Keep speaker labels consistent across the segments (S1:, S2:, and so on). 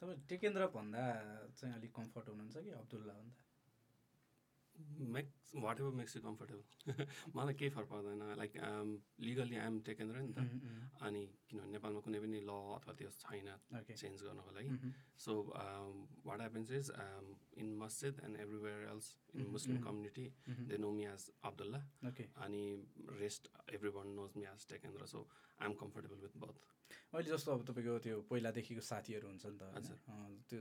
S1: तपाईँ टेकेन्द्र भन्दा चाहिँ अलिक कम्फर्ट हुनुहुन्छ कि अब्दुल्ला भन्दा
S2: makes what ever makes you comfortable मलाई केही फरक पर्दैन um, like legally I'm taken नि त
S1: Mm.
S2: अनि किनभने नेपालमा कुनै पनि ल अथवा त्यो छैन
S1: Okay. Mm.
S2: चेन्ज गर्नको लागि um, so what happens is in मस्जिद and everywhere else in Muslim community they know me as Abdullah
S1: Okay.
S2: अनि rest everyone knows me as Tekendra so I am comfortable with both
S1: अहिले जस्तो अब तपाईँको त्यो पहिलादेखिको साथीहरू हुन्छ नि त होइन?
S2: हजुर।
S1: अँ, त्यो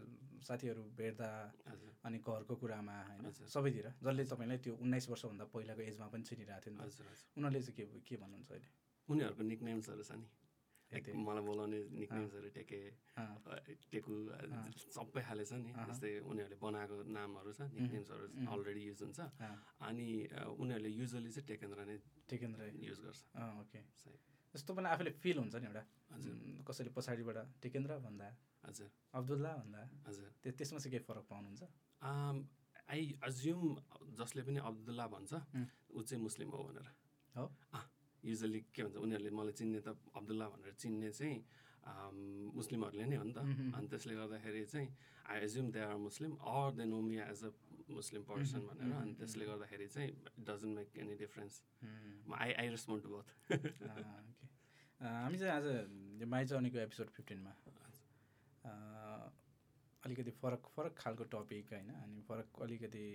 S1: साथीहरू भेट्दा
S2: हजुर
S1: अनि घरको कुरामा होइन
S2: हजुर।
S1: सबैतिर जसले तपाईँलाई त्यो उन्नाइस वर्षभन्दा पहिलाको एजमा पनि चिनिरहेको थियो नि त
S2: हजुर हजुर
S1: उनीहरूले चाहिँ के के भन्नुहुन्छ अहिले
S2: उनीहरूको निकनेम्सहरू छ नि लाइक
S1: त्यही।
S2: मलाई बोलाउने निकनेम्सहरू टेके
S1: अँ,
S2: अ, टेकु अ, सबै खाले छ नि जस्तै उनीहरूले बनाएको नामहरू छ निकनेम्सहरू अलरेडी युज हुन्छ
S1: अँ,
S2: अनि अ, उनीहरूले युजली चाहिँ टेकेन्द्र नै
S1: टेकेन्द्र
S2: युज गर्छ
S1: अँ, ओके
S2: सही।
S1: जस्तो तपाईँलाई आफूले फिल हुन्छ नि एउटा उम्, कसैले पछाडिबाट टेकेन्द्र भन्दा
S2: हजुर
S1: अब्दुल्ला भन्दा
S2: हजुर
S1: त्यो त्यसमा चाहिँ केही फरक पाउनुहुन्छ
S2: आई अज्युम जसले पनि अब्दुल्ला भन्छ ऊ चाहिँ मुस्लिम हो भनेर
S1: हो
S2: युजली के भन्छ उनीहरूले मलाई चिन्ने त अब्दुल्ला भनेर चिन्ने चाहिँ आम, मुस्लिमहरूले नै हो नि त अनि त्यसले गर्दाखेरि चाहिँ I assume they are Muslim or they know me as a Muslim person भनेर अनि त्यसले गर्दाखेरि चाहिँ doesn't make any difference
S1: um,
S2: I I respond to बथ
S1: अँ, ओके अँ, हामी चाहिँ आज यो माइ चनीको एपिसोड फिफ्टिनमा अँ, अलिकति फरक फरक खालको टपिक होइन अनि फरक अलिकति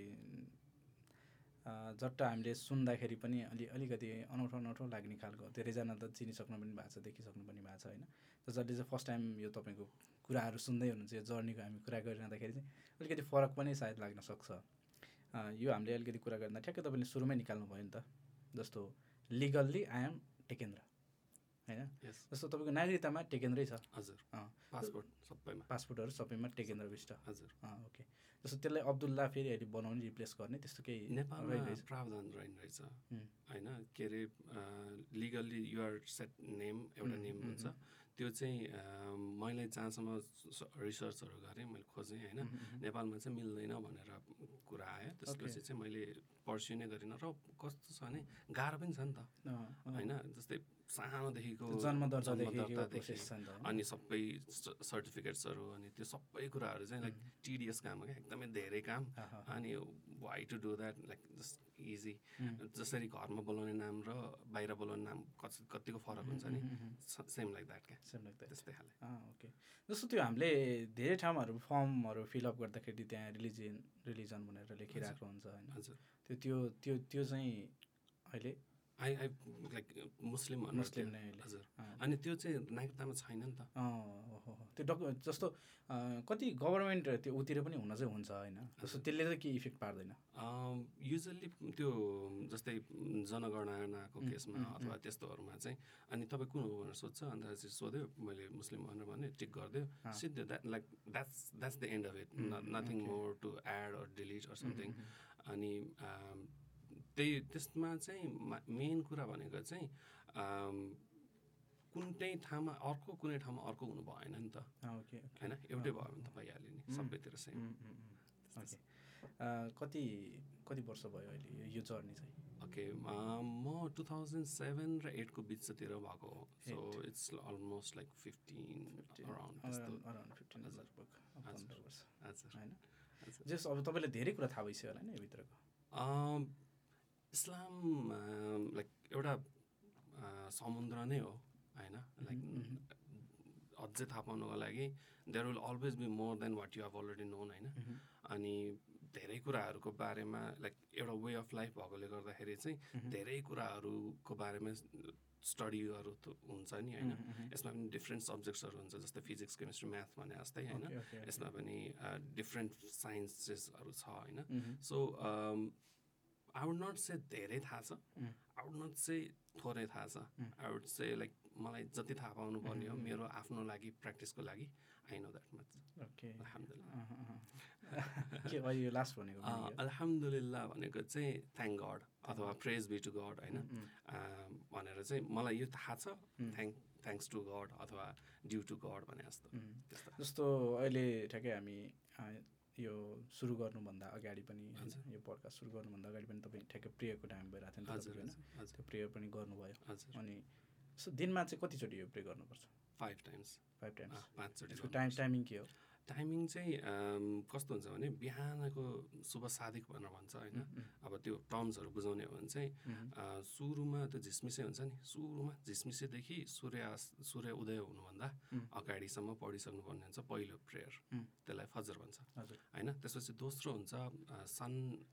S1: अँ, जट्ट हामीले सुन्दाखेरि पनि अलि अलिकति अनौठो अनौठो लाग्ने खालको धेरैजना त चिनिसक्नु पनि भएको छ देखिसक्नु पनि भएको छ होइन त जसले चाहिँ फर्स्ट टाइम यो तपाईँको कुराहरू सुन्दै हुनुहुन्छ यो जर्नीको हामी कुरा गरिरहँदाखेरि चाहिँ अलिकति फरक पनि सायद लाग्न सक्छ अँ, यो हामीले अलिकति कुरा गर्दा ठ्याक्कै तपाईँले सुरुमै निकाल्नुभयो नि त जस्तो लिगल्ली आइएम टेकेन्द्र होइन
S2: यस
S1: जस्तो तपाईँको नागरिकतामा टेकेन्द्रै छ
S2: हजुर
S1: अँ,
S2: पासपोर्ट सबैमा
S1: पासपोर्टहरू सबैमा टेकेन्द्र विष्ट
S2: हजुर
S1: अँ, ओके जस्तो त्यसलाई अब्दुल्ला फेरि अहिले बनाउने रिप्लेस गर्ने त्यस्तो केही
S2: नेपालमा
S1: रहेछ
S2: प्रावधान रहेन रहेछ
S1: हुँ।
S2: होइन के अरे लिगल्ली युआर सेट नेम एउटा नेम हुन्छ त्यो चाहिँ अ, मैले जहाँसम्म स- रिसर्चहरू गरेँ मैले खोजेँ होइन नेपालमा चाहिँ मिल्दैन भनेर कुरा आयो त्यसपछि चाहिँ मैले पर्स्यु नै गरिनँ र कस्तो छ भने गाह्रो पनि छ नि त
S1: अँ, अँ,
S2: होइन जस्तै सानोदेखिको
S1: जन्मदर्तादेखि यो
S2: जन्मदर्तादेखि
S1: process छ नि त, होइन?
S2: अनि सबै स- सर्टिफिकेट्सहरू अनि त्यो सबै कुराहरू चाहिँ लाइक टिडिएस काम हो क्या एकदमै धेरै काम
S1: आहा।
S2: अनि why to do that like just easy जसरी घरमा बोलाउने नाम र बाहिर बोलाउने नाम कति कतिको फरक हुन्छ
S1: Mm-hmm.
S2: नि सेम लाइक द्याट क्या
S1: सेम लाग्दा
S2: त्यस्तै खाले
S1: अँ, ओके जस्तो त्यो हामीले धेरै ठाउँहरू फर्महरू फिलअप गर्दाखेरि त्यहाँ रिलिजियन रिलिजन भनेर लेखिरहेको हुन्छ होइन
S2: हजुर
S1: त्यो त्यो त्यो त्यो चाहिँ अहिले
S2: आई आई लाइक मुस्लिम भनेर
S1: मुस्लिम
S2: त्यो-
S1: नै अहिले।
S2: हजुर
S1: अँ।
S2: अनि त्यो चाहिँ नागरिकतामा छैन नि त
S1: अँ, हो, हो, हो। त्यो डकु जस्तो अँ, कति गभर्मेन्ट त्यो उतिर पनि हुन चाहिँ हुन्छ होइन जस्तो त्यसले चाहिँ केही इफेक्ट पार्दैन
S2: युजल्ली त्यो जस्तै जनगणनाको केसमा अथवा त्यस्तोहरूमा चाहिँ अनि तपाईँ कुन हो भनेर सोध्छ अन्त चाहिँ सोध्यो मैले मुस्लिम भनेर भने टिक गरिदियो सिधै that like that's that's the end of it nothing more to add or delete or something अनि um, त्यही त्यसमा चाहिँ मेन कुरा भनेको चाहिँ um, कुन चाहिँ ठाउँमा अर्को कुनै ठाउँमा अर्को हुनु भएन नि त
S1: अँ, ओके ओके।
S2: होइन एउटै भयो भने त भइहाल्यो नि सबैतिर सेम
S1: उम्, उम्, उम्। ओके अँ, कति कति वर्ष भयो अहिले यो- यो जर्नी चाहिँ
S2: ओके म- म टु थाउजन्ड सेभेन र एटको बिचतिर भएको हो so it's almost like fifteen around
S1: Oh,
S2: त्यस्तो
S1: अराउन्ड फिफ्टिन हजार पन्ध्र वर्ष
S2: हजुर
S1: होइन
S2: हजुर।
S1: जस अब तपाईँलाई धेरै कुरा थाहा भइसक्यो होला नि यो भित्रको
S2: अम, Um, इस्लाम अम, लाइक एउटा अ, समुद्र नै हो होइन
S1: Mm-hmm,
S2: लाइक mm-hmm, अझै थाहा पाउनुको लागि there will always be more than what you have already known होइन अनि धेरै कुराहरूको बारेमा लाइक एउटा वे अफ लाइफ भएकोले गर्दाखेरि चाहिँ धेरै कुराहरूको बारेमा स्टडीहरू त हुन्छ नि होइन यसमा पनि डिफ्रेन्ट सब्जेक्ट्सहरू हुन्छ जस्तै फिजिक्स केमिस्ट्री म्याथ भने जस्तै होइन
S1: Okay, okay, okay.
S2: यसमा पनि डिफ्रेन्ट साइन्सेसहरू छ होइन
S1: Mm-hmm,
S2: um, so I would not say धेरै थाहा छ
S1: Mm.
S2: I would not say थोरै थाहा छ आई वुड से लाइक मलाई जति थाहा पाउनु पर्ने
S1: Mm.
S2: हो मेरो आफ्नो लागि प्र्याक्टिसको लागि I know that much
S1: okay
S2: अलhamdulillah
S1: अँ, अँ, अँ। Uh-huh, के अहिले यो लास्ट भनेको पनि
S2: अँ, अल्हम्दुलिल्लाह भनेको चाहिँ थ्याङ्क गड अथवा praise be to God
S1: Mm.
S2: होइन
S1: Mm-hmm,
S2: अँ, भनेर चाहिँ मलाई यो थाहा छ थ्याङ्क थ्याङ्क्स टु गड अथवा ड्यु टु गड भने जस्तो
S1: mm-hmm।
S2: त्यस्तो
S1: जस्तो अहिले ठ्याक्कै हामी अँ, यो सुरु गर्नुभन्दा अगाडि पनि होइन यो पड्का सुरु गर्नुभन्दा अगाडि पनि तपाईँ ठ्याक्कै प्रेयरको टाइम भइरहेको थियो नि त
S2: हजुर,
S1: तपाईँको, होइन
S2: हजुर।
S1: त्यो प्रेयर पनि गर्नुभयो
S2: हजुर।
S1: अनि सो दिनमा चाहिँ कतिचोटि यो प्रे गर्नुपर्छ
S2: फाइभ टाइम्स
S1: फाइभ टाइम्स
S2: पाँचचोटि
S1: यसको टाइम टाइमिङ के हो
S2: टाइमिङ चाहिँ अम, कस्तो हुन्छ भने बिहानको शुभ सादिक भनेर भन्छ होइन अब त्यो टर्म्सहरू बुझाउने हो भने चाहिँ अ, सुरुमा त्यो झिसमिसै हुन्छ नि सुरुमा झिसमिसेदेखि सूर्यास्त सूर्य उदय हुनुभन्दा
S1: उम्.
S2: अगाडिसम्म पढिसक्नुपर्ने हुन्छ पहिलो प्रेयर
S1: उम्.
S2: त्यसलाई फजर भन्छ
S1: हजुर।
S2: होइन त्यसपछि दोस्रो हुन्छ अ, सन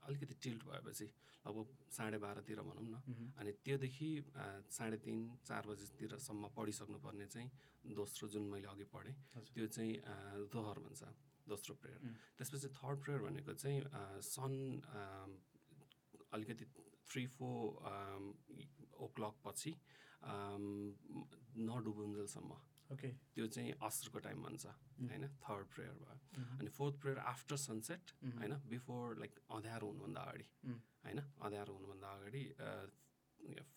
S2: अलिकति टिल्ट भएपछि लगभग साढे बाह्रतिर भनौँ न
S1: उम्.
S2: अनि त्योदेखि अ, साढे तिन चार बजीतिरसम्म पढिसक्नुपर्ने चाहिँ दोस्रो जुन मैले अघि पढेँ
S1: हजुर।
S2: त्यो चाहिँ अ, दोहर भन्छ दोस्रो प्रेयर
S1: उम्.
S2: त्यसपछि थर्ड प्रेयर भनेको चाहिँ अ, सन अ, अलिकति थ्री फोर ओ क्लक पछि अम, नडुबुन्जेलसम्म
S1: ओके
S2: त्यो चाहिँ असरको टाइम भन्छ
S1: उम्.
S2: होइन थर्ड प्रेयर भयो
S1: उम्.
S2: अनि फोर्थ प्रेयर आफ्टर सनसेट
S1: उम्.
S2: होइन बिफोर लाइक अँध्यारो हुनुभन्दा अगाडि
S1: उम्.
S2: होइन अँध्यारो हुनुभन्दा अगाडि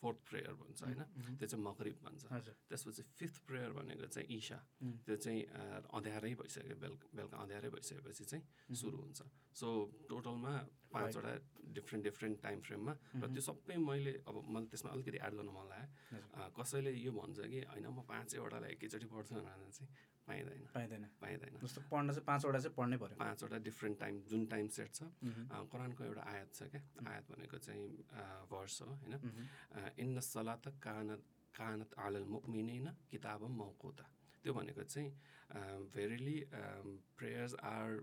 S2: फोर्थ प्रेयर भन्छ होइन
S1: उम्.
S2: त्यो चाहिँ मगरिब भन्छ
S1: हजुर
S2: त्यसपछि फिफ्थ प्रेयर भनेको चाहिँ ईशा
S1: उम्.
S2: त्यो चाहिँ अ, अँध्यारै भइसक्यो बेलुका बेलुका अँध्यारै भइसकेपछि चाहिँ
S1: Mm-hmm.
S2: सुरु हुन्छ सो टोटलमा पाँचवटा डिफ्रेन्ट डिफ्रेन्ट टाइम फ्रेममा र
S1: Mm-hmm.
S2: त्यो सबै मैले अब मैले त्यसमा अलिकति एड गर्न मन लाग्यो
S1: हजुर।
S2: अ, कसैले यो भन्छ कि होइन म पाँचैवटालाई एकैचोटि पढ्छु भनेर चाहिँ पाइँदैन
S1: पाइँदैन
S2: पाइँदैन
S1: जस्तो पढ्न चाहिँ पाँचवटा चाहिँ पढ्नै पऱ्यो
S2: पाँचवटा डिफ्रेन्ट टाइम जुन टाइम सेट छ
S1: उम्.
S2: अ, कुरानको एउटा आयत छ क्या आयत भनेको चाहिँ अ, वर्ष हो होइन
S1: उम्.
S2: अ, इन्न सलात कानत कानत आलल मुकमिनेन किताब मौकोता त्यो भनेको चाहिँ भेरिली प्रेयर्स आर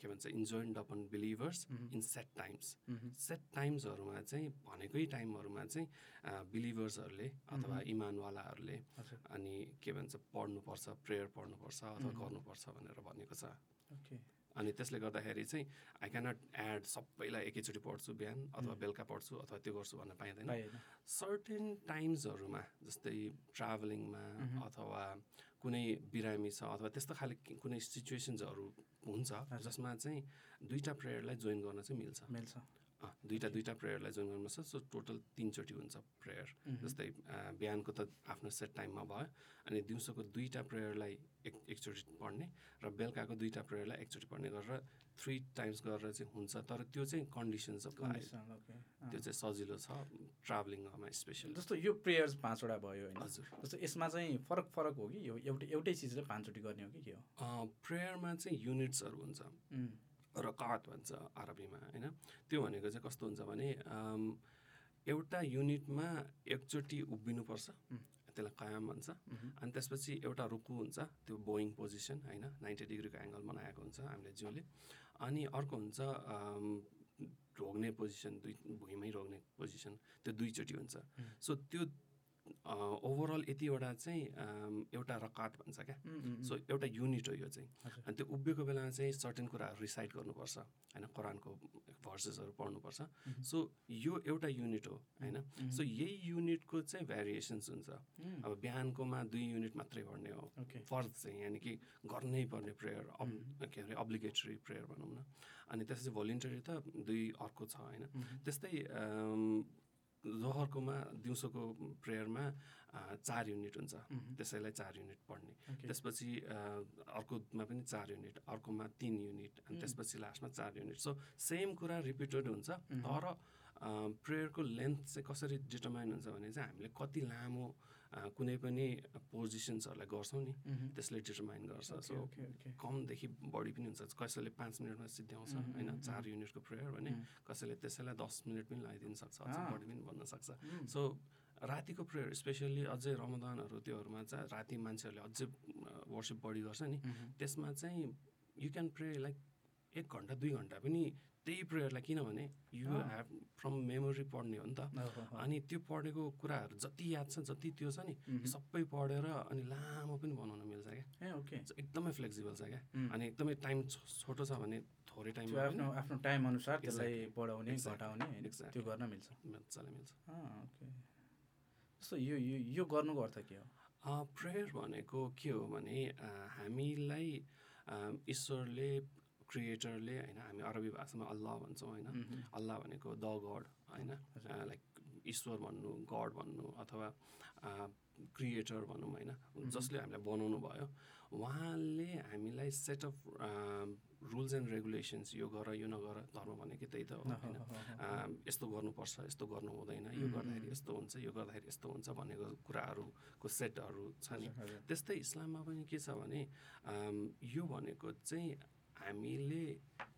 S2: के भन्छ इन्जोइन्ड अपन बिलिभर्स
S1: उम्.
S2: इन सेट टाइम्स
S1: उम्.
S2: सेट टाइम्सहरूमा चाहिँ भनेकै टाइमहरूमा चाहिँ बिलिभर्सहरूले अथवा इमानवालाहरूले
S1: हजुर।
S2: अनि के भन्छ पढ्नुपर्छ प्रेयर पढ्नुपर्छ अथवा गर्नुपर्छ भनेर भनेको छ
S1: ओके
S2: अनि त्यसले गर्दाखेरि चाहिँ आई क्यानट एड सबैलाई एकैचोटि पढ्छु बिहान अथवा बेलुका पढ्छु अथवा त्यो गर्छु भन्न पाइँदैन
S1: पाइएन
S2: सर्टेन टाइम्सहरूमा जस्तै ट्राभलिङमा अथवा कुनै बिरामी छ अथवा त्यस्तो खाले कि- कुनै सिचुएसन्सहरू हुन्छ जसमा चाहिँ दुईवटा प्रेयरलाई जोइन गर्न चाहिँ मिल्छ
S1: मिल्छ
S2: अँ, दुईवटा दुईवटा प्रेयरलाई जोइन गर्नु छ सो टोटल तिनचोटि हुन्छ प्रेयर जस्तै अ, बिहानको त आफ्नो सेट टाइममा भयो अनि दिउँसोको दुईवटा प्रेयरलाई एक एकचोटि पढ्ने र बेलुकाको दुईवटा प्रेयरलाई एकचोटि पढ्ने गरेर थ्री टाइम्स गरेर चाहिँ हुन्छ तर त्यो चाहिँ conditions of life
S1: condition, okay अँ।
S2: त्यो चाहिँ सजिलो छ ट्राभलिङमा स्पेसली
S1: जस्तो यो प्रेयर्स पाँचवटा भयो होइन
S2: हजुर
S1: जस्तो यसमा चाहिँ फरक फरक हो कि यो एउटै एउटै चिजले पाँचचोटि गर्ने हो कि के हो
S2: प्रेयरमा चाहिँ युनिट्सहरू हुन्छ
S1: उम्,
S2: रकात भन्छ अरबीमा होइन त्यो भनेको चाहिँ कस्तो हुन्छ भने अम, एउटा युनिटमा एकचोटि उभिनुपर्छ
S1: उम्.
S2: त्यसलाई कायम भन्छ
S1: उम्,
S2: अनि त्यसपछि एउटा रुकु हुन्छ त्यो बोइङ पोजिसन होइन नाइन्टी डिग्रीको एङ्गल बनाएको हुन्छ हामीले जिउले अनि अर्को हुन्छ अम, रोग्ने पोजिसन दुई भुइँमै रोग्ने पोजिसन त्यो दुईचोटि हुन्छ
S1: उम्.
S2: सो त्यो ओभरअल यतिवटा चाहिँ अम, एउटा रकात भन्छ क्या
S1: उम्, उम्,
S2: सो एउटा युनिट हो यो चाहिँ
S1: हजुर।
S2: अनि त्यो उभिएको बेलामा चाहिँ सर्टेन कुराहरू रिसाइट गर्नुपर्छ होइन कुरानको भर्सेसहरू पढ्नुपर्छ सो यो एउटा युनिट हो होइन सो यही युनिटको चाहिँ भेरिएसन्स हुन्छ
S1: उम्,
S2: अब बिहानकोमा दुई युनिट मात्रै पढ्ने हो
S1: ओके
S2: फर्ज चाहिँ यानि कि गर्नै पर्ने प्रेयर अब के अरे अब्लिगेटरी प्रेयर भनौँ न अनि त्यसपछि भोलिन्टरी त दुई अर्को छ होइन
S1: उम्,
S2: त्यस्तै अम, जोहरकोमा दिउँसोको प्रेयरमा अ, चार युनिट हुन्छ
S1: उम्,
S2: त्यसैलाई चार युनिट पढ्ने
S1: ओके
S2: त्यसपछि अ, अर्कोमा पनि चार युनिट अर्कोमा तिन युनिट अनि
S1: उम्.
S2: त्यसपछि लास्टमा चार युनिट सो सेम कुरा रिपिटेड हुन्छ
S1: उम्.
S2: तर प्रेयरको लेन्थ चाहिँ कसरी डिटर्माइन हुन्छ भने चाहिँ हामीले कति लामो अ, कुनै पनि पोजिसन्सहरूलाई गर्छौँ नि
S1: उम्,
S2: त्यसले डिटर्माइन गर्छ
S1: ओके,
S2: सो
S1: ओके, ओके।
S2: कमदेखि बढी पनि हुन्छ कसैले पाँच मिनटमा सिद्ध्याउँछ
S1: उम्,
S2: होइन
S1: उम्,
S2: चार युनिटको प्रेयर भने
S1: उम्.
S2: कसैले त्यसैलाई दस मिनट पनि लगाइदिन सक्छ अझ
S1: अँ।
S2: बढी पनि भन्न सक्छ
S1: उम्,
S2: सो रातिको प्रेयर स्पेसल्ली अझै रमदानहरू त्योहरूमा चाहिँ राति मान्छेहरूले अझै वर्सिप बढी गर्छ नि
S1: उम्,
S2: त्यसमा चाहिँ यु क्यान प्रे लाइक एक घन्टा दुई घन्टा पनि त्यही प्रेयरलाई किनभने यु
S1: अँ।
S2: हेभ फ्रम मेमोरी पढ्ने हो नि त
S1: ओहो, हो।
S2: अनि त्यो पढेको कुराहरू जति याद छ जति त्यो छ नि
S1: उम्,
S2: सबै पढेर अनि लामो पनि बनाउन मिल्छ क्या
S1: ए ओके
S2: So एकदमै फ्लेक्सिबल छ क्या
S1: उम्,
S2: अनि एकदमै टाइम छो- छोटो छ भने थोरै
S1: त्यो
S2: टाइममा पनि
S1: Mm. आफ्नो आफ्नो टाइम अनुसार त्यसलाई
S2: Exactly,
S1: बढाउने
S2: exactly,
S1: घटाउने होइन
S2: exactly.
S1: त्यो गर्न मिल्छ
S2: मजाले मिल्छ
S1: अँ, ओके जस्तो यो यो यो गर्नुको अर्थ के हो
S2: प्रेयर भनेको के हो भने अ, हामीलाई अ, ईश्वरले क्रिएटरले होइन हामी अरबी भाषामा अल्लाह भन्छौँ होइन
S1: उम्,
S2: अल्लाह भनेको द गड होइन
S1: हजुर।
S2: लाइक ईश्वर भन्नु गड भन्नु अथवा क्रिएटर भनौँ होइन जसले हामीलाई बनाउनु भयो उहाँले हामीलाई set of rules and regulations यो गर यो नगर धर्म भनेको त्यही त
S1: Oh,
S2: हो होइन अम, यस्तो गर्नुपर्छ यस्तो गर्नु हुँदैन यो गर्दाखेरि यस्तो हुन्छ यो गर्दाखेरि यस्तो हुन्छ भनेको कुराहरूको सेटहरू छ नि
S1: हजुर।
S2: त्यस्तै इस्लाममा पनि के छ भने अम, यो भनेको चाहिँ हामीले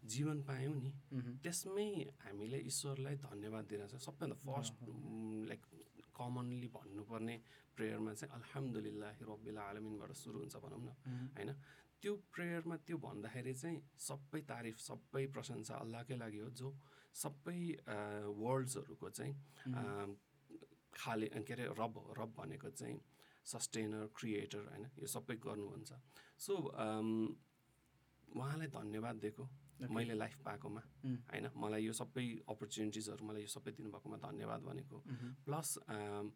S2: जीवन पायौँ नि
S1: Mm-hmm.
S2: त्यसमै हामीले ईश्वरलाई धन्यवाद दिइरहेको छ सबभन्दा फर्स्ट लाइक कमनली भन्नुपर्ने प्रेयरमा चाहिँ अल्हम्दुलिल्लाह रब्बिल आलमिनबाट सुरु हुन्छ भनौँ न होइन त्यो प्रेयरमा त्यो भन्दाखेरि चाहिँ सबै तारिफ सबै प्रशंसा अल्लाहकै लागि हो जो सबै वर्ल्ड्सहरूको चाहिँ
S1: Mm-hmm. Uh,
S2: अम, खाले के अरे रब हो रब भनेको चाहिँ सस्टेनर क्रिएटर होइन यो सबै गर्नुहुन्छ सो अम, उहाँलाई धन्यवाद दिएको मैले लाइफ पाएकोमा
S1: उम्.
S2: होइन मलाई यो सबै अपर्च्युनिटिजहरू मलाई यो सबै दिनुभएकोमा धन्यवाद भनेको
S1: Mm-hmm.
S2: प्लस अम,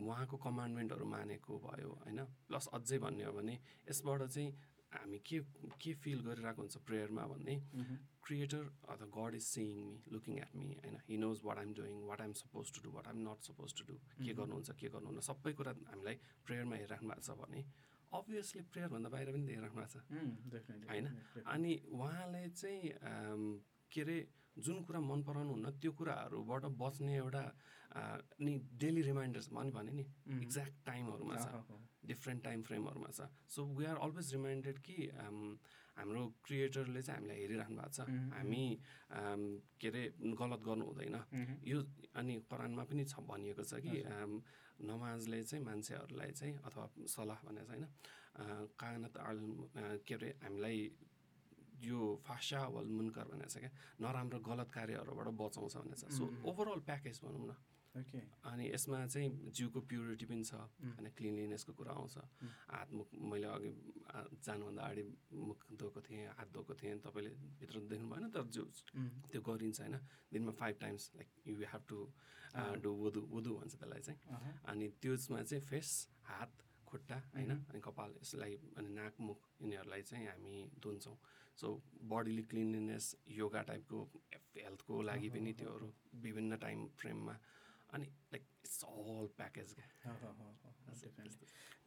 S2: उहाँको कमान्डमेन्टहरू मानेको भयो होइन प्लस अझै भन्ने हो भने यसबाट चाहिँ हामी के के फिल गरिरहेको हुन्छ प्रेयरमा भन्ने
S1: Mm-hmm.
S2: क्रिएटर अथवा God is seeing me looking at me होइन he knows what I'm doing what I'm suppose to do what I'm not suppose to do के गर्नुहुन्छ के गर्नुहुन्न सबै कुरा हामीलाई प्रेयरमा हेरिराख्नु भएको छ भने अभियसली प्रेयरभन्दा बाहिर पनि हेरिराख्नु भएको छ
S1: Mm,
S2: होइन अनि उहाँले चाहिँ अम, के अरे जुन कुरा मन पराउनुहुन्न त्यो कुराहरूबाट बच्ने एउटा अ, नि डेली रिमाइन्डर्स मैले भने नि
S1: Mm-hmm.
S2: एक्ज्याक्ट टाइमहरूमा
S1: Ah,
S2: छ डिफ्रेन्ट टाइम फ्रेमहरूमा छ so we are always reminded कि अम, हाम्रो क्रिएटरले चाहिँ हामीलाई हेरिरहनु भएको छ
S1: Mm-hmm।
S2: हामी अम, के अरे गलत गर्नु हुँदैन
S1: mm-hmm.
S2: यो अनि कुरानमा पनि छ भनिएको छ कि अम, नमाजले चाहिँ मान्छेहरूलाई चाहिँ अथवा सलाह भनेर चाहिँ होइन अ, कानत आल अ, के अरे हामीलाई यो फासा वल मुनकर भनेर छ क्या नराम्रो गलत कार्यहरूबाट बचाउँछ भनेर छ सो ओभरअल प्याकेज भनौँ न
S1: ओके
S2: अनि यसमा चाहिँ जिउको प्युरिटी पनि छ
S1: Mm.
S2: होइन क्लिनलिनेसको कुरा आउँछ हात मुख मैले अघि आ- जानुभन्दा अगाडि मुख धोएको थिएँ हात धोएको थिएँ तपाईँले भित्र देख्नु भएन तर जिउ
S1: Mm.
S2: त्यो गरिन्छ होइन दिनमा five times like you have to do वुदु वुदु भन्छ त्यसलाई चाहिँ
S1: Uh-huh.
S2: अनि त्यसमा चाहिँ फेस हात खुट्टा होइन अनि कपाल यसलाई अनि नाक मुख यिनीहरूलाई चाहिँ हामी धुन्छौँ सो बडीली क्लिनलिनेस योगा टाइपको हेल्थको लागि पनि त्योहरू विभिन्न टाइम फ्रेममा अनि लाइक इट्स अल प्याकेज क्या
S1: Ah,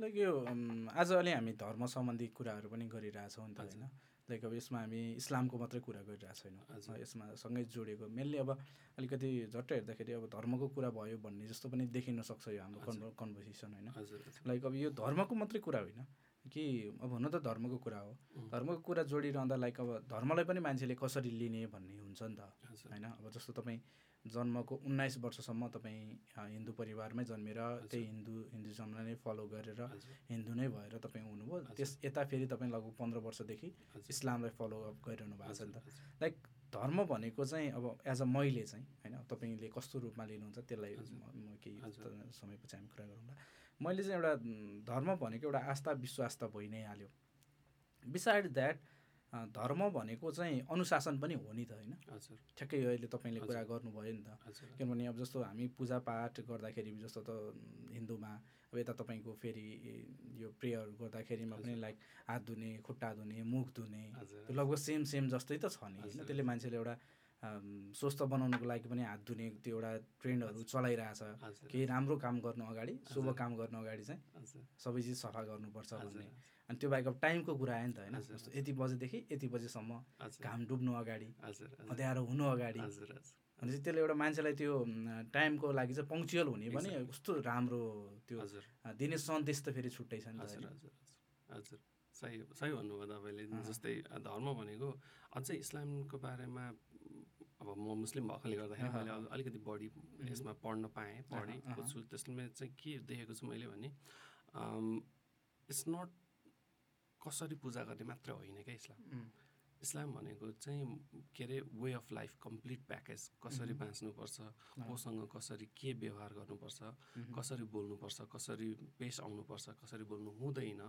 S1: लाइक यो अम, um, आज अलि हामी धर्म सम्बन्धी कुराहरू पनि गरिरहेछौँ नि त होइन लाइक अब यसमा हामी इस्लामको मात्रै कुरा गरिरहेको छैनौँ यसमा सँगै जोडिएको मेनली अब अलिकति झट्ट हेर्दाखेरि अब धर्मको कुरा भयो भन्ने जस्तो पनि देखिन सक्छ यो हाम्रो कन्भर कन्भर्सेसन होइन
S2: हजुर
S1: लाइक अब यो धर्मको मात्रै कुरा होइन कि अब हुन त धर्मको कुरा हो धर्मको कुरा जोडिरहँदा लाइक अब धर्मलाई पनि मान्छेले कसरी लिने भन्ने हुन्छ नि त
S2: हजुर
S1: होइन अब जस्तो तपाईँ जन्मको उन्नाइस वर्षसम्म तपाईँ अ, हिन्दू परिवारमै जन्मेर त्यही हिन्दू हिन्दुजमलाई नै फलो गरेर
S2: हजुर।
S1: हिन्दू नै भएर तपाईँ हुनुभयो त्यस यता फेरि तपाईँ लगभग पन्ध्र वर्षदेखि
S2: हजुर।
S1: इस्लामलाई फलो अप गरिरहनु भएको छ नि त
S2: हजुर, हजुर।
S1: लाइक धर्म भनेको चाहिँ अब एज अ मैले चाहिँ होइन तपाईँले कस्तो रूपमा लिनुहुन्छ त्यसलाई म- म केही त- समयपछि हामी कुरा गरौँला मैले चाहिँ एउटा म, धर्म भनेको एउटा आस्था विश्वास त भइ नै हाल्यो बिसाइड द्याट धर्म भनेको चाहिँ अनुशासन पनि हो नि त होइन
S2: हजुर
S1: ठ्याक्कै यो अहिले तपाईँले कुरा गर्नुभयो नि त
S2: हजुर
S1: किनभने अब जस्तो हामी पूजापाठ गर्दाखेरि जस्तो त हिन्दूमा अब यता तपाईँको फेरि यो प्रेयर गर्दाखेरिमा पनि लाइक हात धुने खुट्टा धुने मुख धुने
S2: हजुर।
S1: त्यो लगभग सेम सेम जस्तै त छ नि होइन त्यसले मान्छेले एउटा अम, स्वस्थ बनाउनुको लागि पनि हात धुने त्यो एउटा ट्रेन्डहरू चलाइरहेछ
S2: हजुर।
S1: केही राम्रो काम गर्नु अगाडि शुभ काम गर्नु अगाडि चाहिँ
S2: हजुर
S1: सबै चिज सफा गर्नुपर्छ भन्ने अनि त्यो बाहेक अब टाइमको कुरा आयो नि त होइन जस्तो यति बजेदेखि यति बजेसम्म
S2: हजुर।
S1: घाम डुब्नु अगाडि
S2: हजुर हजुर
S1: अँध्यारो हुनु अगाडि
S2: हजुर हजुर
S1: भनेपछि त्यसले एउटा मान्छेलाई त्यो म, टाइमको लागि चाहिँ पङ्क्चुअल हुने भने कस्तो राम्रो त्यो
S2: हजुर
S1: अ, दिने सन्देश त फेरि छुट्टै छ नि त
S2: हजुर
S1: होइन?
S2: हजुर हजुर सही सही भन्नुभयो तपाईँले जस्तै धर्म भनेको अझै इस्लामको बारेमा अब म मुस्लिम भएकोले गर्दाखेरि मैले अ- अलिकति बढी यसमा पढ्न पाएँ पढेको छु त्यसमा चाहिँ के देखेको छु मैले भने इट्स नट कसरी पूजा गर्ने मात्र होइन क्या इस्लाम
S1: उम्,
S2: इस्लाम भनेको चाहिँ के अरे way of life complete package कसरी बाँच्नुपर्छ कोसँग कसरी के व्यवहार गर्नुपर्छ कसरी बोल्नुपर्छ कसरी पेस आउनुपर्छ कसरी बोल्नु हुँदैन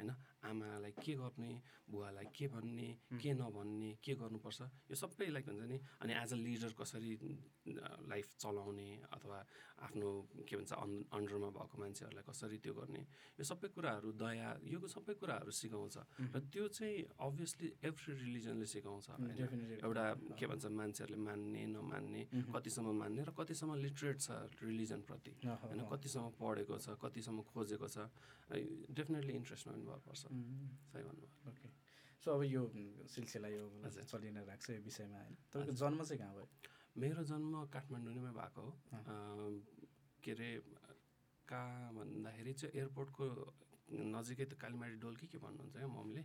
S2: होइन आमालाई के गर्ने बुवालाई के भन्ने के नभन्ने के गर्नुपर्छ यो सबै लाइक हुन्छ नि अनि एज अ लिडर कसरी अ, लाइफ चलाउने अथवा आफ्नो के भन्छ अन अन्डरमा भएको मान्छेहरूलाई कसरी त्यो गर्ने यो सबै कुराहरू दया यो सबै कुराहरू सिकाउँछ र त्यो चाहिँ अभियसली एभ्री रिलिजनले सिकाउँछ होइन
S1: डेफिनेटली
S2: एउटा के भन्छ मान्छेहरूले मान्ने नमान्ने कतिसम्म मान्ने र कतिसम्म लिटरेट छ रिलिजनप्रति होइन कतिसम्म पढेको छ कतिसम्म खोजेको छ डेफिनेटली इन्ट्रेस्ट नभएको पर्छ सही भन्नुभयो
S1: ओके सो अब यो उम्, सिलसिला यो
S2: हजुर।
S1: चलि नै राख्छ यो विषयमा होइन तपाईँको जन्म चाहिँ कहाँ भयो
S2: मेरो जन्म काठमाडौँ नैमा भएको हो
S1: अँ।
S2: अम, के अरे कहाँ भन्दाखेरि चाहिँ एयरपोर्टको नजिकै त कालीमाटी डोल कि के भन्नुहुन्छ क्या मम्मीले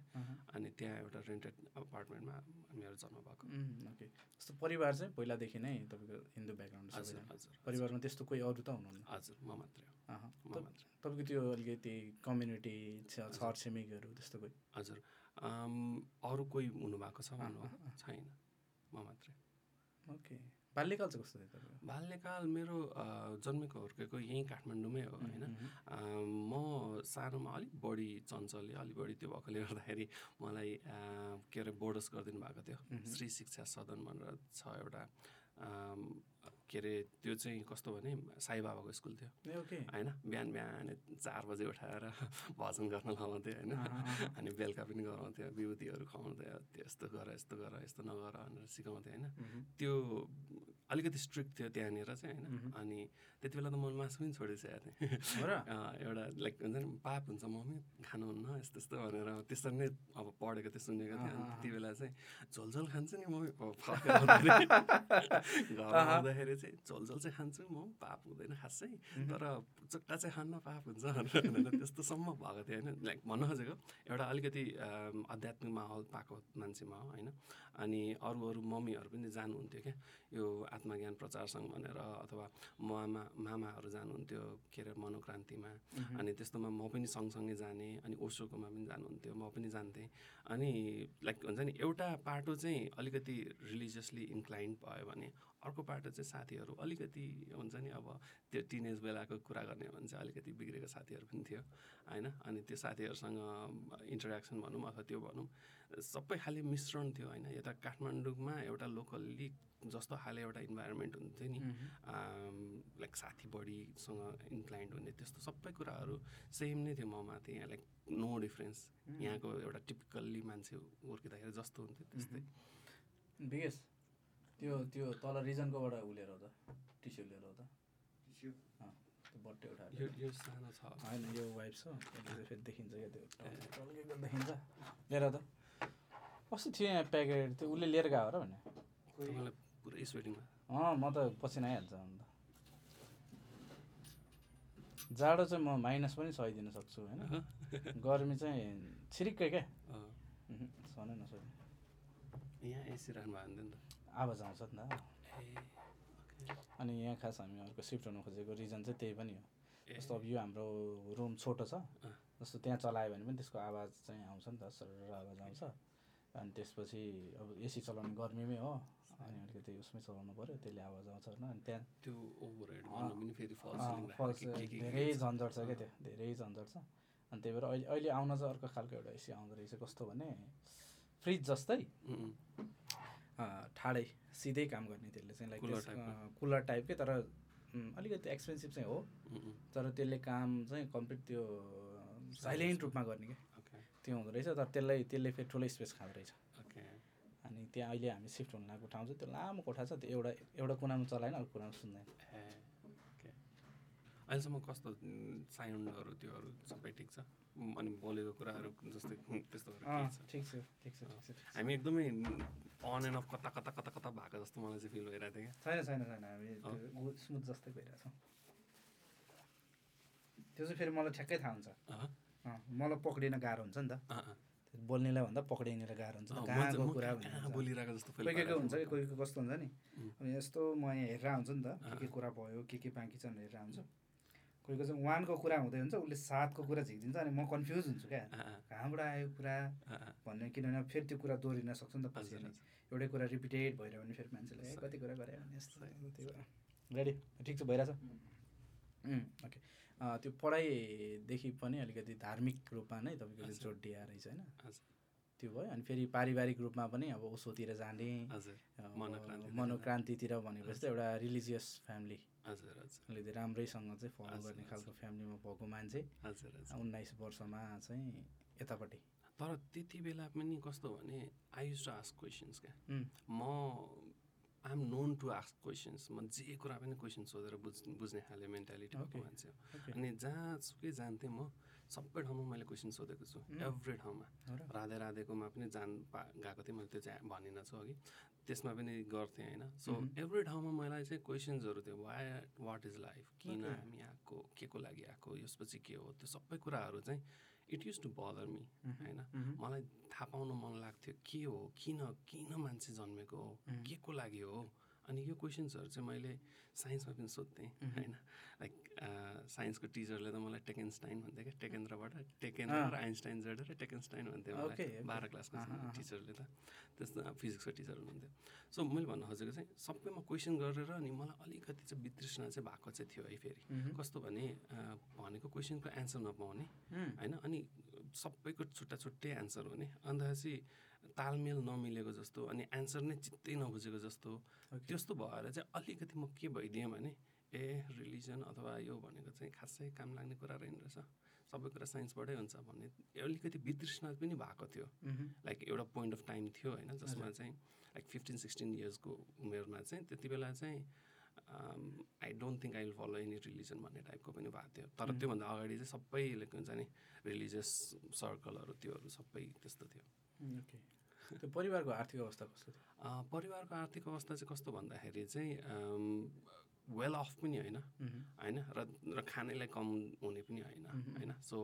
S2: अनि त्यहाँ एउटा रेन्टेड अपार्टमेन्टमा मेरो जन्म भएको
S1: उम्, ओके जस्तो परिवार चाहिँ पहिलादेखि नै तपाईँको हिन्दू ब्याकग्राउन्ड
S2: हजुर हजुर
S1: परिवारमा त्यस्तो कोही अरू त हुनुहुन्न
S2: हजुर म मात्रै हो
S1: अहँ।
S2: म
S1: त-
S2: मात्रै
S1: तपाईँको त्यो अलिकति कम्युनिटी छर छिमेकीहरू त्यस्तो कोही
S2: हजुर अम, अरू कोही हुनुभएको छ भन्नु
S1: अँ, अँ,
S2: छैन म मात्रै
S1: ओके बाल्यकाल चाहिँ कस्तो थियो तपाईँको
S2: बाल्यकाल मेरो अ, जन्मेको हुर्केको यहीँ काठमाडौँमै हो होइन
S1: उम्,
S2: अ, म सानोमा अलिक बढी चञ्चल्य अलिक बढी त्यो भएकोले गर्दाखेरि मलाई अ, के अरे बोर्डर्स गरिदिनु भएको थियो
S1: मह्म।
S2: श्री शिक्षा सदन भनेर छ एउटा अम, के अरे त्यो चाहिँ कस्तो भने साई बाबाको स्कुल थियो
S1: ए, ओके
S2: होइन बिहान बिहान चार बजे उठाएर भजन गर्न लगाउँथ्यो होइन
S1: अहँ, अहँ।
S2: अनि बेलुका पनि गराउँथ्यो विभूतिहरू खुवाउँथ्यो त्यस्तो गर यस्तो गर यस्तो नगर भनेर सिकाउँथ्यो होइन
S1: उम्,
S2: त्यो अलिकति स्ट्रिक्ट थियो त्यहाँनिर चाहिँ होइन
S1: मह्म।
S2: अनि त्यति बेला त मैले मासु पनि छोडिसकेको थिएँ
S1: हो र
S2: अँ, एउटा लाइक हुन्छ नि पाप हुन्छ मम्मी खानुहुन्न यस्तो यस्तो भनेर त्यसरी नै अब पढेको थिएँ सुनेको थिएँ अनि
S1: अँ, अँ,
S2: त्यति बेला चाहिँ झोलझोल खान्छु नि मम्मी अब फर्केर आउँदाखेरि- घर
S1: अहँ।
S2: आउँदाखेरि चाहिँ झोलझोल चाहिँ खान्छु म पाप हुँदैन खासै तर चुट्टा चाहिँ खान्न पाप हुन्छ भनेर भनेर त्यस्तोसम्म भएको थियो होइन लाइक भन्न खोजेको एउटा अलिकति अम, आध्यात्मिक माहौल पाएको मान्छेमा हो होइन अनि अरू अरू मम्मीहरू पनि जानुहुन्थ्यो क्या यो आत्मज्ञान प्रचार सङ्घ भनेर अथवा मामा मामाहरू जानुहुन्थ्यो के अरे मनोक्रान्तिमा
S1: उम्,
S2: अनि त्यस्तोमा म पनि सँगसँगै जाने अनि ओसोकोमा पनि जानुहुन्थ्यो म पनि जान्थेँ अनि लाइक हुन्छ नि एउटा पाटो चाहिँ अलिकति रिलिजियसली इन्क्लाइन्ड भयो भने अर्को पाटो चाहिँ साथीहरू अलिकति हुन्छ नि अब त्यो टिनेज बेलाको कुरा गर्ने हो भने चाहिँ अलिकति बिग्रेको साथीहरू पनि थियो होइन अनि त्यो साथीहरूसँग इन्टरेक्सन भनौँ अथवा त्यो भनौँ सबै खाले मिश्रण थियो होइन यता काठमाडौँमा एउटा लोकल्ली जस्तो खाले एउटा इन्भाइरोमेन्ट हुन्थ्यो नि
S1: उम्,
S2: आम, लाइक साथी बढीसँग इन्क्लाइन्ड हुने त्यस्तो सबै कुराहरू सेम नै थियो ममा त्यहाँ लाइक नो डिफ्रेन्स
S1: उम्।
S2: यहाँको एउटा टिपिकल्ली मान्छे हुर्किँदाखेरि जस्तो हुन्थ्यो त्यस्तै
S1: विगेश त्यो त्यो तल रिजनकोबाट उलेर हो त टिस्यु लिएर हो त अँ, त्यो बट्टै उठाएर
S2: यो यो सानो छ
S1: होइन यो वाइफ छ यसले चाहिँ फेरि देखिन्छ क्या त्यो टल्के एकदम देखिन्छ लिएर आऊ त कस्तो थियो यहाँ प्याकेट त्यो उसले लिएर गएको हो र भने
S2: तपाईँलाई पुरै स्वेटिङमा
S1: अँ म त पसिना आइहाल्छ अन्त जाडो चाहिँ म माइनस पनि सहिदिन सक्छु होइन गर्मी चाहिँ छिरिक्कै क्या
S2: अँ,
S1: उहुँ, सहनै नसक्ने
S2: यहाँ एसी राख्नु भएको हुन्थ्यो नि त
S1: आवाज आउँछ नि त
S2: ए, okay.
S1: अनि यहाँ खास हामी अर्को सिफ्ट हुनु खोजेको रिजन चाहिँ त्यही पनि हो
S2: ए,
S1: जस्तो अब यो हाम्रो रुम छोटो छ
S2: अँ।
S1: जस्तो त्यहाँ चलायो भने पनि त्यसको आवाज चाहिँ आउँछ नि त सरर आवाज आउँछ अनि त्यसपछि अब एसी चलाउने गर्मीमै हो अनि अलिकति उसमै चलाउनु पऱ्यो त्यसले आवाज आउँछ होइन अनि त्यहाँ
S2: त्यो ओभर हेड गर्नु पनि फेरि फल्स
S1: अँ, फल्स धेरै झन्झट छ क्या त्यो धेरै झन्झट छ अनि त्यही भएर अहिले अहिले आउन चाहिँ अर्को खालको एउटा एसी आउँदो रहेछ कस्तो भने फ्रिज जस्तै अँ, ठाडै सिधै काम गर्ने त्यसले चाहिँ लाइक
S2: Cooler
S1: त्यस-
S2: type
S1: अँ, कुलर टाइपकै तर उम्, अलिकति एक्सपेन्सिभ चाहिँ हो तर त्यसले काम चाहिँ कम्प्लिट त्यो साइलेन्ट रूपमा गर्ने क्या
S2: ओके
S1: त्यो हुँदो रहेछ तर त्यसलाई त्यसले फेरि ठुलो स्पेस खाँदो रहेछ
S2: ओके
S1: अनि त्यहाँ अहिले हामी सिफ्ट हुन लागेको ठाउँ चाहिँ त्यो लामो कोठा छ त्यो एउटा एउटा कुनामा चलाएन अर्को कुनामा सुन्दैन
S2: ए ओके अहिलेसम्म कस्तो उम्, साउन्डहरू त्योहरू सबै ठिक छ उम्, अनि बोलेको कुराहरू जस्तै हुँ, त्यस्तोहरू
S1: अँ
S2: केही छ
S1: ठिक छ ठिक छ ठिक छ ठिक छ।
S2: हामी एकदमै अन एन्ड अफ कता कता कता कता भएको जस्तो मलाई चाहिँ फिल भइरहेको थियो
S1: छैन छैन छैन हामी त्यो स्मुथ जस्तै भइरहेछौँ त्यो चाहिँ फेरि मलाई ठ्याक्कै थाहा हुन्छ
S2: क्या अँ,
S1: अँ, मलाई पक्रिन गाह्रो हुन्छ नि त
S2: अँ, अँ,
S1: त्यो बोल्नेलाई भन्दा पक्रिनेलाई गाह्रो हुन्छ
S2: अँ, म चाहिँ-
S1: कहाँको
S2: म
S1: कुरा
S2: कहाँ-
S1: भन्ने
S2: कहाँ
S1: हुन्छ।
S2: बोलिरहेको जस्तो फिल
S1: कोही कोही
S2: भइरहेको
S1: हुन्छ कि
S2: थियो।
S1: कोही कोही कस्तो हुन्छ नि
S2: उम्.
S1: अब यस्तो म यहाँ हेरेर आउँछु नि त के के
S2: अँ।
S1: कुरा भयो के के बाँकी छन् हेरेर आउँछु कोही कोही चाहिँ वानको कुरा हुँदै हुन्छ उसले सातको कुरा झिकिदिन्छ अनि म कन्फ्युज हुन्छु क्या
S2: अँ, अँ,
S1: कहाँबाट आयो कुरा
S2: अँ, अँ,
S1: भन्ने किनभने अब फेरि त्यो कुरा दोहोरिन सक्छ नि त पछि
S2: हजुर,
S1: अनि।
S2: हजुर।
S1: एउटै कुरा रिपिटेड भइरह्यो भने फेरि मान्छेले "ए,
S2: सही।
S1: कति कुरा गरे भने यस्तो यस्तो, त्यो कुरा रेडी ठिक छ भइरहेछ उम्, ओके अँ, त्यो पढाइदेखि पनि अलिकति धार्मिक रूपमा नै तपाईँको
S2: हजुर।
S1: जोड दिएर रहेछ होइन
S2: हजुर।
S1: त्यो भयो अनि फेरि पारिवारिक रूपमा पनि अब उसोतिर जाने
S2: हजुर
S1: अब
S2: मनोक्रान्तितिर।
S1: मनोक्रान्तितिर भनेपछि त एउटा रिलिजियस फ्यामिली
S2: हजुर हजुर
S1: अलिकति राम्रैसँग चाहिँ फलो
S2: हजुर,
S1: गर्ने
S2: हजुर।
S1: खालको फ्यामिलीमा भएको मान्छे
S2: हजुर हजुर
S1: उन्नाइस वर्षमा चाहिँ यतापट्टि
S2: तर त्यति बेला पनि कस्तो भने I use to ask questions क्या म I am known to ask questions म जे कुरा पनि क्वेसन सोधेर बुझ बुझ्ने खाले मेन्टालिटी भएको
S1: Okay.
S2: मान्छे हो अनि जहाँसुकै जान्थेँ म सबै ठाउँमा मैले क्वेसन सोधेको छु
S1: Mm.
S2: एभ्री ठाउँमा
S1: हो र?
S2: राधे राधेकोमा पनि जान पा गएको थिएँ मैले त्यो चाहिँ भनिनँ छु अघि त्यसमा पनि गर्थेँ होइन सो
S1: Mhm.
S2: एभ्री ठाउँमा मलाई चाहिँ क्वेसन्सहरू थियो वाइ वाट इज लाइफ किन
S1: Okay.
S2: हामी आएको के को लागि आएको यसपछि के हो त्यो सबै कुराहरू चाहिँ it use to bother me
S1: मह्म,
S2: होइन
S1: मह्म,
S2: मलाई थाहा पाउन मन लाग्थ्यो के हो किन किन मान्छे जन्मेको हो
S1: Mhm.
S2: के को लागि हो अनि यो क्वेसन्सहरू चाहिँ मैले साइन्समा पनि सोध्थेँ
S1: मह्म।
S2: होइन लाइक साइन्सको टिचरले त मलाई टेकेन्स्टाइन भन्थ्यो क्या टेकेन्द्रबाट टेकेन्द्र
S1: अँ।
S2: र आइन्स्टाइन जोडेर टेकेन्स्टाइन भन्थ्यो
S1: Okay,
S2: मलाई
S1: okay.
S2: बाह्र क्लासको
S1: अहँ, अहँ।
S2: टिचरले त त्यस्तो फिजिक्सको टिचर हुनुहुन्थ्यो सो मैले भन्न खोजेको चाहिँ सबैमा क्वेसन गरेर अनि मलाई अलिकति चाहिँ वितृष्णा चाहिँ भएको चाहिँ थियो है फेरि
S1: मह्म,
S2: कस्तो भने अँ, भनेको क्वेसनको एन्सर नपाउने
S1: मह्म,
S2: होइन अनि सबैको छुट्टा छुट्टै एन्सर हुने अन्तखेरि तालमेल नमिलेको जस्तो अनि एन्सर नै चित्तै नबुझेको जस्तो
S1: Okay.
S2: त्यस्तो भएर चाहिँ अलिकति म के भइदिएँ भने ए रिलिजन अथवा यो भनेको चाहिँ खासै काम लाग्ने कुरा रहेन रहेछ सबै कुरा साइन्सबाटै हुन्छ भन्ने अलिकति वितृष्णा पनि भएको थियो
S1: मह्म,
S2: लाइक एउटा पोइन्ट अफ टाइम थियो होइन जसमा
S1: हजुर।
S2: चाहिँ लाइक फिफ्टिन सिक्सटिन इयर्सको उमेरमा चाहिँ त्यति बेला चाहिँ um, I don't think I will follow any religion भन्ने टाइपको पनि भएको थियो
S1: Mm.
S2: तर त्योभन्दा अगाडि चाहिँ सबै लाइक हुन्छ नि रिलिजियस सर्कलहरू त्योहरू सबै त्यस्तो थियो
S1: मह्म, okay. त्यो परिवारको आर्थिक अवस्था कस्तो थियो
S2: अ, परिवारको आर्थिक अवस्था चाहिँ कस्तो भन्दाखेरि चाहिँ वेल अफ पनि होइन
S1: मह्म,
S2: होइन र र खानेलाई कम हुने पनि होइन
S1: Mhm.
S2: होइन सो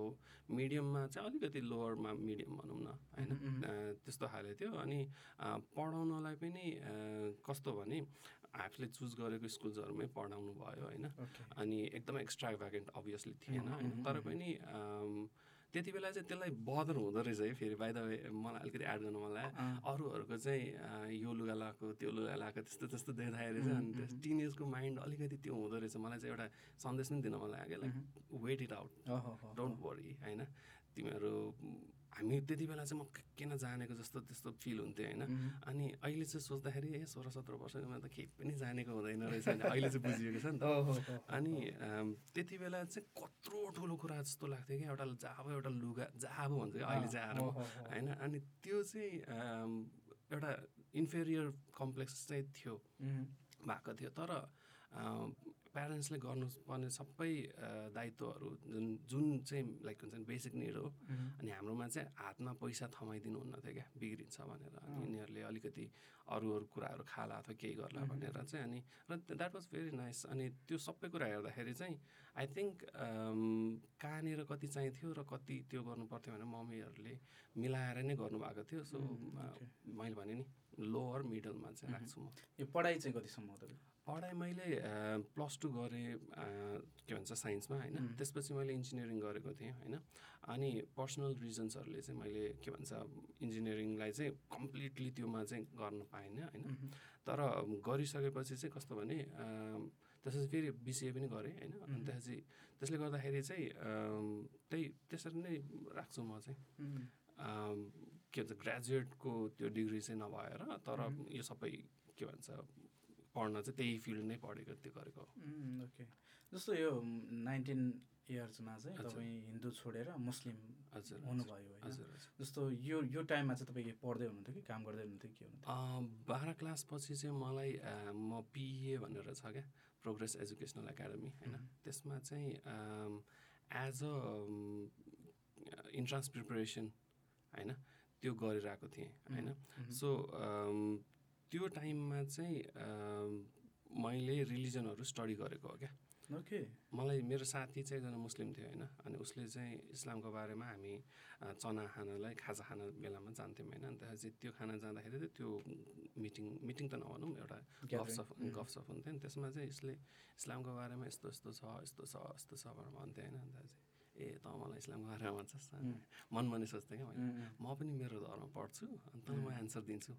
S2: मिडियममा चाहिँ अलिकति लोवरमा मिडियम भनौँ न होइन
S1: Mhm, mhm.
S2: अ, त्यस्तो खाले थियो अनि अ, पढाउनलाई पनि अ, कस्तो भने आफूले चुज गरेको स्कुल्सहरूमै पढाउनु भयो होइन
S1: okay.
S2: अनि एकदम एक्स्ट्रा भ्याकेन्ट अभियसली थिएन
S1: Mhm,
S2: होइन
S1: mhm,
S2: तर
S1: mhm.
S2: पनि अम, त्यति बेला चाहिँ त्यसलाई बदर हुँदो रहेछ है फेरि बाई द वे मलाई अलिकति एड गर्नु मलाई
S1: अँ,
S2: अरूहरूको चाहिँ अँ, यो लुगा लगाएको त्यो लुगा लगाएको त्यस्तो त्यस्तो देखाएर चाहिँ अनि त्यस
S1: मम्,
S2: टिनेजको माइन्ड अलिकति त्यो हुँदो रहेछ मलाई चाहिँ एउटा सन्देश पनि दिन मन लाग्यो लाइक
S1: मह्म,
S2: वेट इट आउट
S1: अहो, हो, हो,
S2: डोन्ट वरी होइन तिमीहरू म, हामी त्यति बेला चाहिँ म के- किन जानेको जस्तो त्यस्तो फिल हुन्थ्यो होइन
S1: मह्म,
S2: अनि अहिले चाहिँ सोच्दाखेरि ए सोह्र सत्र वर्षमा त केही पनि जानेको हुँदैन रहेछ भने अहिले चाहिँ बुझिएको छ नि त
S1: हो, हो, हो,
S2: अनि अम, त्यति बेला चाहिँ कत्रो ठुलो कुरा जस्तो लाग्थ्यो कि एउटा जाबो एउटा लुगा जाबो भन्छ कि
S1: अँ,
S2: अहिले चाहिँ आएर
S1: हो,
S2: म
S1: हो, हो,
S2: होइन अनि त्यो चाहिँ अम, एउटा इन्फेरियर कम्प्लेक्स चाहिँ थियो
S1: मह्म,
S2: भएको थियो तर प्यारेन्ट्सले गर्नुपर्ने सबै अ, दायित्वहरू जुन जुन चाहिँ लाइक हुन्छ नि बेसिक निड हो
S1: मह्म,
S2: अनि हाम्रोमा चाहिँ हातमा पैसा थमाइदिनु हुन्न थियो क्या बिग्रिन्छ भनेर अनि
S1: अँ।
S2: यिनीहरूले अलिकति अरू अरू कुराहरू खाला अथवा केही गर्ला
S1: मह्म।
S2: भनेर चाहिँ अनि र द्याट वाज भेरी नाइस अनि त्यो सबै कुरा हेर्दाखेरि चाहिँ आई थिङ्क कहाँनिर कति चाहिन्थ्यो र कति त्यो गर्नु पर्थ्यो भने मम्मीहरूले मिलाएर नै गर्नुभएको थियो सो
S1: मह्म,
S2: अ,
S1: okay.
S2: मैले भने नि लोवर मिडलमा चाहिँ
S1: मह्म।
S2: राख्छु म
S1: यो पढाइ चाहिँ कतिसम्म हो तपाईँको?
S2: पढाइ मैले प्लस टू गरेँ अ, के भन्छ साइन्समा होइन
S1: हुँ।
S2: त्यसपछि मैले इन्जिनियरिङ गरेको थिएँ होइन अनि पर्सनल रिजन्सहरूले चाहिँ मैले के भन्छ इन्जिनियरिङलाई चाहिँ कम्प्लिटली त्योमा चाहिँ गर्न पाइनँ होइन
S1: मह्म,
S2: तर गरिसकेपछि चाहिँ कस्तो भने अम, त्यसपछि फेरि बिसिए पनि गरेँ होइन अनि
S1: हुँ।
S2: त्यसपछि त्यसले गर्दाखेरि चाहिँ अम, त्यही त्यसरी नै राख्छु म चाहिँ
S1: मह्म,
S2: अम, के भन्छ ग्रेजुएटको त्यो डिग्री चाहिँ नभएर तर
S1: मह्म।
S2: यो सबै के भन्छ पढ्न चाहिँ त्यही फिल्ड नै पढेको त्यो गरेको हो।
S1: मह्म, okay. जस्तो यो नाइन्टिन इयर्समा चाहिँ
S2: हजुर।
S1: तपाईँ हिन्दू छोडेर मुस्लिम
S2: हजुर हजुर
S1: हुनुभयो होइन
S2: हजुर हजुर।
S1: जस्तो यो यो टाइममा चाहिँ तपाईँ पढ्दै हुनुहुन्थ्यो कि काम गर्दै हुनुहुन्थ्यो कि के हुनुहुन्थ्यो
S2: अ, बाह्र क्लासपछि चाहिँ मलाई अ, म पिए भनेर छ क्या प्रोग्रेस एजुकेसनल एकाडेमी होइन
S1: मह्म।
S2: त्यसमा चाहिँ एज अ इन्ट्रान्स प्रिपरेसन होइन त्यो गरिरहेको थिएँ होइन
S1: मह्म,
S2: सो अम, त्यो टाइममा चाहिँ अम, मैले रिलिजनहरू स्टडी गरेको हो क्या
S1: ओके
S2: मलाई मेरो साथी चाहिँ एकजना मुस्लिम थियो होइन अनि उसले चाहिँ इस्लामको बारेमा हामी अ, चना खानालाई खाजा खाना बेलामा जान्थ्यौँ होइन अन्त चाहिँ त्यो खाना जाँदाखेरि चाहिँ त्यो मिटिङ मिटिङ त नभनौँ एउटा गफसफ
S1: Gathering. मह्म,
S2: गफसफ हुन्थ्यो नि त्यसमा चाहिँ यसले इस्लामको बारेमा यस्तो यस्तो छ यस्तो छ यस्तो छ भनेर भन्थ्यो होइन अन्त चाहिँ ए त मलाई इस्लामको बारेमा भन्छस्
S1: मह्म,
S2: मनमा नै सोच्थेँ क्या मैले
S1: मह्म,
S2: म पनि मेरो धर्म पढ्छु अन्त म
S1: मह्म।
S2: एन्सर दिन्छु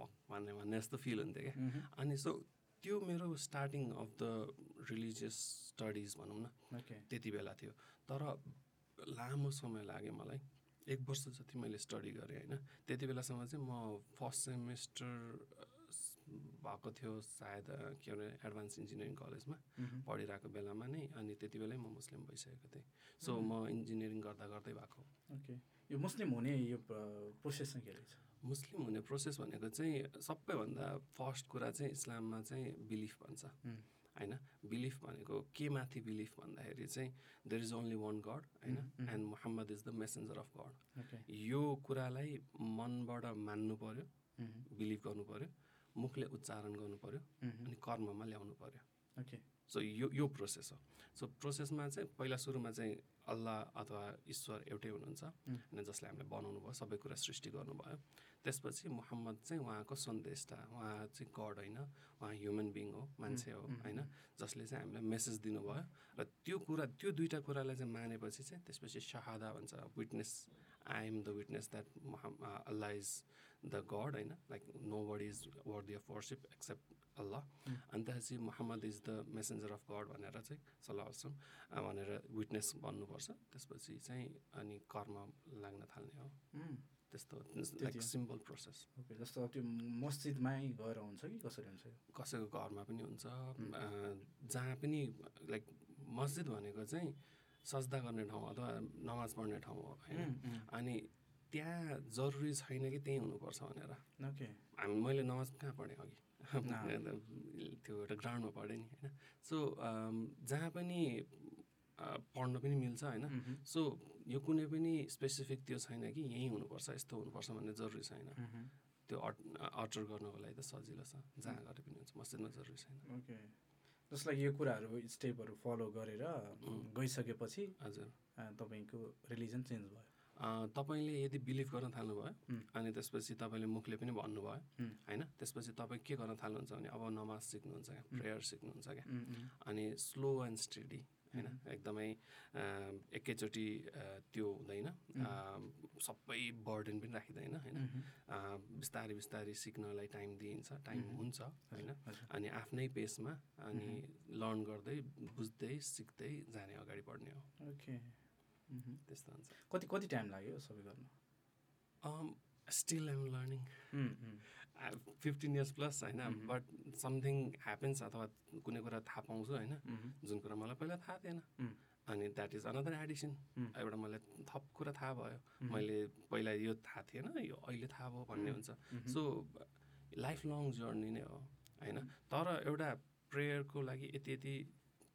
S2: पक भन्ने भन्ने जस्तो फिल हुन्थ्यो क्या
S1: मह्म,
S2: अनि सो त्यो मेरो starting of the religious studies भनौँ न
S1: okay.
S2: त्यति बेला थियो तर लामो समय लाग्यो मलाई एक वर्ष जति मैले स्टडी गरेँ होइन त्यति बेलासम्म चाहिँ म फर्स्ट सेमेस्टर भएको थियो सायद अ, के अरे एडभान्स इन्जिनियरिङ कलेजमा
S1: मह्म,
S2: पढिरहेको बेलामा नै अनि त्यति बेलै म मुस्लिम भइसकेको थिएँ सो
S1: मम्.
S2: म इन्जिनियरिङ गर्दा गर्दै भएको
S1: okay. यो मुस्लिम हुने यो प्रोसेसमा के रहेछ
S2: मुस्लिम हुने प्रोसेस भनेको चाहिँ सबैभन्दा फर्स्ट कुरा चाहिँ इस्लाममा चाहिँ बिलिफ भन्छ
S1: उम्.
S2: होइन बिलिफ भनेको के माथि बिलिफ भन्दाखेरि चाहिँ there is only one God होइन
S1: um.
S2: And Mohammad is the messenger of God
S1: okay
S2: यो कुरालाई मनबाट मान्नु पर्यो
S1: उम्,
S2: बिलिभ गर्नु पर्यो मुखले उच्चारण गर्नु पर्यो
S1: उम्,
S2: अनि कर्ममा ल्याउनु पर्यो
S1: ओके
S2: सो यो यो प्रोसेस हो सो प्रोसेसमा चाहिँ पहिला सुरुमा चाहिँ अल्लाह अथवा ईश्वर एउटै हुनुहुन्छ
S1: उम्.
S2: होइन जसले हामीलाई बनाउनु भयो सबै कुरा सृष्टि गर्नुभयो त्यसपछि मोहम्मद चाहिँ उहाँको सन्देशता उहाँ चाहिँ गड होइन उहाँ ह्युमन बिङ हो मान्छे हो
S1: उम्,
S2: होइन जसले चाहिँ हामीलाई मेसेज दिनुभयो र त्यो कुरा त्यो दुइटा कुरालाई चाहिँ मानेपछि चाहिँ त्यसपछि शहादा भन्छ witness I am the witness that मोहम् अल्लाह इज द गड होइन like nobody is worthy of worship except Allah
S1: um.
S2: अनि त्यसपछि Muhammad is the messenger of God भनेर चाहिँ सल्लाहसम भनेर विटनेस भन्नुपर्छ त्यसपछि चाहिँ अनि कर्म लाग्न थाल्ने हो
S1: उम्,
S2: त्यस्तो
S1: हो।
S2: लाइक सिम्पल प्रोसेस
S1: ओके जस्तो अब त्यो मस्जिदमै गएर हुन्छ कि कसरी हुन्छ यो?
S2: कसैको घरमा पनि हुन्छ
S1: हुम्.
S2: अ, जहाँ पनि लाइक मस्जिद भनेको चाहिँ सजदा गर्ने ठाउँ अथवा नमाज पढ्ने ठाउँ हो होइन
S1: उम्, उम्,
S2: अनि त्यहाँ जरुरी छैन कि त्यहीँ हुनुपर्छ भनेर
S1: ओके
S2: हामी मैले नमाज कहाँ पढेँ अघि
S1: अँ।
S2: त्यो एउटा ग्राउन्डमा पढेँ नि होइन सो अम, जहाँ पनि अ, पढ्न पनि मिल्छ होइन
S1: उम्,
S2: सो यो कुनै पनि स्पेसिफिक त्यो छैन कि यहीँ हुनुपर्छ यस्तो हुनुपर्छ भन्ने जरुरी छैन
S1: उम्,
S2: त्यो अट अटर गर्नको लागि त सजिलो छ जहाँ गरे पनि हुन्छ मस्जिदमा जरुरी छैन
S1: ओके जसलाई यो कुराहरू स्टेपहरू फलो गरेर
S2: उम्.
S1: गइसकेपछि
S2: हजुर
S1: अ, तपाईँको रिलिजन चेन्ज भयो
S2: अ, तपाईँले यदि बिलिभ गर्न थाल्नुभयो
S1: हुम्.
S2: अनि त्यसपछि तपाईँले मुखले पनि भन्नुभयो
S1: हुम्.
S2: होइन त्यसपछि तपाईँ के गर्न थाल्नुहुन्छ भने अब नमाज सिक्नुहुन्छ क्या प्रेयर सिक्नुहुन्छ क्या
S1: उम्, उम्,
S2: अनि स्लो एन्ड स्टडी होइन एकदमै अ, एकैचोटि अ, त्यो हुँदैन अ, सबै बर्डन पनि राखिँदैन होइन
S1: उम्,
S2: अ, बिस्तारै बिस्तारै सिक्नलाई टाइम दिइन्छ टाइम
S1: मह्म.
S2: हुन्छ होइन
S1: हजुर,
S2: अनि आफ्नै पेसमा अनि लर्न गर्दै बुझ्दै सिक्दै जाने अगाडि बढ्ने हो
S1: ओके उम्,
S2: त्यस्तो हुन्छ
S1: Mm-hmm. कति कति टाइम लाग्यो यो सबै गर्न
S2: still I'm learning
S1: um,
S2: mm,
S1: um,
S2: fifteen years plus होइन
S1: मह्म.
S2: बट समथिङ ह्यापन्स अथवा कुनै कुरा थाहा पाउँछु होइन
S1: उम्,
S2: जुन कुरा मलाई पहिला थाहा थिएन
S1: उम्.
S2: अनि that is another addition
S1: um.
S2: एउटा मलाई थप कुरा थाहा भयो
S1: उम्,
S2: मैले पहिला यो थाहा थिएन यो अहिले थाहा भयो भन्ने
S1: उम्.
S2: हुन्छ
S1: उम्,
S2: सो लाइफ लङ जर्नी नै हो होइन तर एउटा प्रेयरको लागि यति यति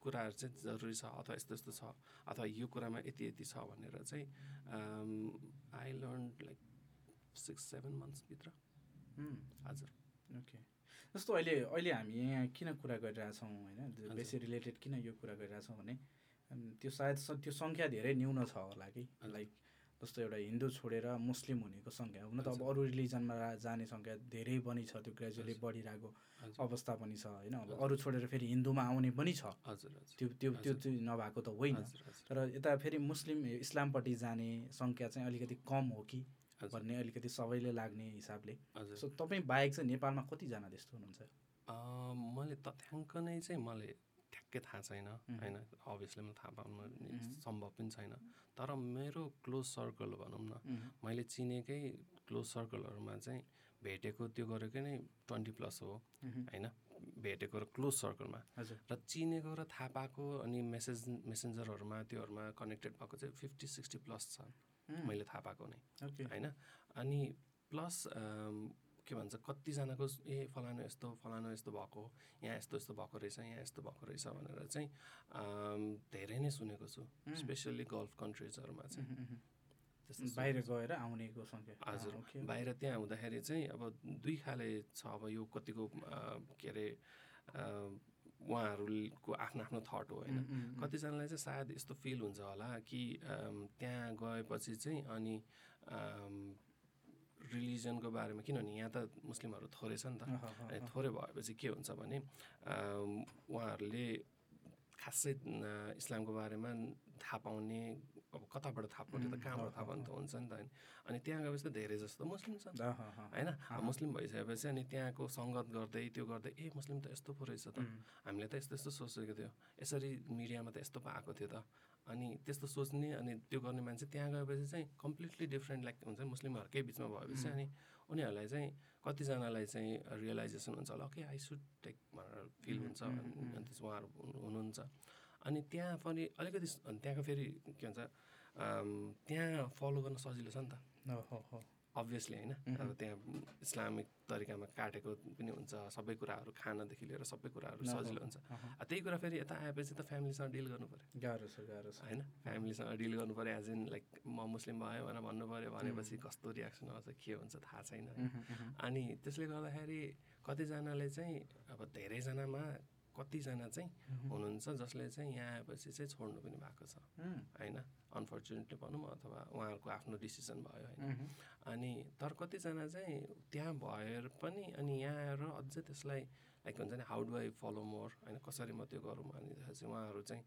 S2: कुराहरू चाहिँ जरुरी छ अथवा यस्तो यस्तो छ अथवा यो कुरामा यति यति छ भनेर चाहिँ I learn like six seven मन्थ्सभित्र
S1: उम्,
S2: हजुर
S1: ओके जस्तो अहिले अहिले हामी यहाँ किन कुरा गरिरहेछौँ होइन
S2: हजुर।
S1: बेसी रिलेटेड किन यो कुरा गरिरहेछौँ भने अम्, त्यो सायद स- त्यो सङ्ख्या धेरै न्यून छ होला कि
S2: हजुर।
S1: लाइक जस्तो एउटा हिन्दू छोडेर मुस्लिम हुनेको सङ्ख्या हुन त अब
S2: हजुर।
S1: अरू रिलिजनमा रा- जाने सङ्ख्या धेरै पनि छ त्यो ग्रेजुअली
S2: हजुर।
S1: बढिरहेको
S2: हजुर
S1: अवस्था पनि छ होइन अब
S2: हजुर।
S1: अरू छोडेर फेरि हिन्दूमा आउने पनि छ
S2: हजुर हजुर
S1: त्यो त्यो त्यो चाहिँ नभएको त होइन
S2: हजुर, हजुर,
S1: तर यता फेरि मुस्लिम ए, इस्लामपट्टि जाने सङ्ख्या चाहिँ अलिकति कम हो कि
S2: हजुर,
S1: भन्ने अलिकति सबैले लाग्ने हिसाबले
S2: हजुर।
S1: सो तपाईँ बाहेक चाहिँ नेपालमा कतिजना त्यस्तो हुनुहुन्छ
S2: अ, मैले तथ्याङ्क नै चाहिँ मैले ठ्याक्कै थाहा छैन
S1: मह्म.
S2: होइन अभियसली म थाहा पाउनु नि
S1: मह्म.
S2: सम्भव पनि छैन तर मेरो क्लोज सर्कल भनौँ न मैले चिनेकै क्लोज सर्कलहरूमा चाहिँ भेटेको त्यो गरेको नै ट्वेन्टी प्लस हो
S1: मह्म,
S2: होइन भेटेको र क्लोज सर्कलमा
S1: हजुर
S2: र चिनेको र थाहा पाएको अनि मेसेज मेसेन्जरहरूमा त्योहरूमा कनेक्टेड भएको चाहिँ फिफ्टी सिक्सटी प्लस छ
S1: उम्,
S2: मैले थाहा पाएको नै
S1: ओके
S2: होइन अनि प्लस के भन्छ कतिजनाको ए फलानु यस्तो फलानु यस्तो भएको यहाँ यस्तो यस्तो भएको रहेछ यहाँ यस्तो भएको रहेछ भनेर चाहिँ अम, धेरै नै सुनेको छु
S1: उम्,
S2: स्पेसल्ली गल्फ कन्ट्रिजहरूमा चाहिँ
S1: उम्, उम्,
S2: त्यस्तो
S1: उम्,
S2: सुनेको
S1: बाहिर
S2: छु।
S1: गएर आउनेको सङ्ख्या अँ,
S2: हजुर,
S1: ओके
S2: बाहिर त्यहाँ हुँदाखेरि चाहिँ अब दुई खाले छ अब यो कतिको अ, के अरे अ, उहाँहरूको आफ्नो आफ्नो थट हो होइन
S1: उम्, उम्, उम्,
S2: कतिजनालाई चाहिँ सायद यस्तो फिल हुन्छ होला कि अम, त्यहाँ गएपछि चाहिँ अनि रिलिजनको बारेमा किनभने यहाँ त मुस्लिमहरू थोरै छ नि त
S1: अँ, अँ, अँ,
S2: अनि
S1: अँ,
S2: थोरै भएपछि के हुन्छ भने अम, उहाँहरूले खासै न- इस्लामको बारेमा थाहा पाउने अब कताबाट थाहा पाउने त
S1: उम्,
S2: कहाँबाट
S1: अँ,
S2: थाहा पाउने त हुन्छ नि त होइन अनि त्यहाँ गएपछि त धेरै जस्तो मुस्लिम छन्
S1: अँ, अँ, अँ,
S2: होइन
S1: अँ।
S2: मुस्लिम भइसकेपछि अनि त्यहाँको सङ्गत गर्दै त्यो गर्दै ए मुस्लिम त यस्तो पो रहेछ त
S1: उम्,
S2: हामीले त यस्तो यस्तो सोचेको थियो यसरी मिडियामा त यस्तो भएको थियो त अनि त्यस्तो सोच्ने अनि त्यो गर्ने मान्छे त्यहाँ गएपछि चाहिँ कम्प्लिटली डिफ्रेन्ट लाइक हुन्छ नि, मुस्लिमहरूकै बिचमा भएपछि अनि उनीहरूलाई चाहिँ कतिजनालाई चाहिँ रियलाइजेसन हुन्छ होला ओके आई सुड टेक भनेर फिल
S1: उम्,
S2: हुन्छ
S1: उम्,
S2: अनि
S1: उम्,
S2: अनि त्यस उहाँहरू हुनु- हुनुहुन्छ अनि त्यहाँ पनि अलिकति स- अनि त्यहाँको फेरि के भन्छ त्यहाँ फलो गर्न सजिलो छ नि त
S1: हो हो हो
S2: अभियसली होइन अब त्यहाँ इस्लामिक तरिकामा काटेको पनि हुन्छ सबै कुराहरू खानादेखि लिएर सबै कुराहरू सजिलो हुन्छ अब त्यही कुरा फेरि यता आएपछि त फ्यामिलीसँग डिल गर्नु पऱ्यो
S1: गाह्रो छ गाह्रो छ
S2: होइन फ्यामिलीसँग डिल गर्नु पऱ्यो एज इन लाइक म मुस्लिम भयो भनेर भन्नु पऱ्यो भनेपछि कस्तो रियाक्सन आउँछ के हुन्छ थाहा छैन होइन। अनि त्यसले गर्दाखेरि कतिजनाले चाहिँ अब धेरैजनामा कतिजना चाहिँ हुनुहुन्छ जसले चाहिँ यहाँ आएपछि चाहिँ छोड्नु पनि भएको छ
S1: उम्,
S2: होइन अनफोर्चुनेटली भनौँ अथवा उहाँहरूको आफ्नो डिसिसन भयो होइन
S1: उम्,
S2: अनि तर कतिजना चाहिँ त्यहाँ भएर पनि अनि यहाँ आएर अझै त्यसलाई लाइक हुन्छ नि how do I follow more होइन कसरी म त्यो गरौँ भनेदेखि उहाँहरू चाहिँ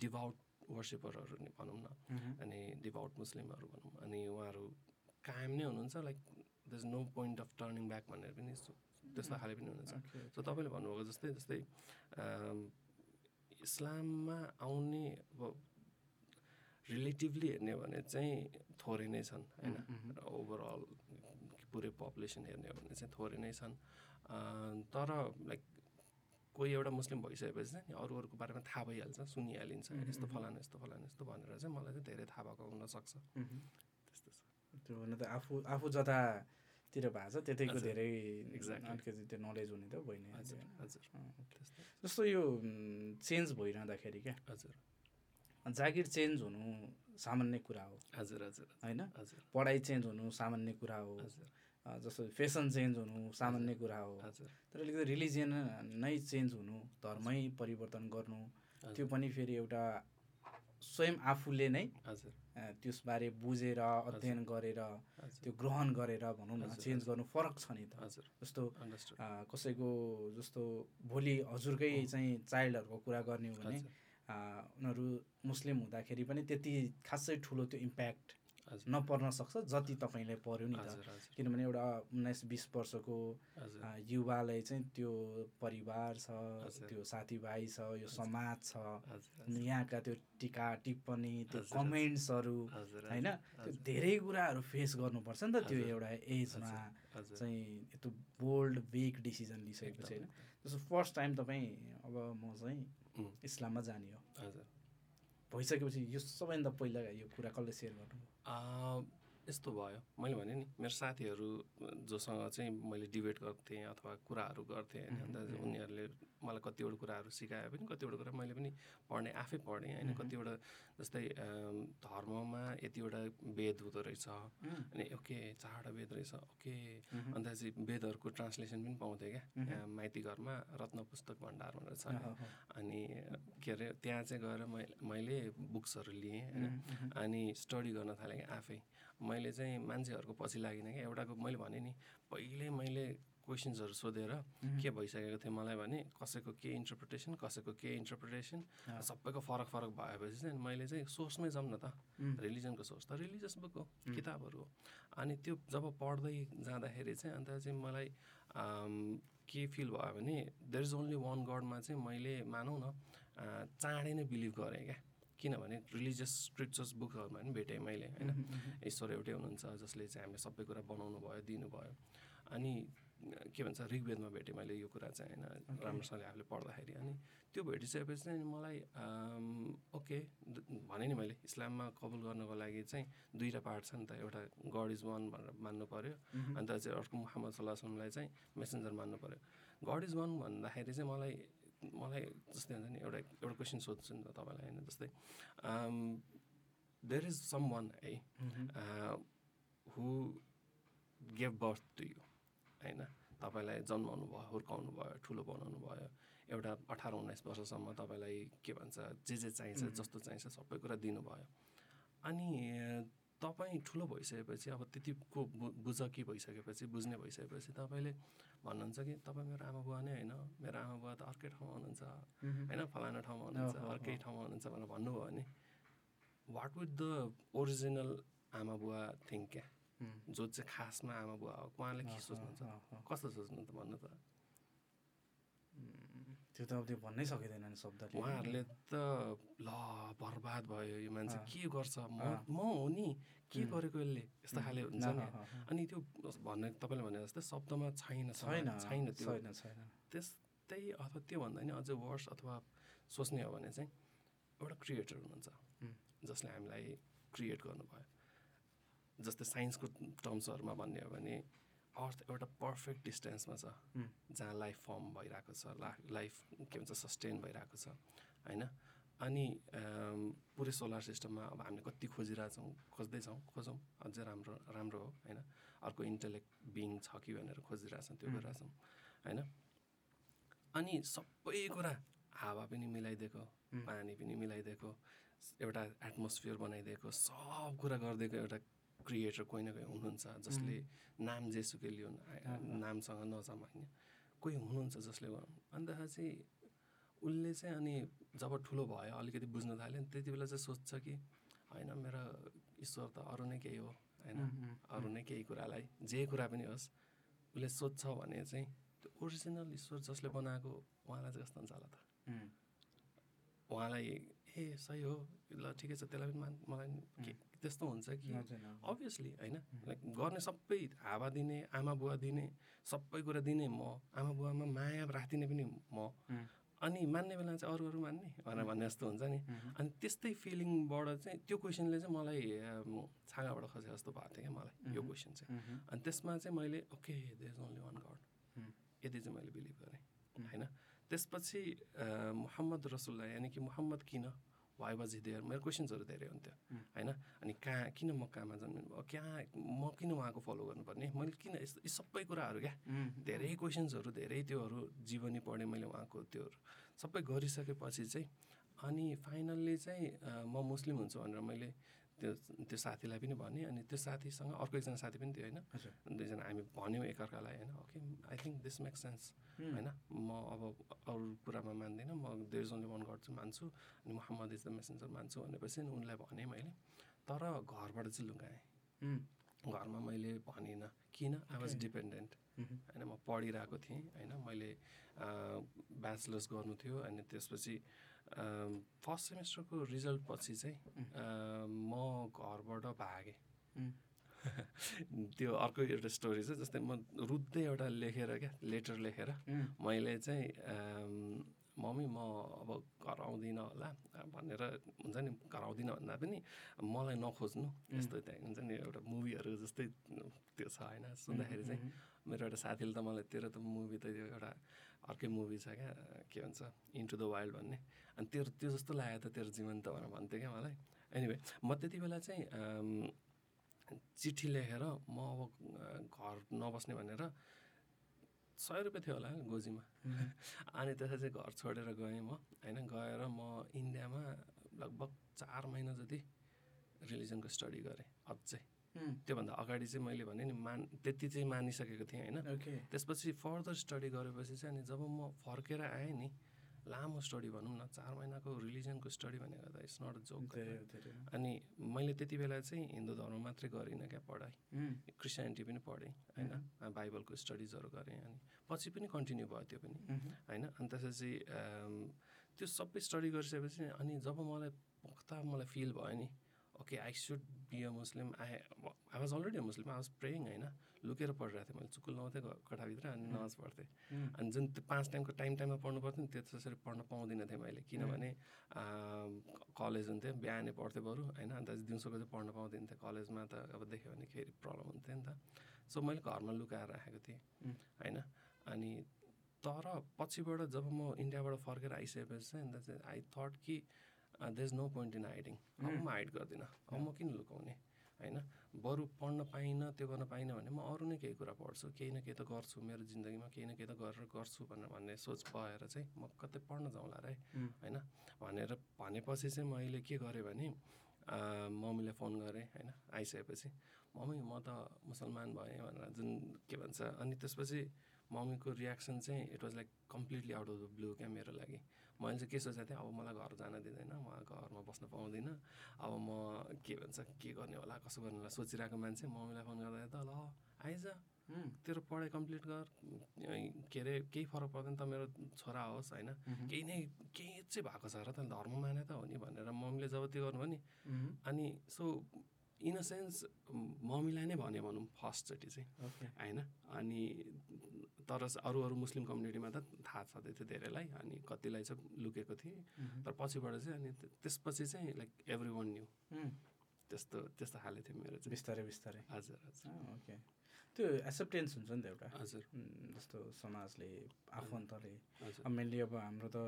S2: डिभाउट वर्सिपरहरू नि भनौँ न
S1: उम्,
S2: अनि डिभाउट मुस्लिमहरू भनौँ अनि उहाँहरू कायम नै हुनुहुन्छ like the is no point of turning back भनेर पनि सो- त्यस्तो खाले पनि हुनुहुन्छ
S1: ओके,
S2: सो तपाईँले भन्नुभएको जस्तै जस्तै अम, इस्लाममा आउने अब रिलेटिभली हेर्ने भने चाहिँ थोरै नै छन् होइन
S1: उम्,
S2: ओभरअल पुरै पपुलेसन हेर्ने हो भने चाहिँ थोरै नै छन् अ, तर लाइक कोही एउटा मुस्लिम भइसकेपछि चाहिँ अरू अरूको बारेमा थाहा भइहाल्छ सुनिहालिन्छ यस्तो फलाना यस्तो फलाना यस्तो भनेर चाहिँ मलाई चाहिँ धेरै थाहा भएको हुनसक्छ
S1: उम्,
S2: त्यस्तो छ
S1: त्यो हुन त आफू आफू जतातिर भएको छ त्यतैको
S2: हजुर,
S1: धेरै
S2: exactly.
S1: अलिकति त्यो नलेज हुने त भइ नै हाल्छ
S2: हजुर
S1: होइन।
S2: हजुर
S1: अँ, okay.
S2: त्यस्तो
S1: जस्तो यो उम्, चेन्ज भइरहँदाखेरि क्या
S2: हजुर
S1: जागिर चेन्ज हुनु सामान्य कुरा हो
S2: हजुर हजुर
S1: होइन
S2: हजुर
S1: पढाइ चेन्ज हुनु सामान्य कुरा हो
S2: हजुर
S1: अ, जस्तो फेसन चेन्ज हुनु सामान्य कुरा हो
S2: हजुर
S1: तर अलिकति रिलिजियन नै चेन्ज हुनु धर्मै परिवर्तन गर्नु त्यो पनि फेरि एउटा स्वयं आफूले नै
S2: हजुर
S1: अ, त्यसबारे बुझेर अध्ययन गरेर
S2: हजुर
S1: त्यो ग्रहण गरेर भनौँ न
S2: हजुर,
S1: चेन्ज गर्नु फरक छ नि त
S2: हजुर
S1: जस्तो
S2: अन्डरस्टुड
S1: अ, कसैको जस्तो भोलि हजुरकै चाहिँ चाइल्डहरूको कुरा गर्ने हो भने
S2: हजुर
S1: अ, उनीहरू मुस्लिम हुँदाखेरि पनि त्यति खासै ठुलो त्यो इम्प्याक्ट
S2: हजुर
S1: नपर्न सक्छ जति तपाईँलाई पर्यो नि त
S2: हजुर हजुर
S1: किनभने एउटा उन्नाइस बिस वर्षको
S2: हजुर
S1: अ, युवालाई चाहिँ त्यो परिवार छ
S2: हजुर।
S1: त्यो साथीभाइ छ यो समाज छ
S2: हजुर
S1: यहाँका त्यो टिका टिप्पणी त्यो
S2: हजुर, हजुर।
S1: कमेन्ट्सहरू
S2: हजुर
S1: होइन त्यो धेरै कुराहरू फेस गर्नुपर्छ नि त त्यो एउटा एजमा
S2: हजुर
S1: चाहिँ यत्रो बोल्ड बिग डिसिजन लिइसकेपछि होइन जस्तो फर्स्ट टाइम तपाईँ अब म चाहिँ
S2: उम्,
S1: इस्लाममा जाने हो
S2: हजुर
S1: भइसकेपछि यो सबैभन्दा पहिला यो कुरा कसले सेयर गर्नु
S2: आ, यस्तो भयो मैले भने नि मेरो साथीहरू जोसँग चाहिँ मैले डिबेट गर्थेँ अथवा कुराहरू गर्थेँ होइन अन्त उनीहरूले मलाई कतिवटा कुराहरू सिकाए पनि कतिवटा कुरा मैले पनि पढ्ने आफै पढेँ होइन कतिवटा जस्तै अम, धर्ममा यतिवटा वेद हुँदो रहेछ अनि ओके चारवटा वेद रहेछ ओके अन्त चाहिँ वेदहरूको ट्रान्सलेसन पनि पाउँथेँ क्या यहाँ माइती घरमा रत्न पुस्तक भण्डार भनेर छ नि। अनि के अरे त्यहाँ चाहिँ गएर मैले मैले बुक्सहरू लिएँ होइन अनि स्टडी गर्न थालेँ क्या आफै मैले चाहिँ मान्छेहरूको पछि लागिनँ क्या एउटाको मैले भने नि पहिले मैले क्वेसन्सहरू सोधेर के भइसकेको थियो मलाई भने कसैको के इन्टरप्रिटेसन कसैको के इन्टरप्रिटेसन
S1: अँ।
S2: सबैको फरक फरक भएपछि चाहिँ मैले चाहिँ सोर्समै जाउँ न त
S1: उम्.
S2: रिलिजनको सोर्स त रिलिजियस बुक हो किताबहरू हो अनि त्यो जब पढ्दै जाँदाखेरि चाहिँ अन्त चाहिँ मलाई अम, के फिल भयो भने देयर इज ओन्ली वान गडमा चाहिँ मैले मानौँ न अँ, चाँडै नै बिलिभ गरेँ क्या किनभने रिलिजियस स्क्रिप्चर्स बुकहरूमा पनि भेटेँ मैले होइन ईश्वर एउटै हुनुहुन्छ जसले चाहिँ हामीले सबै कुरा बनाउनु भयो दिनुभयो अनि अ, के भन्छ ऋग्वेदमा भेटेँ मैले यो कुरा चाहिँ होइन राम्रोसँगले आफूले पढ्दाखेरि अनि त्यो भेटिसकेपछि चाहिँ मलाई अम, ओके द- भने नि मैले इस्लाममा कबुल गर्नको लागि चाहिँ दुईवटा पार्ट छ नि त एउटा गड इज वान भनेर मान्नु पऱ्यो अन्त चाहिँ अर्को मुहम्मद सल्लाहसम्मलाई चाहिँ मेसेन्जर मान्नु पऱ्यो गड इज वान भन्दाखेरि चाहिँ मलाई मलाई जस्तै हुन्छ नि एउटा एउटा क्वेसन सोध्छु नि त तपाईँलाई होइन जस्तै देयर इज सम वान है uh, who gave birth to you होइन तपाईँलाई जन्माउनु भयो हुर्काउनु भयो ठुलो बनाउनु भयो एउटा अठार उन्नाइस वर्षसम्म तपाईँलाई के भन्छ जे जे चाहिन्छ जस्तो चाहिन्छ सबै कुरा दिनुभयो अनि अ, तपाईँ ठुलो भइसकेपछि अब त्यतिको बु- बुझकी भइसकेपछि बुझ्ने भइसकेपछि तपाईँले भन्नुहुन्छ कि तपाईँ मेरो आमा बुवा नै होइन मेरो आमा बुवा त अर्कै ठाउँमा हुनुहुन्छ होइन फलाना ठाउँमा हुनुहुन्छ
S1: अहो,
S2: अर्कै ठाउँमा हुनुहुन्छ भनेर भन्नुभयो भने वाट विथ द ओरिजिनल आमा बुवा थिङ्क क्या जो चाहिँ खासमा आमा बुवा हो उहाँले के सोच्नुहुन्छ कस्तो सोच्नु त भन्नु त
S1: त्यो त अब त्यो भन्नै सकिँदैन नि शब्दले
S2: उहाँहरूले त ल बर्बाद भयो यो मान्छे के गर्छ म म हो नि के गरेको यसले यस्तो खाले हुन्छ
S1: अँ,
S2: नि
S1: अँ, अँ,
S2: अनि त्यो भन्ने तपाईँले भने जस्तै शब्दमा छैन
S1: छैन
S2: समाज, छैन त्यो
S1: छैन छैन
S2: त्यस्तै अथवा त्योभन्दा नि अझै वर्स अथवा सोच्ने हो भने चाहिँ एउटा क्रिएटर हुनुहुन्छ
S1: हुँ।
S2: जसले हामीलाई क्रिएट गर्नुभयो जस्तै साइन्सको टर्म्सहरूमा भन्ने हो भने अर्थ एउटा पर्फेक्ट डिस्टेन्समा छ
S1: हुँ।
S2: जहाँ लाइफ फर्म भइरहेको छ ला लाइफ के भन्छ सस्टेन भइरहेको छ होइन अनि अम, पुरै सोलर सिस्टममा अब हामीले कति खोजिरहेछौँ खोज्दैछौँ खोजौँ अझै राम्रो राम्रो हो होइन अर्को इन्टेलेक्ट बिङ छ कि भनेर खोजिरहेछौँ त्यो गरिरहेछौँ होइन अनि सबै कुरा हावा पनि मिलाइदिएको
S1: हुँ।
S2: पानी पनि मिलाइदिएको स- एउटा एटमोस्फियर बनाइदिएको सब कुरा गरिदिएको एउटा क्रिएटर कोही न कोही हुनुहुन्छ जसले नाम जेसुकै लिउन् आ-
S1: अँ, अँ।
S2: नामसँग नजमान्ने कोही हुनुहुन्छ जसले गर्नु अन्तखेरि चाहिँ उसले चाहिँ अनि जब ठुलो भयो अलिकति बुझ्न थाल्यो नि त्यति बेला चाहिँ सोध्छ कि होइन मेरो ईश्वर त अरू नै केही हो होइन अरू नै केही कुरालाई जे कुरा पनि होस् उसले सोध्छ भने चाहिँ त्यो ओरिजिनल ईश्वर जसले बनाएको उहाँलाई चाहिँ कस्तो हुन्छ होला त उहाँलाई ए सही हो ल ठिकै छ त्यसलाई पनि मान मलाई नि के- त्यस्तो हुन्छ कि अभियसली होइन लाइक गर्ने सबै हावा दिने आमा बुवा दिने सबै कुरा दिने म आमा बुवामा माया राखिदिने पनि म
S1: उम्.
S2: अनि मान्ने बेला चाहिँ अरू अरू मान्ने भनेर भन्ने जस्तो हुन्छ नि अनि त्यस्तै फिलिङबाट चाहिँ त्यो क्वेसनले चाहिँ मलाई अम, छाँगाबाट खसे जस्तो भएको थियो क्या मलाई यो
S1: उम्.
S2: क्वेसन चाहिँ अनि त्यसमा चाहिँ मैले okay there is only one God
S1: हुँ।
S2: यति चाहिँ मैले बिलिभ गरेँ
S1: हुँ।
S2: होइन त्यसपछि अ, मुहम्मद रसुल्ला यानि कि मुहम्मद किन वाइ वाज देयर मेरो क्वेसन्सहरू धेरै हुन्थ्यो
S1: हुँ।
S2: होइन अनि कहाँ किन म कहाँमा जन्मिनु भयो कहाँ म किन उहाँको फलो गर्नुपर्ने मैले किन यस- यी सबै कुराहरू क्या धेरै क्वेसन्सहरू धेरै त्योहरू जीवनी पढेँ मैले उहाँको त्योहरू सबै गरिसकेपछि चाहिँ अनि फाइनल्ली चाहिँ अ, म मुस्लिम हुन्छु भनेर मैले त्यो त्यो साथीलाई पनि भनेँ अनि त्यो साथीसँग अर्को एकजना साथी पनि थियो होइन
S1: हजुर।
S2: दुईजना हामी भन्यौँ एकअर्कालाई होइन okay I think this make sense
S1: Hmm.
S2: होइन म अब अरू कुरामा मान्दिनँ म देर्जनले मन गर्छु मान्छु अनि मोहम्मद इज द मेसेन्जर मान्छु भनेपछि नि उनलाई भनेँ मैले तर घरबाट चाहिँ लुगाएँ घरमा मैले भनिनँ किन आई वाज
S1: Okay.
S2: डिपेन्डेन्ट होइन म पढिरहेको थिएँ होइन मैले ब्याचलर्स गर्नु थियो अनि त्यसपछि फर्स्ट सेमेस्टरको रिजल्ट पछि चाहिँ
S1: उम्.
S2: अ, म घरबाट भागेँ त्यो अर्को एउटा स्टोरी छ जस्तै म रुद्धै एउटा लेखेर क्या लेटर लेखेर मैले चाहिँ अम, मम्मी म अब घर आउँदिनँ होला भनेर हुन्छ नि घर आउँदिनँ भन्दा पनि मलाई नखोज्नु यस्तो त्यहाँ हुन्छ नि एउटा मुभीहरू जस्तै त्यो छ होइन सुन्दाखेरि चाहिँ मेरो एउटा साथीले त मलाई तेरो त मुभी त यो एउटा अर्कै मुभी छ क्या के भन्छ इन्टु द वाइल्ड भन्ने अनि तेरो त्यो जस्तो लाग्यो त तेरो जीवन त भनेर भन्थ्यो क्या मलाई एनिवे म त्यति बेला चाहिँ अम, चिठी लेखेर म अब अ, घर नबस्ने भनेर सय रुपियाँ थियो होला गोजीमा अनि त्यसपछि चाहिँ घर छोडेर गएँ म होइन गएर म इन्डियामा लगभग चार महिना जति रिलिजनको स्टडी गरेँ अझै त्योभन्दा अगाडि चाहिँ मैले भने नि मान त्यति चाहिँ मानिसकेको थिएँ होइन
S1: ओके
S2: त्यसपछि फर्दर स्टडी गरेपछि चाहिँ अनि जब म फर्केर आएँ नि लामो स्टडी भनौँ न चार महिनाको रिलिजनको स्टडी भनेको त इट्स नट जोक अनि मैले त्यति बेला चाहिँ हिन्दू धर्म मात्रै गरिनँ क्या पढाइ क्रिस्चियनिटी पनि पढेँ होइन बाइबलको स्टडिजहरू गरेँ अनि पछि पनि कन्टिन्यू भयो त्यो पनि होइन अनि त्यसपछि अम, त्यो सबै स्टडी गरिसकेपछि अनि जब मलाई पुग्दा मलाई फिल भयो नि okay I should be a Muslim I I was already a Muslim I was praying होइन लुकेर पढिरहेको थिएँ मैले चुकुल लाउँथेँ घ- कोठाभित्र अनि नमाज पढ्थेँ अनि जुन त्यो पाँच टाइमको टाइम टाइममा पढ्नु पर्थ्यो नि त्यो त्यसरी पढ्न पाउँदिनँ थिएँ मैले किनभने अम, क- कलेज हुन्थ्यो बिहानै पढ्थेँ बरु होइन अन्त दिउँसोको चाहिँ पढ्न पाउँदिनँ थिएँ कलेजमा त अब देख्यो भने फेरि प्रब्लम हुन्थ्यो नि त सो मैले घरमा लुकाएर राखेको थिएँ
S1: उम्.
S2: होइन अनि तर पछिबाट जब म इन्डियाबाट फर्केर आइसकेपछि चाहिँ अन्त चाहिँ आई थट कि uh, there is no point in hiding अब म हाइड गर्दिनँ अब म किन लुकाउने होइन बरु पढ्न पाइनँ त्यो गर्न पाइनँ भने म अरू नै केही कुरा पढ्छु केही न केही त गर्छु मेरो जिन्दगीमा केही न केही त गरेर गर्छु भनेर भन्ने सोच भएर चाहिँ म कतै पढ्न जाउँला रे
S1: उम्.
S2: होइन भनेर भनेपछि चाहिँ मैले के गरेँ भने अ, मम्मीलाई फोन गरेँ होइन आइसकेपछि मम्मी म त मुसलमान भएँ भनेर जुन के भन्छ अनि त्यसपछि मम्मीको रियाक्सन चाहिँ it was like completely out of the blue क्या मेरो लागि मैले चाहिँ के सोचेको थिएँ अब मलाई घर जान दिँदैन म घरमा बस्न पाउँदिनँ अब म के भन्छ के गर्ने होला कसो गर्ने होला सोचिरहेको मान्छे मम्मीलाई फोन गर्दा त ल आइज तेरो पढाइ कम्प्लिट गर के अरे केही फरक पर्दैन त मेरो छोरा होस् होइन केही नै केही चाहिँ भएको छ र त धर्म माने त हो नि भनेर मम्मीले जब त्यो गर्नुभयो नि अनि सो इन अ सेन्स मम्मीलाई नै भने भनौँ फर्स्टचोटि चाहिँ होइन अनि तर अरू अरू मुस्लिम कम्युनिटीमा त थाहा छँदै थियो धेरैलाई अनि कतिलाई Mm-hmm. Mm. चाहिँ लुकेको थिएँ तर पछिबाट चाहिँ अनि त्यसपछि चाहिँ लाइक एभ्री वान न्यू त्यस्तो त्यस्तो खाले थियो मेरो चाहिँ
S1: बिस्तारै बिस्तारै
S2: हजुर हजुर
S1: ओके त्यो एक्सेप्टेन्स हुन्छ नि त एउटा
S2: हजुर
S1: उम्, जस्तो समाजले आफन्तले
S2: हजुर
S1: अब मेनली अब हाम्रो त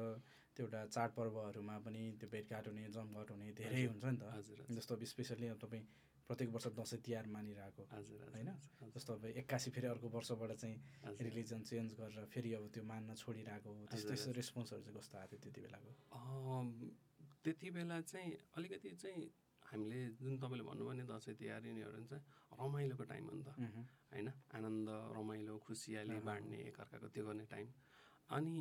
S1: त्यो एउटा चाडपर्वहरूमा पनि त्यो भेटघाट हुने जमघट हुने धेरै
S2: हजुर,
S1: हुन्छ नि त
S2: हजुर हजुर
S1: जस्तो अब स्पेसल्ली अब तपाईँ प्रत्येक वर्ष दसैँ तिहार मानिरहेको
S2: हजुर
S1: होइन?
S2: हजुर,
S1: जस्तो अब एक्कासी फेरि अर्को वर्षबाट चाहिँ
S2: हजुर।
S1: रिलिजन चेन्ज गरेर फेरि अब त्यो मान्न छोडिरहेको त्यस्तो
S2: हजुर,
S1: त्यस्तो
S2: हजुर।
S1: रेस्पोन्सहरू चाहिँ कस्तो आएको थियो त्यति बेलाको
S2: अम, त्यति बेला चाहिँ अलिकति चाहिँ हामीले जुन तपाईँले भन्नुभयो नि दसैँ तिहार यिनीहरू चाहिँ रमाइलोको टाइम हो नि त
S1: मह्म,
S2: होइन आनन्द रमाइलो खुसियाली
S1: अँ।
S2: बाँड्ने एकअर्काको त्यो गर्ने टाइम अनि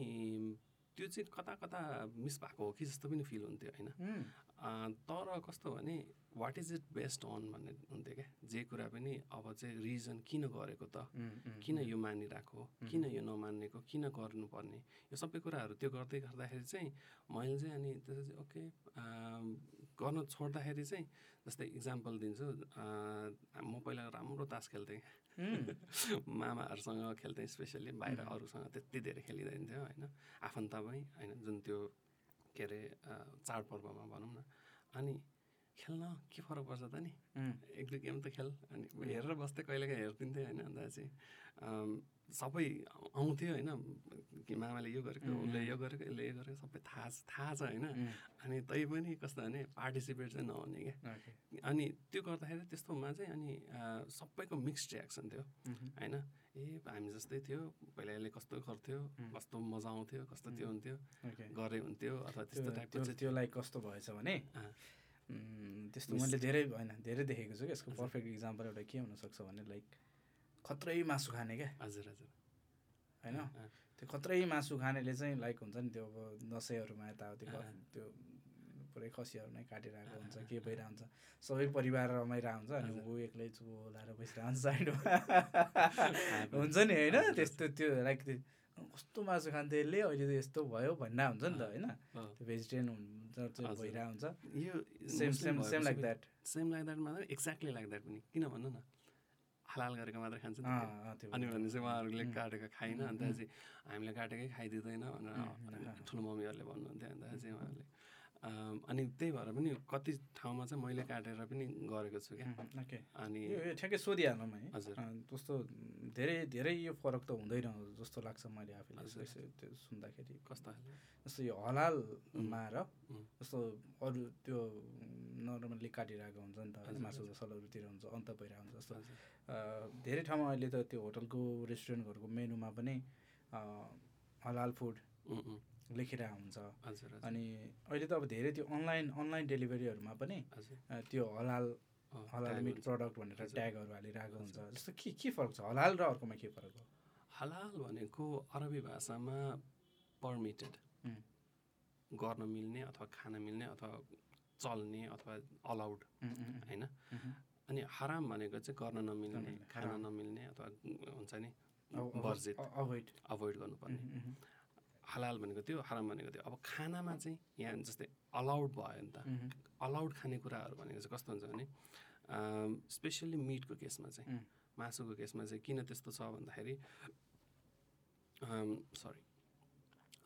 S2: त्यो चाहिँ कता कता मिस भएको हो कि जस्तो पनि फिल हुन्थ्यो होइन
S1: मह्म,
S2: अँ, तर कस्तो भने what is it best on भन्ने हुन्थ्यो क्या जे कुरा पनि अब चाहिँ रिजन किन गरेको त
S1: मह्म, मह्म,
S2: किन यो मानिरहेको किन यो नमान्नेको किन गर्नुपर्ने यो सबै कुराहरू त्यो गर्दै गर्दाखेरि चाहिँ मैले चाहिँ अनि त्यसपछि ओके अम, गर्न छोड्दाखेरि चाहिँ जस्तै इक्जाम्पल दिन्छु अँ, म पहिला राम्रो तास खेल्थेँ
S1: मह्म,
S2: मामाहरूसँग खेल्थेँ स्पेसल्ली बाहिर
S1: उम्.
S2: अरूसँग त्यति धेरै खेलिँदैन थियो होइन आफन्तमै होइन जुन त्यो के अरे अ, चाडपर्वमा भनौँ न अनि खेल्न के फरक पर्छ त नि
S1: मह्म,
S2: एक दुई गेम त खेल अनि हेरेर बस्थेँ कहिलेकाहीँ हेरिदिन्थेँ होइन अन्त चाहिँ अम, सबै आउ- आउँथ्यो होइन कि मामाले यो गरेको
S1: उम्.
S2: उसले यो गरेको यसले यो गरेको सबै थाहा छ- थाहा छ होइन
S1: मह्म,
S2: अनि तै पनि कस्तो भने पार्टिसिपेट चाहिँ नहुने क्या
S1: ओके,
S2: अनि त्यो गर्दाखेरि त्यस्तोमा चाहिँ अनि अ, सबैको मिक्स्ड रियाक्सन थियो
S1: मह्म,
S2: होइन ए हामी जस्तै थियो पहिला यसले कस्तो गर्थ्यो
S1: उम्.
S2: कस्तो मजा आउँथ्यो कस्तो त्यो
S1: उम्.
S2: हुन्थ्यो
S1: ओके।
S2: गरे हुन्थ्यो अथवा
S1: त्यो
S2: त्यस्तो टाइपको
S1: त्यो-
S2: चाहिँ थियो
S1: त्योलाई कस्तो भएछ भने
S2: अँ।
S1: उम्, त्यस्तो
S2: मिस-
S1: मैले धेरै होइन धेरै देखेको छु कि यसको
S2: हजुर।
S1: पर्फेक्ट इक्जाम्पल एउटा के हुनसक्छ भने लाइक खत्रै मासु खाने क्या
S2: हजुर हजुर
S1: होइन
S2: अँ,
S1: त्यो खत्रै मासु खानेले चाहिँ लाइक हुन्छ नि त्यो अब दसैँहरूमा यताउति ग-
S2: अँ।
S1: त्यो पुरै खसीहरू नै काटिरहेको हुन्छ
S2: अँ,
S1: के भइरहेको हुन्छ सबै परिवार रमाइरहेको हुन्छ अनि
S2: हजुर।
S1: ऊ एक्लै चुबो लाएर बसिरहन्छ साइडमा
S2: खाएको।
S1: हुन्छ नि होइन
S2: हजुर, हजुर।
S1: त्यस्तो त्यो लाइक त्यो कस्तो मासु खान्थ्यो यसले अहिले त यस्तो भयो भन्ना हुन्छ नि त होइन
S2: अँ,
S1: त्यो भेजिटेरियन हुन्छ चाहिँ
S2: हजुर।
S1: भइरहेको हुन्छ
S2: यो
S1: same same same like that
S2: same like that मात्र एक्ज्याक्टली लाइक द्याट पनि किन भन्नु न हलाल गरेको मात्र खान्छ नि त
S1: त्यो
S2: अनि भने चाहिँ उहाँहरूले
S1: उम्,
S2: काटेको खाएन
S1: उम्,
S2: अन्त
S1: उम्।
S2: चाहिँ हामीले काटेकै खाइदिँदैन भनेर
S1: उम्, उम्,
S2: अनि
S1: अँ।
S2: ठुलो मम्मीहरूले भन्नुहुन्थ्यो अन्त चाहिँ उहाँहरूले अम, अनि त्यही भएर पनि कति ठाउँमा चाहिँ मैले काटेर पनि गरेको छु क्या
S1: उम्, ओके
S2: अनि
S1: यो यो ठ्याक्कै सोधिहालौँ है
S2: हजुर।
S1: अँ, जस्तो धेरै धेरै यो फरक त हुँदैन जस्तो लाग्छ मैले आफूले
S2: हजुर।
S1: यसो त्यो सुन्दाखेरि
S2: कस्तो खाले
S1: जस्तो यो हलालमा र
S2: उम्।
S1: जस्तो अरू त्यो नर्मल्ली काटिरहेको हुन्छ नि त होइन,
S2: हजुर,
S1: मासु
S2: हजुर।
S1: सलहरूतिर हुन्छ अन्त भइरहेको हुन्छ जस्तो
S2: हजुर
S1: अँ, धेरै ठाउँमा अहिले त त्यो होटलको रेस्टुरेन्टहरूको मेनुमा पनि अँ, हलाल फुड
S2: उम्, उम्,
S1: लेखिरहेको हुन्छ
S2: हजुर हजुर
S1: अनि अहिले त अब धेरै त्यो अनलाइन अनलाइन डेलिभरीहरूमा पनि
S2: हजुर
S1: अ, त्यो हलाल
S2: अँ,
S1: हलाल
S2: त्यहाँ
S1: मिट
S2: हुन्छ।
S1: प्रडक्ट भनेर
S2: हजुर।
S1: ट्यागहरू हालिरहेको
S2: हजुर।
S1: हुन्छ जस्तो के के फरक छ हलाल र अर्कोमा के फरक हो
S2: हलाल भनेको अरबी भाषामा पर्मिटेड
S1: उम्.
S2: गर्न मिल्ने अथवा खान मिल्ने अथवा चल्ने अथवा अलाउड
S1: उम्, उम्, उम्,
S2: होइन
S1: उम्,
S2: अनि हराम भनेको चाहिँ गर्न नमिल्ने
S1: नमिल्ने,
S2: खान
S1: हराम।
S2: नमिल्ने अथवा हुन्छ नि
S1: अब- अब-
S2: वर्जित
S1: अ- अभोइड
S2: अभोइड गर्नुपर्ने
S1: उम्, उम्,
S2: हलाल भनेको त्यो हराम भनेको त्यो अब खानामा चाहिँ यहाँ जस्तै अलाउड भयो नि त
S1: उम्, उम्,
S2: अलाउड खानेकुराहरू भनेको चाहिँ कस्तो हुन्छ भने अम, स्पेसल्ली मिटको केसमा चाहिँ
S1: उम्.
S2: मासुको केसमा चाहिँ किन त्यस्तो छ भन्दाखेरि अम, सरी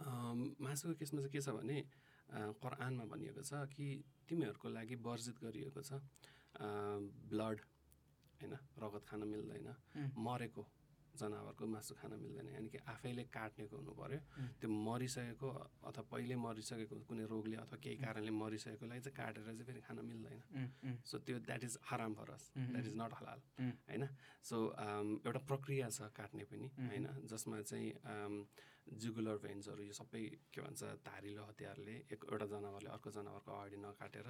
S2: अम, मासुको केसमा चाहिँ के छ भने अ, कुरानमा भनिएको छ कि तिमीहरूको लागि वर्जित गरिएको छ अम, ब्लड होइन रगत खान मिल्दैन
S1: उम्.
S2: मरेको जनावरको मासु खान मिल्दैन यानि कि आफैले काट्नेको हुनु पर्यो
S1: उम्.
S2: त्यो मरिसकेको अथवा पहिले मरिसकेको कुनै रोगले अथवा केही कारणले मरिसकेकोलाई चाहिँ काटेर चाहिँ फेरि खान मिल्दैन
S1: उम्, उम्,
S2: सो त्यो that is haram for us
S1: um,
S2: that is not halal
S1: um.
S2: होइन सो um, एउटा प्रक्रिया छ काट्ने पनि
S1: उम्.
S2: होइन जसमा चाहिँ um, जुगुलर भेन्सहरू यो सबै के भन्छ धारिलो हतियारले एक एउटा जनावरले अर्को जनावरको अगाडि नकाटेर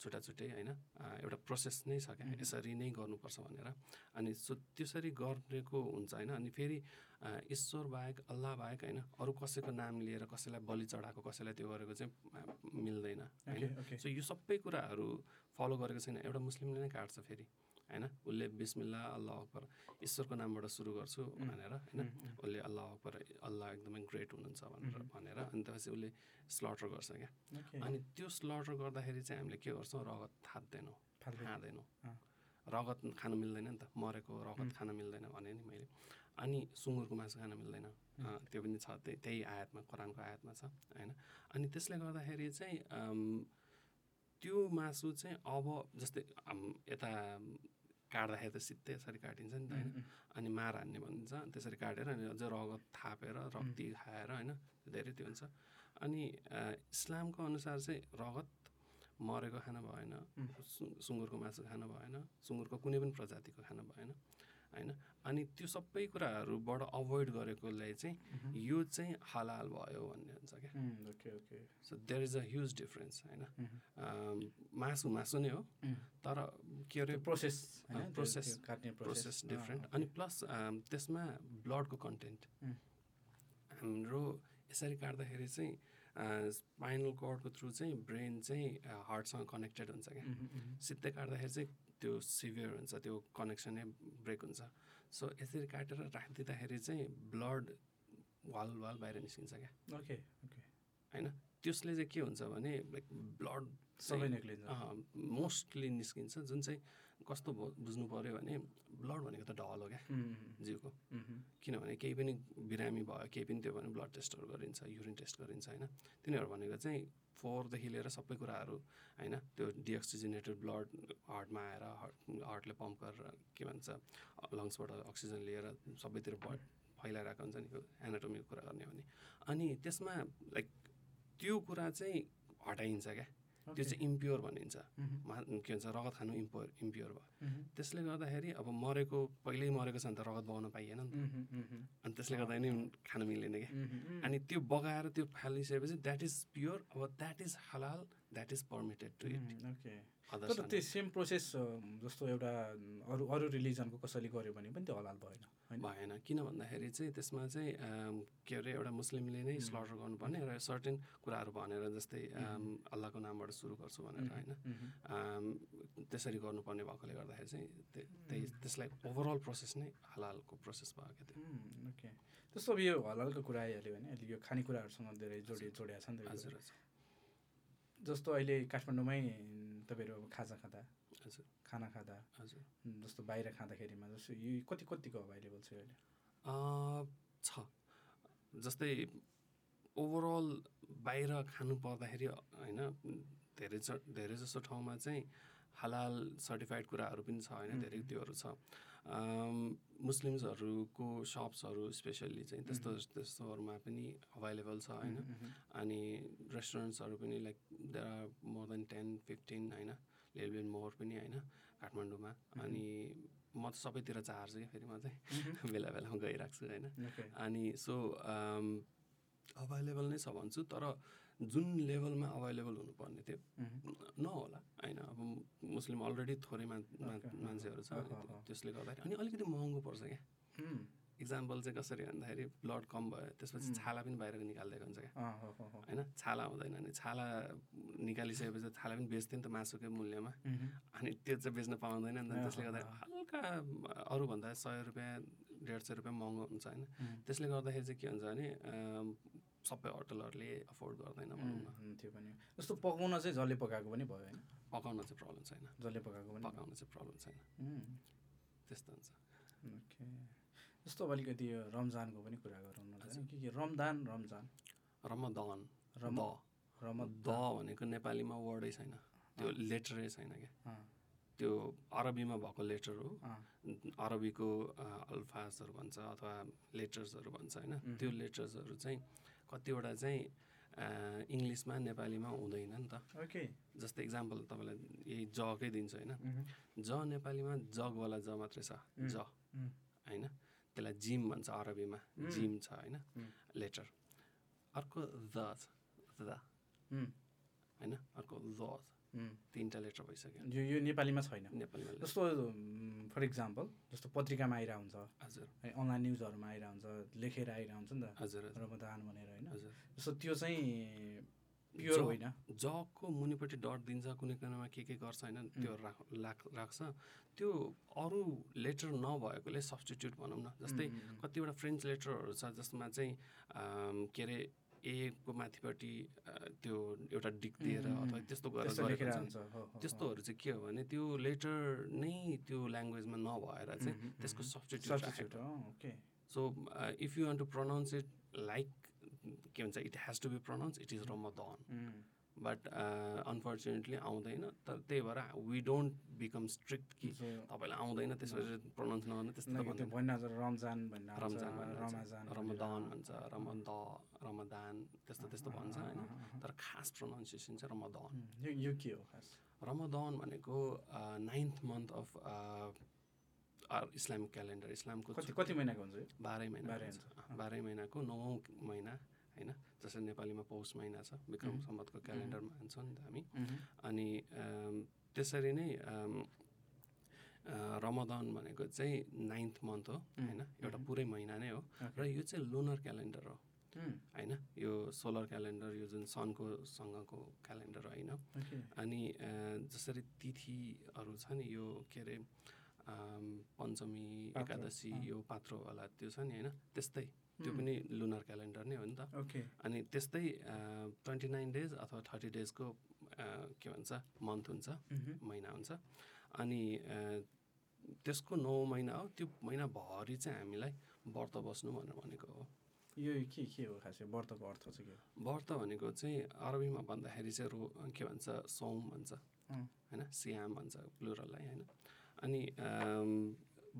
S2: छुट्टा छुट्टै होइन अ, एउटा प्रोसेस नै छ क्या
S1: उम्.
S2: यसरी नै गर्नुपर्छ भनेर अनि सो त्यसरी गरेको हुन्छ होइन अनि फेरि अ, ईश्वर बाहेक अल्लाह बाहेक होइन अरू कसैको नाम लिएर कसैलाई बलि चढाएको कसैलाई त्यो गरेको चाहिँ अ, मिल्दैन होइन
S1: ओके ओके
S2: सो यो सबै कुराहरू फलो गरेको छैन एउटा मुस्लिमले नै काट्छ फेरि होइन उसले बिस्मिल्ला अल्लाह अकबर ईश्वरको नामबाट सुरु गर्छु
S1: उम्,
S2: भनेर होइन
S1: उम्, उम्,
S2: उसले अल्लाह अकबर अल्लाह एकदमै ग्रेट हुनुहुन्छ भनेर
S1: उम्.
S2: भनेर अनि त्यसपछि उसले स्लटर गर्छ क्या
S1: ओके।
S2: अनि त्यो स्लटर गर्दाखेरि चाहिँ हामीले के गर्छौँ रगत थाप्दैनौँ
S1: फाल्तु।
S2: खाँदैनौँ
S1: अँ।
S2: रगत खान मिल्दैन नि त मरेको रगत खान मिल्दैन भने नि मैले अनि सुँगुरको मासु खान मिल्दैन
S1: उम्.
S2: अँ, त्यो पनि छ त्यही त्यही आयातमा कुरानको आयातमा छ होइन अनि त्यसले गर्दाखेरि चाहिँ अम, त्यो मासु चाहिँ अब जस्तै हाम- यता काट्दाखेरि त सित्तै यसरी काटिन्छ नि त होइन अनि मार हान्ने भनिन्छ त्यसरी काटेर अनि अझ रगत थापेर रक्ती खाएर होइन धेरै त्यो हुन्छ अनि अ, इस्लामको अनुसार चाहिँ रगत मरेको खान भएन सु- सुँगुरको मासु खान भएन सुँगुरको कुनै पनि प्रजातिको खान भएन होइन अनि त्यो सबै कुराहरूबाट अभोइड गरेकोलाई चाहिँ यो चाहिँ हलाल भयो भन्ने हुन्छ क्या
S1: um, okay okay
S2: so there is a huge difference होइन
S1: उम्,
S2: अम, मासु मासु नै हो
S1: उम्।
S2: तर के अरे
S1: त्यो प्रोसेस होइन,
S2: अँ,
S1: त्यो-
S2: प्रोसेस,
S1: त्यो काट्ने
S2: प्रोसेस
S1: प्रोसेस
S2: डिफ्रेन्ट अनि प्लस um, त्यसमा ब्लडको कन्टेन्ट
S1: उम्.
S2: हाम्रो यसरी काट्दाखेरि चाहिँ स्पाइनल कर्डको थ्रु चाहिँ ब्रेन चाहिँ हार्टसँग कनेक्टेड हुन्छ
S1: Hmm.
S2: क्या सिधै काट्दाखेरि चाहिँ त्यो सिभियर हुन्छ त्यो कनेक्सनै ब्रेक हुन्छ सो यसरी काटेर राखिदिँदाखेरि चाहिँ ब्लड वाल वाल बाहिर निस्किन्छ क्या
S1: ओके ओके
S2: होइन त्यसले चाहिँ के हुन्छ भने लाइक ब्लड
S1: सबै निक्लिन्छ
S2: मोस्टली निस्किन्छ जुन चाहिँ कस्तो भयो- बुझ्नु पऱ्यो भने ब्लड भनेको त ढल हो क्या
S1: उम्,
S2: जिउको
S1: उम्, उम्,
S2: किनभने केही पनि बिरामी भयो केही पनि त्यो भने ब्लड टेस्टहरू गरिन्छ युरिन टेस्ट गरिन्छ होइन तिनीहरू भनेको चाहिँ फोहोरदेखि लिएर सबै कुराहरू होइन त्यो डिअक्सिजनेटेड ब्लड हार्टमा आएर हार्ट हार्टले पम्प गरेर के भन्छ लङ्सबाट अक्सिजन लिएर सबैतिर ब फैलाइरहेको हुन्छ नि एनाटोमीको कुरा गर्ने हो भने अनि त्यसमा लाइक त्यो कुरा चाहिँ हटाइन्छ क्या त्यो
S1: ओके,
S2: चाहिँ इम्प्योर भनिन्छ
S1: उम्,
S2: मा के भन्छ रगत खानु इम्प्योर इम्प्योर भयो
S1: उम्,
S2: त्यसले गर्दाखेरि अब मरेको पहिल्यै मरेको छ भने त रगत बगाउन पाइएन नि त
S1: उम्, उम्, उम्,
S2: अनि त्यसले गर्दा नि खान मिलेन क्या
S1: उम्, उम्,
S2: अनि त्यो बगाएर त्यो फालिसकेपछि द्याट इज प्योर अब that is halal that is permitted to eat
S1: um, okay
S2: others
S1: तर त्यो सेम प्रोसेस अम, जस्तो एउटा अम, अरू अरू रिलिजनको कसैले गर्यो भने पनि त्यो हलाल भएन होइन
S2: भएन किन भन्दाखेरि चाहिँ त्यसमा चाहिँ अम, के अरे एउटा मुस्लिमले नै स्लटर गर्नुपर्ने र सर्टेन कुराहरू भनेर जस्तै अम, अल्लाहको नामबाट सुरु गर्छु भनेर होइन
S1: उम्,
S2: अम, त्यसरी गर्नुपर्ने भएकोले गर्दाखेरि चाहिँ त्य- त्यही त्यसलाई ओभरअल प्रोसेस नै हलालको प्रोसेस भयो क्या त्यो
S1: उम्, ओके जस्तो अब यो हलालको कुरा आइहाल्यो भने अहिले यो खानेकुराहरूसँग धेरै जोडि जोडिया छ नि त यो
S2: हजुर
S1: कुरा।
S2: हजुर
S1: जस्तो अहिले काठमाडौँमै अम, तपाईँहरू अब खाजा खाँदा
S2: हजुर
S1: खाना खाँदा
S2: हजुर
S1: अम, जस्तो बाहिर खाँदाखेरिमा जस्तो यो कति कतिको अभाइलेबल छ यो अहिले
S2: अ, छ जस्तै ओभरअल बाहिर खानु पर्दाखेरि होइन धेरै ज- धेरै जसो ठाउँमा चाहिँ हलाल सर्टिफाइड कुराहरू पनि छ होइन धेरै त्योहरू छ अम, मुस्लिम्सहरूको सप्सहरू स्पेसल्ली चाहिँ त्यस्तो त्यस्तोहरूमा पनि अभाइलेबल छ होइन अनि रेस्टुरेन्ट्सहरू पनि like there are more than ten fifteen होइन लिल बिन मोर पनि होइन काठमाडौँमा अनि म त सबैतिर चाहन्छु क्या फेरि म चाहिँ बेला बेलामा गइरहेको छु होइन
S1: ओके
S2: अनि सो अभाइलेबल नै छ भन्छु तर जुन लेभलमा अभाइलेबल हुनुपर्ने त्यो
S1: उम्,
S2: नहोला होइन अब मुस्लिम अलरेडी थोरै मान मान-
S1: Okay.
S2: मान्छेहरू छ
S1: अँ, अँ, अँ।
S2: त्यसले गर्दाखेरि अनि अलिकति महँगो पर्छ क्या
S1: उम्,
S2: इक्जाम्पल चाहिँ कसरी भन्दाखेरि ब्लड कम भयो त्यसपछि छाला पनि बाहिर निकालिदिएको हुन्छ क्या
S1: अँ, हो, हो, हो।
S2: होइन छाला हुँदैन अनि छाला निकालिसकेपछि छाला पनि बेच्थ्यो नि त मासुकै मूल्यमा
S1: उम्,
S2: अनि त्यो चाहिँ बेच्न पाउँदैन नि त
S1: अँ,
S2: त्यसले गर्दाखेरि हल्का अरूभन्दा सय रुपियाँ डेढ सय रुपियाँ महँगो हुन्छ होइन
S1: उम्,
S2: त्यसले गर्दाखेरि चाहिँ के हुन्छ भने अम, सबै होटलहरूले एफोर्ड गर्दैन भनौँ न
S1: उम्, त्यो पनि हो। जस्तो पकाउन चाहिँ जसले पकाएको पनि भयो होइन
S2: पकाउन चाहिँ प्रब्लम छैन
S1: जसले पकाएको पनि भयो।
S2: पकाउन चाहिँ प्रब्लम छैन
S1: उम्,
S2: त्यस्तो हुन्छ
S1: ओके जस्तो अब अलिकति यो रमजानको पनि कुरा गरौँ न त होइन? के के रमदान रमजान
S2: रमदान
S1: रम
S2: द
S1: रमद
S2: द भनेको नेपालीमा वर्डै छैन त्यो लेटरै छैन क्या
S1: अँ,
S2: त्यो अरबीमा भएको लेटर हो
S1: अँ,
S2: अरबीको अ, अल्फाजहरू भन्छ अथवा लेटर्सहरू भन्छ होइन त्यो लेटर्सहरू चाहिँ कतिवटा चाहिँ अ, इङ्ग्लिसमा नेपालीमा हुँदैन नि त
S1: ओके
S2: जस्तै इक्जाम्पल तपाईँलाई यही जकै दिन्छु होइन
S1: उम्हुँ,
S2: ज नेपालीमा जगवाला ज मात्रै छ ज
S1: उम्,
S2: होइन त्यसलाई जिम भन्छ अरबीमा जिम छ होइन
S1: उम्,
S2: लेटर अर्को द छ द
S1: उम्,
S2: होइन अर्को द छ
S1: उम्।
S2: तिनवटा लेटर भइसक्यो
S1: यो यो नेपालीमा छैन
S2: नेपालीमा लेटर।
S1: जस्तो फर इक्जाम्पल जस्तो पत्रिकामा आइरह हुन्छ
S2: हजुर
S1: है अनलाइन न्युजहरूमा आइरह हुन्छ लेखेर आइरह हुन्छ नि त
S2: हजुर हजुर
S1: रमदान भनेर होइन
S2: हजुर
S1: जस्तो त्यो चाहिँ प्योर
S2: जो-
S1: होइन
S2: जगको मुनिपट्टि डट दिन्छ कुनै कुरामा के के गर्छ होइन त्योहरू राख राख राख्छ त्यो अरू लेटर नभएकोले सब्सटिट्युट भनौँ न जस्तै कतिवटा फ्रेन्च लेटरहरू छ जसमा चाहिँ अम, के अरे एको माथिपट्टि अ, त्यो एउटा डिक दिएर अथवा त्यस्तो गरेर
S1: त्यस्तो
S2: गरेको
S1: लेखेर
S2: हुन्छ नि।
S1: हुन्छ हो, हो, हो।
S2: त्यस्तोहरू चाहिँ के हो भने त्यो लेटर नै त्यो ल्याङ्ग्वेजमा नभएर चाहिँ त्यसको सब्सटिट्युट राखेको uh,
S1: Substitute, अँ, okay
S2: so if you want to pronounce it like के भन्छ it has to be pronounce it is Ramadan
S1: um,
S2: but unfortunately uh, आउँदैन तर त्यही भएर वी डोन्ट बिकम स्ट्रिक्ट कि
S1: So,
S2: तपाईँलाई आउँदैन त्यसरी प्रनाउन्स नगर्नु त्यस्तो त
S1: किनकि त्यो
S2: भन्दैन।
S1: भन्न रमजान भन्ने आउँछ,
S2: रमजान भन्छ,
S1: रमाजान
S2: रमदान भन्छ रमद रमदान त्यस्तो त्यस्तो भन्छ होइन तर खास प्रोनाउन्सिएसन चाहिँ रमदान
S1: उम्, यो यो के हो खास
S2: रमदान भनेको ninth month of Islamic calendar इस्लामको
S1: कति कति महिनाको हुन्छ यो
S2: बाह्रै महिना
S1: बाह्रै
S2: हुन्छ। बाह्रै महिनाको नवौँ महिना होइन जसरी नेपालीमा पौष महिना छ विक्रम
S1: मह्म।
S2: सम्बतको क्यालेन्डरमा हान्छौँ नि त हामी
S1: मह्म,
S2: अनि अम, त्यसरी नै अम, अ, रमदान भनेको चाहिँ नाइन्थ मन्थ हो
S1: मह्म,
S2: होइन एउटा
S1: मह्म।
S2: पुरै महिना नै हो र
S1: okay,
S2: यो चाहिँ लुनर क्यालेन्डर हो
S1: उम्,
S2: होइन यो सोलर क्यालेन्डर यो जुन सनको सँगको क्यालेन्डर होइन
S1: okay,
S2: अनि अ, जसरी तिथिहरू छ नि यो के अरे अम, पञ्चमी
S1: पात्रो,
S2: एकादशी
S1: अँ।
S2: यो पात्रोवाला त्यो छ नि होइन त्यस्तै त्यो
S1: उम्,
S2: पनि लुनर क्यालेन्डर नै हो नि त
S1: okay,
S2: अनि त्यस्तै ट्वेन्टी नाइन डेज अथवा थर्टी डेजको अ, के भन्छ मन्थ हुन्छ
S1: मह्म,
S2: महिना हुन्छ अनि अ, त्यसको नौ महिना हो त्यो महिनाभरि चाहिँ हामीलाई व्रत बस्नु भनेर भनेको हो
S1: यो के के हो खास यो व्रतको अर्थ चाहिँ के हो
S2: व्रत भनेको चाहिँ अरबीमा भन्दाखेरि चाहिँ रो के भन्छ सौम भन्छ
S1: अँ।
S2: होइन सियाम भन्छ प्लुरललाई होइन अनि अम,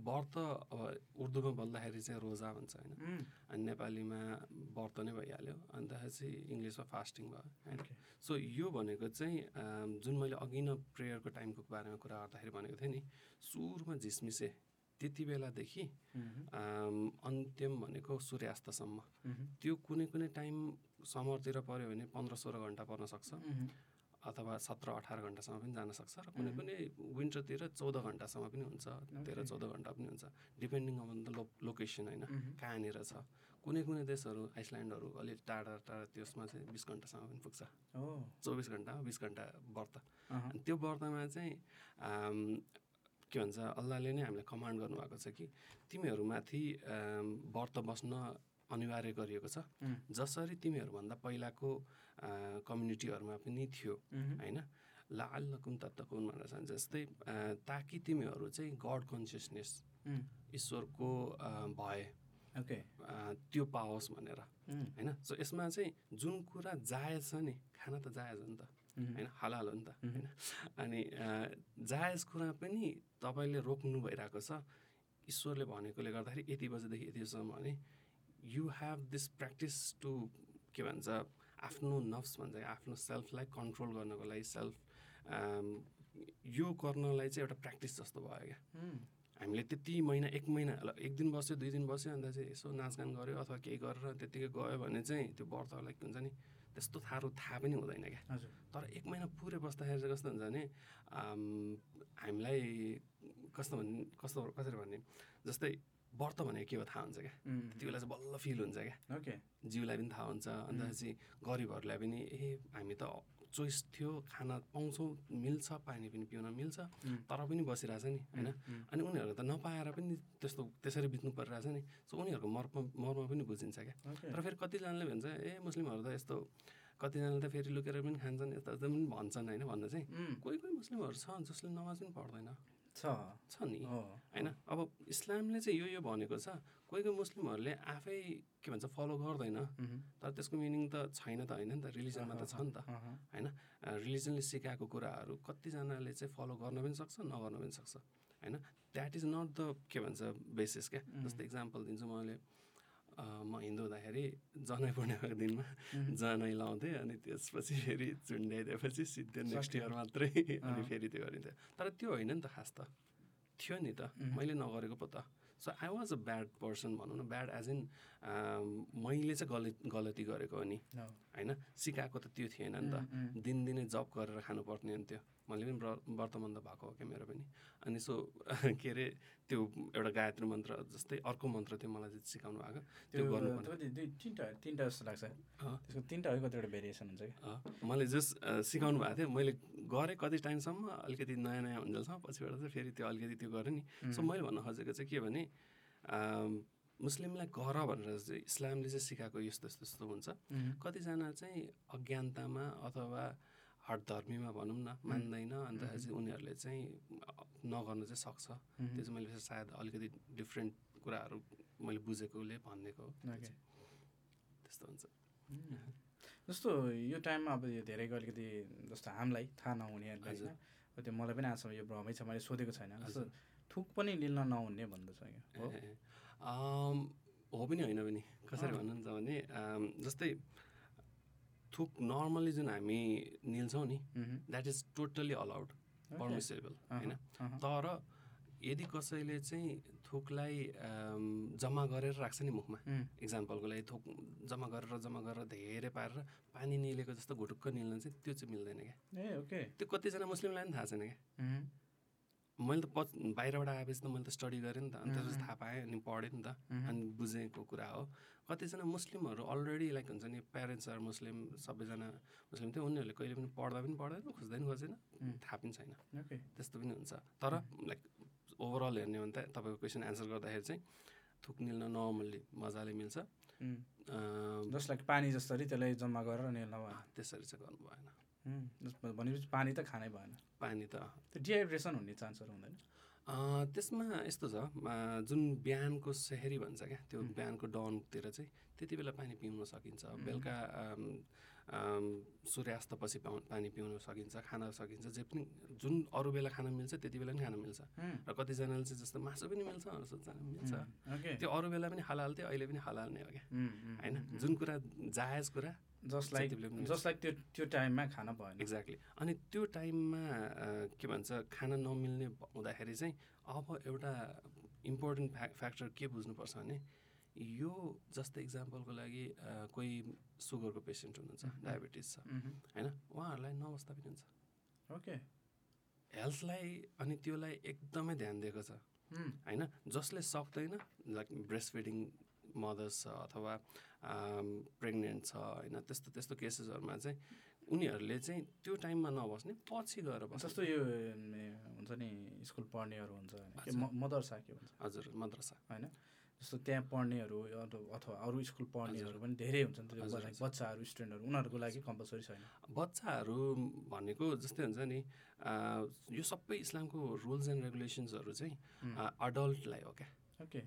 S2: व्रत अब उर्दूमा बोल्दाखेरि चाहिँ रोजा भन्छ होइन
S1: उम्,
S2: अनि नेपालीमा व्रत नै भइहाल्यो अन्तखेरि इङ्ग्लिसमा फास्टिङ भयो होइन
S1: okay,
S2: सो यो भनेको चाहिँ अम, जुन मैले अघि नै प्रेयरको टाइमको बारेमा कुरा गर्दाखेरि भनेको थिएँ नि सुरुमा झिसमिसे त्यति बेलादेखि
S1: मह्म,
S2: अम, अन्त्यम भनेको सूर्यास्तसम्म
S1: मह्म,
S2: त्यो कुनै कुनै टाइम समरतिर पऱ्यो भने पन्ध्र सोह्र घन्टा पर्न सक्छ
S1: मह्म,
S2: अथवा सत्र अठार घन्टासम्म पनि जान सक्छ र कुनै
S1: मह्म।
S2: कुनै विन्टरतिर चौध घन्टासम्म पनि हुन्छ तेह्र
S1: Okay.
S2: चौध घन्टा पनि हुन्छ depending on the lo location होइन
S1: मह्म,
S2: कहाँनिर छ कुनै कुनै देशहरू आइसल्यान्डहरू अलिक टाढा टाढा त्यसमा चाहिँ बिस घन्टासम्म पनि पुग्छ
S1: हो,
S2: चौबिस घन्टा बिस घन्टा व्रत
S1: अहँ,
S2: अनि त्यो व्रतमा चाहिँ आम, के भन्छ अल्लाहले नै हामीलाई कमान्ड गर्नुभएको छ कि तिमीहरूमाथि आम, व्रत बस्न अनिवार्य गरिएको छ
S1: उम्,
S2: जसरी तिमीहरूभन्दा पहिलाको अ, कम्युनिटीहरूमा पनि थियो
S1: मह्म,
S2: होइन ला अल्लकुम तत्तकुन भनेर छ जस्तै अ, ताकि तिमीहरू चाहिँ गड कन्सियसनेस
S1: उम्,
S2: ईश्वरको अ, भय
S1: okay,
S2: अ, त्यो पाओस् भनेर
S1: उम्,
S2: होइन सो यसमा चाहिँ जुन कुरा जायज छ नि खाना त जायज हो नि त
S1: मह्म,
S2: होइन हलाल हो नि त
S1: मह्म,
S2: अनि अ, जायज कुरा पनि तपाईँले रोक्नु भइरहेको छ ईश्वरले भनेकोले गर्दाखेरि यति बजेदेखि यति बजीसम्म भने you have this practice to के भन्छ आफ्नो नफ्स भन्छ आफ्नो सेल्फलाई कन्ट्रोल गर्नको लागि सेल्फ यो गर्नलाई चाहिँ एउटा प्र्याक्टिस जस्तो भयो क्या
S1: उम्,
S2: हामीले त्यति महिना एक महिना ल, एक दिन बस्यो दुई दिन बस्यो अन्त चाहिँ यसो नाचगान गऱ्यो अथवा केही गरेर त्यत्तिकै गयो भने चाहिँ त्यो व्रतलाई के हुन्छ नि त्यस्तो थारो थाहा पनि हुँदैन क्या
S1: हजुर,
S2: तर एक महिना पुरै बस्दाखेरि चाहिँ कस्तो हुन्छ भने आम, हामीलाई कस्तो भन्ने कस्तो कसरी भन्ने जस्तै व्रत भनेको के हो थाहा हुन्छ क्या
S1: उम्,
S2: त्यो बेला चाहिँ बल्ल फिल हुन्छ क्या
S1: okay,
S2: जिउलाई पनि थाहा हुन्छ अन्त चाहिँ गरिबहरूलाई पनि ए हामी त चोइस थियो खाना पाउँछौँ मिल्छ पानी पनि पिउन मिल्छ
S1: उम्,
S2: तर पनि बसिरहेछ नि होइन
S1: उम्,
S2: अनि उनीहरू त नपाएर पनि त्यस्तो त्यसरी बित्नु परिरहेछ नि सो उनीहरूको मर्म मर्म पनि बुझिन्छ क्या
S1: okay,
S2: तर फेरि कतिजनाले भन्छ ए मुस्लिमहरू त यस्तो कतिजनाले त फेरि लुकेर पनि खान्छन् यता उता पनि भन्छन् होइन भन्दा चाहिँ
S1: उम्,
S2: कोही कोही मुस्लिमहरू छ जसले नमाज पनि पढ्दैन
S1: छ,
S2: छ नि
S1: हो,
S2: होइन अब इस्लामले चाहिँ यो यो भनेको छ कोही कोही मुस्लिमहरूले आफै के भन्छ फलो गर्दैन
S1: मह्म,
S2: तर त्यसको मिनिङ त छैन त होइन नि त रिलिजनमा त छ नि त
S1: अहँ,
S2: रिलिजनले सिकाएको कुराहरू कतिजनाले चाहिँ फलो गर्न पनि सक्छ नगर्न पनि सक्छ होइन द्याट इज नट द के भन्छ बेसिस क्या
S1: उम्,
S2: जस्तै इक्जाम्पल दिन्छु मैले अ, म हिन्दू हुँदाखेरि जनै पूर्णिमाको दिनमा
S1: उम्,
S2: जनै लाउँथेँ अनि त्यसपछि फेरि चुन्ड्याइदिएपछि सिधै नेक्स्ट
S1: सकियो।
S2: इयर मात्रै अनि
S1: अँ।
S2: फेरि त्यो गरिन्थ्यो तर त्यो होइन नि त खास त थियो नि त
S1: उम्,
S2: मैले नगरेको पो त so I was a bad person भनौँ न ब्याड एज इन मैले चाहिँ गलत गलती गरेको हो नि
S1: हो,
S2: होइन सिकाएको त त्यो थिएन नि त
S1: उम्, उम्,
S2: दिनदिनै जब गरेर खानुपर्ने हुन्थ्यो मैले पनि व्र- व्रत बन्द भएको हो क्या मेरो पनि अनि सो के अरे त्यो एउटा गायत्री मन्त्र जस्तै अर्को मन्त्र थियो मलाई चाहिँ सिकाउनु भएको त्यो
S1: त्यो
S2: गर्नु पर्ने।
S1: कति दुई तिनवटा तिनवटा जस्तो लाग्छ
S2: अँ।
S1: त्यसको तिनवटाकै कतिवटा भेरिएसन हुन्छ कि
S2: अँ, मैले जस अँ, सिकाउनु भएको थियो मैले गरेँ कति टाइमसम्म अलिकति नयाँ नयाँ हुन्जेलसम्म पछिबाट चाहिँ फेरि त्यो अलिकति त्यो गरेँ नि सो मैले भन्न खोजेको चाहिँ के भने अम्, मुस्लिमलाई गर भनेर चाहिँ इस्लामले चाहिँ सिकाएको यस्तो यस्तो यस्तो हुन्छ कतिजना चाहिँ अज्ञानतामा अथवा हटधर्मीमा भनौँ न मान्दैन अन्त चाहिँ उनीहरूले चाहिँ नगर्न चाहिँ सक्छ त्यो चाहिँ मैले सायद अलिकति डिफ्रेन्ट कुराहरू मैले बुझेकोले भनिदिएको हो त्यो
S1: Okay.
S2: चाहिँ। त्यस्तो हुन्छ
S1: जस्तो यो टाइममा अब यो धेरैको अलिकति जस्तो हामीलाई थाहा नहुनेहरूलाई होइन अब त्यो मलाई पनि आजसम्म यो भ्रमै छ मैले सोधेको छैन जस्तो थुक पनि लिन नहुने भन्दछ क्या हो
S2: ए, अम, हो पनि होइन पनि कसरी
S1: अँ।
S2: भन्नुहुन्छ भने अम, जस्तै थुक नर्मली जुन हामी निल्छौँ नि
S1: मह्म,
S2: that is totally allowed
S1: Okay.
S2: Permissible
S1: अहँ,
S2: होइन
S1: अहँ,
S2: तर यदि कसैले चाहिँ थुकलाई अम, जम्मा गरेर राख्छ नि मुखमा
S1: उम्,
S2: इक्जाम्पलको लागि थुक जम्मा गरेर जम्मा गरेर धेरै पारेर पानी निलेको जस्तो घुटुक्क निल्न चाहिँ त्यो चाहिँ मिल्दैन क्या
S1: ए ओके
S2: त्यो कतिजना मुस्लिमलाई पनि थाहा छैन क्या
S1: मह्म,
S2: मैले त पछि बाहिरबाट आएपछि त मैले त स्टडी गरेँ नि त अनि त्यसपछि थाहा पाएँ अनि पढेँ नि त
S1: मह्म,
S2: अनि बुझेको कुरा हो कतिजना मुस्लिमहरू अलरेडी लाइक हुन्छ नि प्यारेन्ट्स आर मुस्लिम सबैजना मुस्लिम थियो उनीहरूले कहिले पनि पढ्दा पनि पढ्दैन खोज्दै पनि खोजेन
S1: उम्,
S2: थाहा पनि छैन
S1: ओके
S2: त्यस्तो पनि हुन्छ तर लाइक ओभरअल हेर्ने हो भने त तपाईँको क्वेसन एन्सर गर्दाखेरि चाहिँ थुक निल्न नर्मल्ली मजाले मिल्छ
S1: उम्,
S2: अम,
S1: जसलाई पानी जसरी त्यसलाई जम्मा गरेर नि नभएन
S2: त्यसरी चाहिँ गर्नु भएन
S1: उम्, जस- भनेपछि पानी त खानै भएन
S2: पानी त
S1: त्यो डिहाइड्रेसन हुने चान्सहरू हुँदैन
S2: अँ, त्यसमा यस्तो छ अँ, जुन बिहानको सेहेरी भन्छ क्या त्यो
S1: हुँ।
S2: बिहानको डनतिर चाहिँ त्यति बेला पानी पिउन सकिन्छ
S1: हुँ।
S2: बेलुका अम, अम, सूर्यास्तपछि पाउ- पानी पिउन सकिन्छ खान सकिन्छ जे पनि जुन अरू बेला खान मिल्छ त्यति बेला पनि खान मिल्छ
S1: उम्,
S2: र कतिजनाले चाहिँ जस्तो मासु पनि मिल्छ अरू जान मिल्छ
S1: उम्, ओके
S2: त्यो अरू बेला पनि हलाल थियो अहिले पनि हलाल नै हो क्या
S1: उम्, उम्,
S2: होइन
S1: उम्,
S2: जुन कुरा जायज कुरा
S1: जसलाई
S2: जति बेला पनि मिल्छ।
S1: जसलाई त्यो त्यो टाइममा खान भएन
S2: एक्ज्याक्टली अनि त्यो टाइममा अ, के भन्छ खाना नमिल्ने भ- हुँदाखेरि चाहिँ अब एउटा इम्पोर्टेन्ट फ्या फ्याक्टर के बुझ्नुपर्छ भने यो जस्तै इक्जाम्पलको लागि अ, कोही सुगरको पेसेन्ट हुनुहुन्छ
S1: मह्म।
S2: डायबिटिज छ
S1: मह्म,
S2: होइन उहाँहरूलाई नबस्दा पनि हुन्छ
S1: ओके
S2: हेल्थलाई अनि त्योलाई एकदमै ध्यान दिएको छ
S1: उम्,
S2: होइन जसले सक्दैन लाइक ब्रेस्ट फिडिङ मदर्स छ अथवा प्रेग्नेन्ट छ होइन त्यस्तो त्यस्तो केसेसहरूमा चाहिँ उनीहरूले चाहिँ त्यो टाइममा नबस्ने पछि गएर बस्छ
S1: जस्तो यो ए, हुन्छ नि स्कुल पढ्नेहरू हुन्छ होइन के
S2: हजुर।
S1: म- मदरसा के भन्छ
S2: हजुर मद्रसा
S1: होइन जस्तो त्यहाँ पढ्नेहरू अथवा- अथवा अरू स्कुल पढ्नेहरू पनि धेरै हुन्छन् त्यो
S2: हजुर,
S1: बच्चा-
S2: हजुर।
S1: बच्चाहरू स्टुडेन्टहरू उनीहरूको लागि कम्पलसरी छैन
S2: बच्चाहरू भनेको जस्तै हुन्छ नि अ, यो सबै इस्लामको रुल्स एन्ड रेगुलेसन्सहरू चाहिँ
S1: उम्,
S2: अ, अडल्टलाई हो क्या
S1: ओके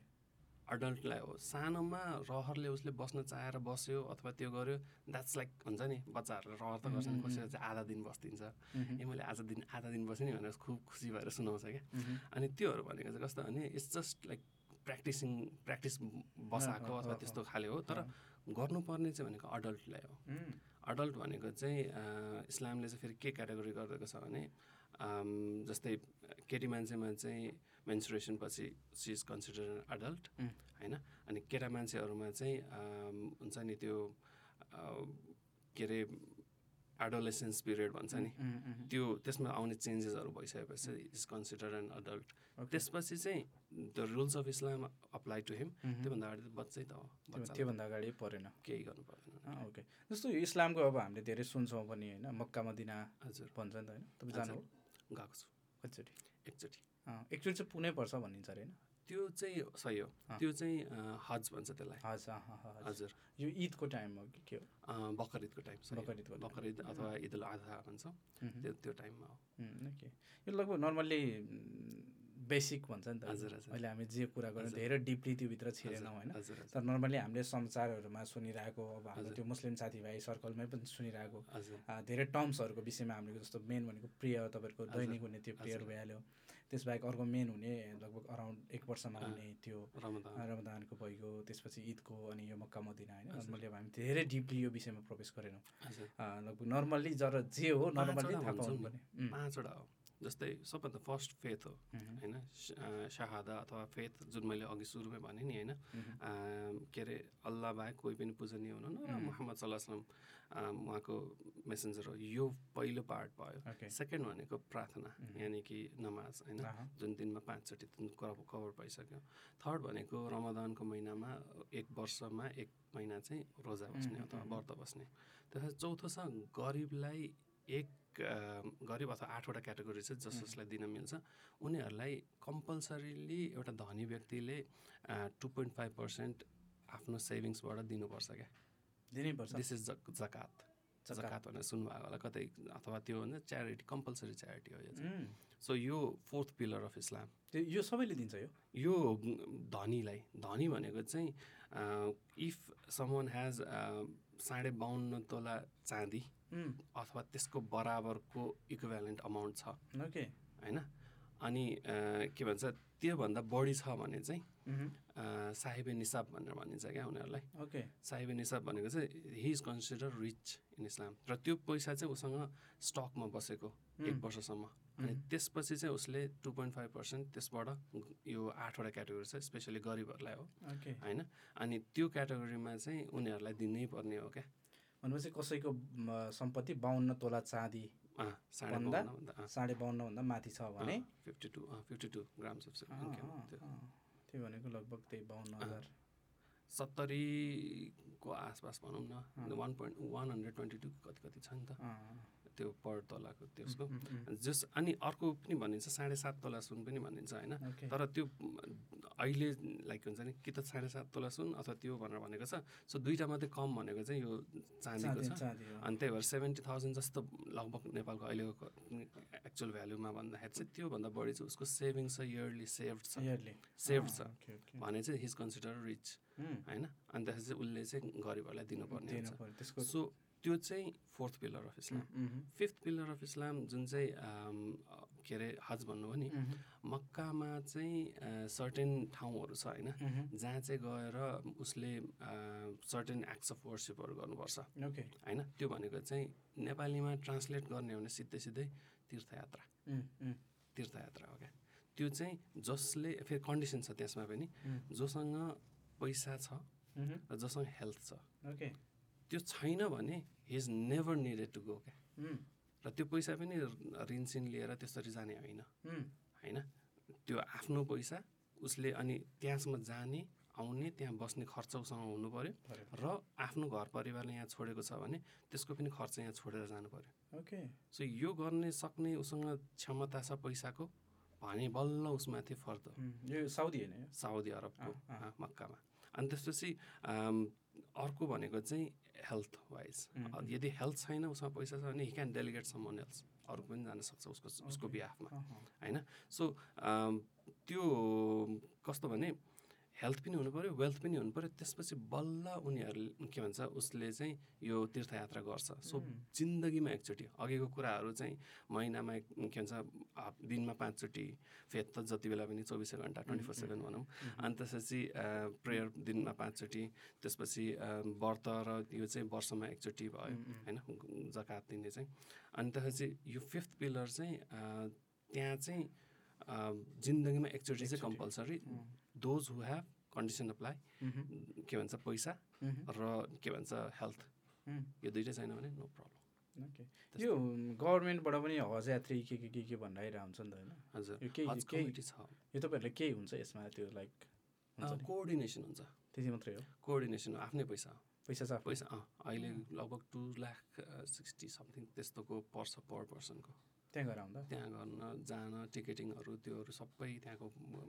S2: अडल्टलाई हो सानोमा रहरले उसले बस्न चाहेर बस्यो अथवा त्यो गर्यो द्याट्स लाइक हुन्छ नि बच्चाहरूले रहर त गर्छन्
S1: उम्,
S2: कसैले चाहिँ आधा दिन बस्दिन्छ
S1: मह्म,
S2: ए मैले आज दिन आधा दिन बसेँ नि भनेर खुब खुसी भएर सुनाउँछ क्या
S1: मह्म,
S2: अनि त्योहरू भनेको चाहिँ कस्तो भने it's just like practising practice बसाएको
S1: अँ,
S2: अथवा
S1: अँ,
S2: त्यस्तो खाले हो तर गर्नुपर्ने चाहिँ भनेको अडल्टलाई हो
S1: उम्,
S2: अडल्ट भनेको चाहिँ अ, इस्लामले चाहिँ फेरि के क्याटेगोरी गरिदिएको छ भने अम, जस्तै केटी मान्छेमा चाहिँ मेन्सुरेसन पछि she is consider adult
S1: um.
S2: होइन अनि केटा मान्छेहरूमा चाहिँ अम, हुन्छ नि त्यो अ, के अरे एडोलेसेन्स पिरियड भन्छ नि
S1: उम्, उम्,
S2: त्यो त्यसमा आउने चेन्जेसहरू भइसकेपछि is consider an adult
S1: Okay.
S2: त्यसपछि चाहिँ the rules of Islam apply to him
S1: mhm,
S2: त्योभन्दा अगाडि त बच्चै त हो
S1: त्यो-
S2: बच्चा
S1: त्योभन्दा अगाडि परेन
S2: केही गर्नु पर्दैन
S1: अँ, ओके जस्तो यो इस्लामको अब हामीले धेरै सुन्छौँ पनि होइन मक्का मदिना
S2: हजुर
S1: भन्छ नि त होइन तपाईँ
S2: हजुर।
S1: जानु हो
S2: गएको छु
S1: कतिचोटि
S2: एकचोटि
S1: अँ, एकचोटि चाहिँ पुनै पर्छ भनिन्छ अरे होइन
S2: त्यो चाहिँ सही हो
S1: अँ।
S2: त्यो चाहिँ अँ, हज भन्छ त्यसलाई
S1: हजुर अँ, अँ, अँ, हजुर
S2: हजुर
S1: यो ईदको टाइम हो कि के हो
S2: अँ, बकर ईदको टाइम सही हो।
S1: बकरिदको
S2: बकर ईद अथवा ईद उल आधा भन्छौँ त्यो त्यो टाइममा हो
S1: ओके यो लगभग नर्मल्ली बेसिक भन्छ नि त
S2: हजुर, हजुर।
S1: अहिले हामी जे कुरा गर्यौँ
S2: हजुर।
S1: धेरै डिपली त्योभित्र छिरेनौँ होइन
S2: हजुर हजुर हजुर
S1: तर नर्मल्ली हामीले समाचारहरूमा सुनिरहेको अब हाम्रो
S2: हजुर।
S1: त्यो मुस्लिम साथीभाइ सर्कलमै पनि सुनिरहेको
S2: हजुर
S1: आ, धेरै टर्म्सहरूको विषयमा हामीले जस्तो मेन भनेको प्रेयर तपाईँको
S2: हजुर,
S1: दैनिक हुने त्यो प्रेयर
S2: हजुर।
S1: भइहाल्यो त्यसबाहेक अर्को मेन हुने लगभग अराउन्ड एक वर्षमा
S2: अँ।
S1: हुने त्यो
S2: रमदान
S1: रमदानको भइगयो त्यसपछि ईदको अनि यो मक्का मदिना होइन
S2: हजुर।
S1: नर्मल्ली अब हामी धेरै डिपली यो विषयमा प्रवेश गरेनौँ
S2: हजुर
S1: आ, लगभग नर्मल्ली जर जे हो नर्मल्ली
S2: पाँचवटा
S1: थाहा
S2: भन्छौँ
S1: पाउनु
S2: नि।
S1: पर्ने उम्,
S2: पाँचवटा हो जस्तै सबभन्दा फर्स्ट फेथ हो
S1: उम्,
S2: होइन स- अँ, शहादा अथवा फेथ जुन मैले अघि सुरुमै भनेँ नि होइन
S1: उम्,
S2: अम्, के अरे अल्लाह बाहेक कोही पनि पूजनीय हुनुहुन्न र
S1: उम्।
S2: मोहम्मद सल्लाहसलम उहाँको मेसेन्जर हो यो पहिलो पार्ट भयो
S1: ओके
S2: सेकेन्ड भनेको प्रार्थना
S1: उम्।
S2: यानि कि नमाज होइन
S1: अहँ,
S2: जुन दिनमा पाँचचोटि जुन कभर कभर भइसक्यो थर्ड भनेको रमदानको महिनामा एक वर्षमा एक महिना चाहिँ रोजा बस्ने
S1: उम्,
S2: अथवा
S1: उम्,
S2: व्रत बस्ने त्यसपछि चौथो छ गरिबलाई एक अम, गरिब अथवा आठवटा क्याटेगोरी छ जस
S1: उम्.
S2: जसलाई दिन मिल्छ उनीहरूलाई कम्पलसरीली एउटा धनी व्यक्तिले टु पोइन्ट फाइभ पर्सेन्ट आफ्नो सेभिङ्सबाट दिनुपर्छ क्या
S1: दिनैपर्छ
S2: दिस इज जक जकात जकात भनेर सुन्नुभएको होला कतै अथवा त्यो भन्दा च्यारिटी कम्पलसरी च्यारिटी हो यो चाहिँ सो यो फोर्थ पिलर अफ इस्लाम
S1: त्यो यो सबैले दिन्छ यो
S2: यो धनीलाई धनी भनेको चाहिँ इफ समन ह्याज साढे बाहन्न तोला चाँदी अथवा त्यसको बराबरको इक्वेलेन्ट अमाउन्ट छ
S1: ओके
S2: होइन अनि अ, के भन्छ त्योभन्दा बढी छ भने चाहिँ अ, साहिबे निसाब भनेर भनिन्छ क्या उनीहरूलाई
S1: ओके
S2: साहिबे निसाब भनेको चाहिँ he is consider rich in Islam र त्यो पैसा चाहिँ उसँग स्टकमा बसेको एक वर्षसम्म अनि त्यसपछि चाहिँ उसले टु पोइन्ट फाइभ पर्सेन्ट त्यसबाट यो आठवटा क्याटेगोरी छ स्पेसली गरिबहरूलाई हो
S1: ओके
S2: होइन अनि त्यो क्याटेगोरीमा चाहिँ उनीहरूलाई दिनै पर्ने हो क्या
S1: भनेपछि कसैको म, सम्पत्ति बाहन्न तोला चाँदी
S2: अँ, साढे
S1: भन्दा?
S2: बाउन्नभन्दा, अँ,
S1: साढे बाहन्नभन्दा माथि छ भने
S2: अँ, 52, अँ, 52 grams of silver,
S1: अँ,
S2: okay,
S1: अँ,
S2: त्यो
S1: अँ। त्यो भनेको लगभग त्यही बाहन्न हजार
S2: सत्तरीको आसपास भनौँ न one point one hundred twenty two कति कति छ नि त
S1: अँ,
S2: त्यो पर तोलाको त्यसको
S1: उम्, उम्,
S2: जस अनि अर्को पनि भनिन्छ साढे सात तोला सुन पनि भनिन्छ होइन
S1: ओके
S2: तर त्यो अहिले लाइक हुन्छ नि कि त साढे सात तोला सुन अथवा त्यो भनेर भनेको छ सो दुइटा मात्रै कम भनेको चाहिँ यो चाँदीको
S1: चाँदी
S2: छ
S1: चाँदी हो।
S2: अनि त्यही भएर सेभेन्टी थाउजन्ड जस्तो लगभग नेपालको अहिलेको एक्चुअल भ्यालुमा भन्दाखेरि चाहिँ त्योभन्दा बढी चाहिँ उसको सेभिङ छ इयरली सेभ छ
S1: Yearly।
S2: सेभ
S1: अँ,
S2: छ
S1: ओके, ओके।
S2: भने चाहिँ हिज कन्सिडर रिच
S1: उम्,
S2: होइन अनि त्यसपछि चाहिँ उसले चाहिँ गरिबहरूलाई दिनुपर्ने
S1: दिनु Mm.
S2: हुन्छ
S1: पर्यो, त्यसको
S2: सो त्यो चाहिँ fourth pillar of Islam
S1: um,
S2: fifth pillar of Islam जुन चाहिँ अम, अ, के अरे हज भन्नुभयो नि
S1: उम्,
S2: मक्कामा चाहिँ सर्टेन ठाउँहरू छ होइन
S1: उम्,
S2: जहाँ चाहिँ गएर उसले सर्टेन एक्ट्स अफ वर्सिपहरू गर्नुपर्छ
S1: ओके
S2: होइन त्यो भनेको चाहिँ नेपालीमा ट्रान्सलेट गर्ने हो भने सिधै सिधै तीर्थयात्रा
S1: उम्, उम्,
S2: तीर्थयात्रा हो क्या त्यो चाहिँ जसले फेरि कन्डिसन छ त्यसमा पनि
S1: उम्,
S2: जोसँग पैसा छ
S1: उम्,
S2: र जोसँग हेल्थ छ
S1: ओके
S2: त्यो छैन भने he is never needed to go क्या
S1: उम्,
S2: र त्यो पैसा पनि रिनसिन लिएर त्यसरी जाने होइन
S1: उम्,
S2: होइन त्यो आफ्नो पैसा उसले अनि त्यहाँसम्म जाने आउने त्यहाँ बस्ने खर्च उसँग हुनु पर्यो
S1: पर्यो।
S2: र आफ्नो घर परिवारले यहाँ छोडेको छ भने त्यसको पनि खर्च यहाँ छोडेर जानु पर्यो
S1: ओके
S2: सो यो गर्ने सक्ने उसँग क्षमता छ पैसाको भने बल्ल उसमाथि फर्द हो।
S1: उम्, यो साउदी होइन यो?
S2: साउदी अरबको
S1: अँ, अँ।
S2: अँ, मक्कामा अनि त्यसपछि अम, अर्को भनेको चाहिँ हेल्थ वाइज
S1: उम्, उम्।
S2: यदि हेल्थ छैन उसँग पैसा छ भने he can delegate someone health अरू पनि जान सक्छ उसको उसको
S1: Okay.
S2: बिहाफमा
S1: अँ, अँ,
S2: होइन सो अम, त्यो कस्तो भने हेल्थ पनि हुनु पऱ्यो वेल्थ पनि हुनु पऱ्यो त्यसपछि बल्ल उनीहरूले के भन्छ उसले चाहिँ यो तीर्थयात्रा गर्छ सो
S1: उम्,
S2: जिन्दगीमा एकचोटि अघिको कुराहरू चाहिँ महिनामा एक- के भन्छ हप- दिनमा पाँचचोटि फेद त जति बेला पनि चौबिसै घन्टा ट्वेन्टी फोर सेभेन भनौँ अनि त्यसपछि प्रेयर दिनमा पाँचचोटि त्यसपछि अ, व्रत र यो चाहिँ वर्षमा एकचोटि भयो
S1: उम्, उम्,
S2: होइन जकात दिने चाहिँ अनि त्यसपछि यो फिफ्थ पिलर चाहिँ अ, त्यहाँ चाहिँ अ, जिन्दगीमा एकचोटि चाहिँ
S1: एकचोटि।
S2: कम्पलसरी
S1: अँ,
S2: those who have condition apply
S1: um,
S2: के भन्छ पैसा
S1: उम्,
S2: र के भन्छ हेल्थ
S1: उम्,
S2: यो दुइटै छैन भने नो प्रब्लम
S1: ओके यो गभर्मेन्टबाट पनि हज यात्री के के के के भनेर आइरहेको हुन्छ नि त होइन
S2: हजुर
S1: यो केही
S2: हज
S1: केही
S2: कमिटी छ
S1: यो तपाईँहरूलाई केही हुन्छ यसमा त्यो लाइक हुन्छ नि?
S2: कोअर्डिनेसन हुन्छ
S1: त्यति मात्रै हो
S2: कोअर्डिनेसन हो आफ्नै पैसा हो।
S1: पैसा चाहिँ आफ्नो
S2: पैसा अँ अहिले लगभग टु लाख सिक्सटी समथिङ त्यस्तोको पर्छ पर पर्सनको
S1: त्यहाँ गएर आउँदा
S2: त्यहाँ गर्न जान टिकटिङहरू त्योहरू सबै त्यहाँको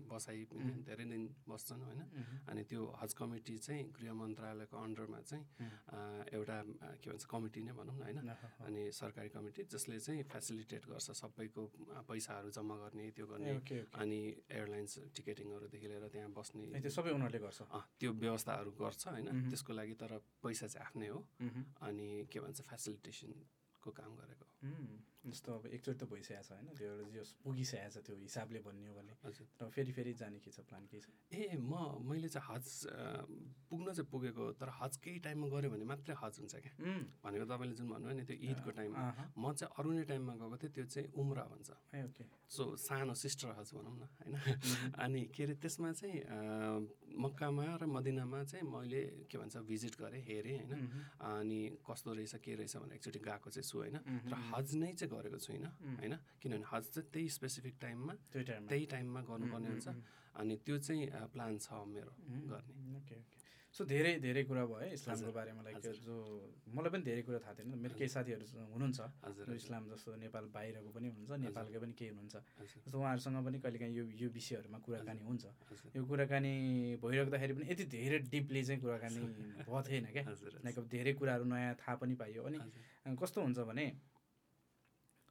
S2: बसाइ पनि
S1: उम्.
S2: धेरै दिन बस्छन् होइन
S1: उम्,
S2: अनि त्यो हज कमिटी चाहिँ गृह मन्त्रालयको अन्डरमा चाहिँ
S1: उम्,
S2: अ, एउटा अ, के भन्छ कमिटी नै भनौँ न होइन
S1: अँ, अँ, अँ,
S2: अनि सरकारी कमिटी जसले चाहिँ फेसिलिटेट गर्छ सबैको अ, पैसाहरू जम्मा गर्ने त्यो गर्ने
S1: ओके ओके
S2: अनि एयरलाइन्स टिकटिङहरूदेखि लिएर त्यहाँ
S1: ए,
S2: बस्ने
S1: त्यो सबै उनीहरूले गर्छ
S2: अँ, त्यो व्यवस्थाहरू गर्छ होइन
S1: मह्म।
S2: त्यसको लागि तर पैसा चाहिँ आफ्नै हो
S1: उम्,
S2: अनि के भन्छ फेसिलिटेसनको काम गरेको हो।
S1: उम्, जस्तो अब एकचोटि त भइसकेको छ होइन त्यो एउटा जस पुगिसकेको छ त्यो हिसाबले भन्ने हो भने
S2: हजुर
S1: र फेरि फेरि जाने के छ प्लान के छ
S2: ए म मैले चाहिँ हज अ, पुग्न चाहिँ पुगेको हो, तर हज केही टाइममा गऱ्यो भने मात्रै हज हुन्छ क्या
S1: उम्,
S2: भनेको तपाईँले जुन भन्नुभयो नि त्यो ईदको टाइममा
S1: अँ, अँ,
S2: म चाहिँ अरू नै टाइममा गएको थिएँ त्यो चाहिँ उम्रा भन्छ
S1: ए, ओके
S2: सो सानो सिस्टर हज भनौँ न होइन अनि के अरे त्यसमा चाहिँ अ, मक्कामा र मदिनामा चाहिँ मैले के भन्छ भिजिट गरेँ हेरेँ होइन
S1: उम्,
S2: अनि कस्तो रहेछ के रहेछ भनेर एकचोटि गएको चाहिँ छु होइन
S1: उम्,
S2: र
S1: उम्,
S2: हज नै चाहिँ गरेको छुइनँ
S1: उम्,
S2: होइन किनभने हज चाहिँ त्यही स्पेसिफिक टाइममा
S1: त्यही टाइममा
S2: त्यही टाइममा गर्नुपर्ने
S1: उम्,
S2: हुन्छ
S1: उम्,
S2: अनि त्यो चाहिँ अ, प्लान छ मेरो
S1: उम्,
S2: गर्ने
S1: उम्, ओके ओके सो धेरै धेरै कुरा भयो इस्लामको
S2: हजुर,
S1: बारेमा लाइक
S2: हजुर।
S1: जो मलाई पनि धेरै कुरा थाहा थिएन मेरो केही साथीहरू ज- हुनुहुन्छ
S2: हजुर
S1: जो इस्लाम जस्तो नेपाल बाहिरको पनि हुनुहुन्छ नेपालको पनि केही हुनुहुन्छ
S2: हजुर,
S1: जस्तो उहाँहरूसँग पनि कहिलेकाहीँ यो यो विषयहरूमा कुराकानी हुन्छ
S2: हजुर,
S1: यो कुराकानी भइराख्दाखेरि पनि यति धेरै डिपली चाहिँ कुराकानी भएको थिएन क्या
S2: हजुर,
S1: लाइक अब धेरै कुराहरू नयाँ थाहा पनि पाइयो अनि
S2: हजुर,
S1: कस्तो हुन्छ भने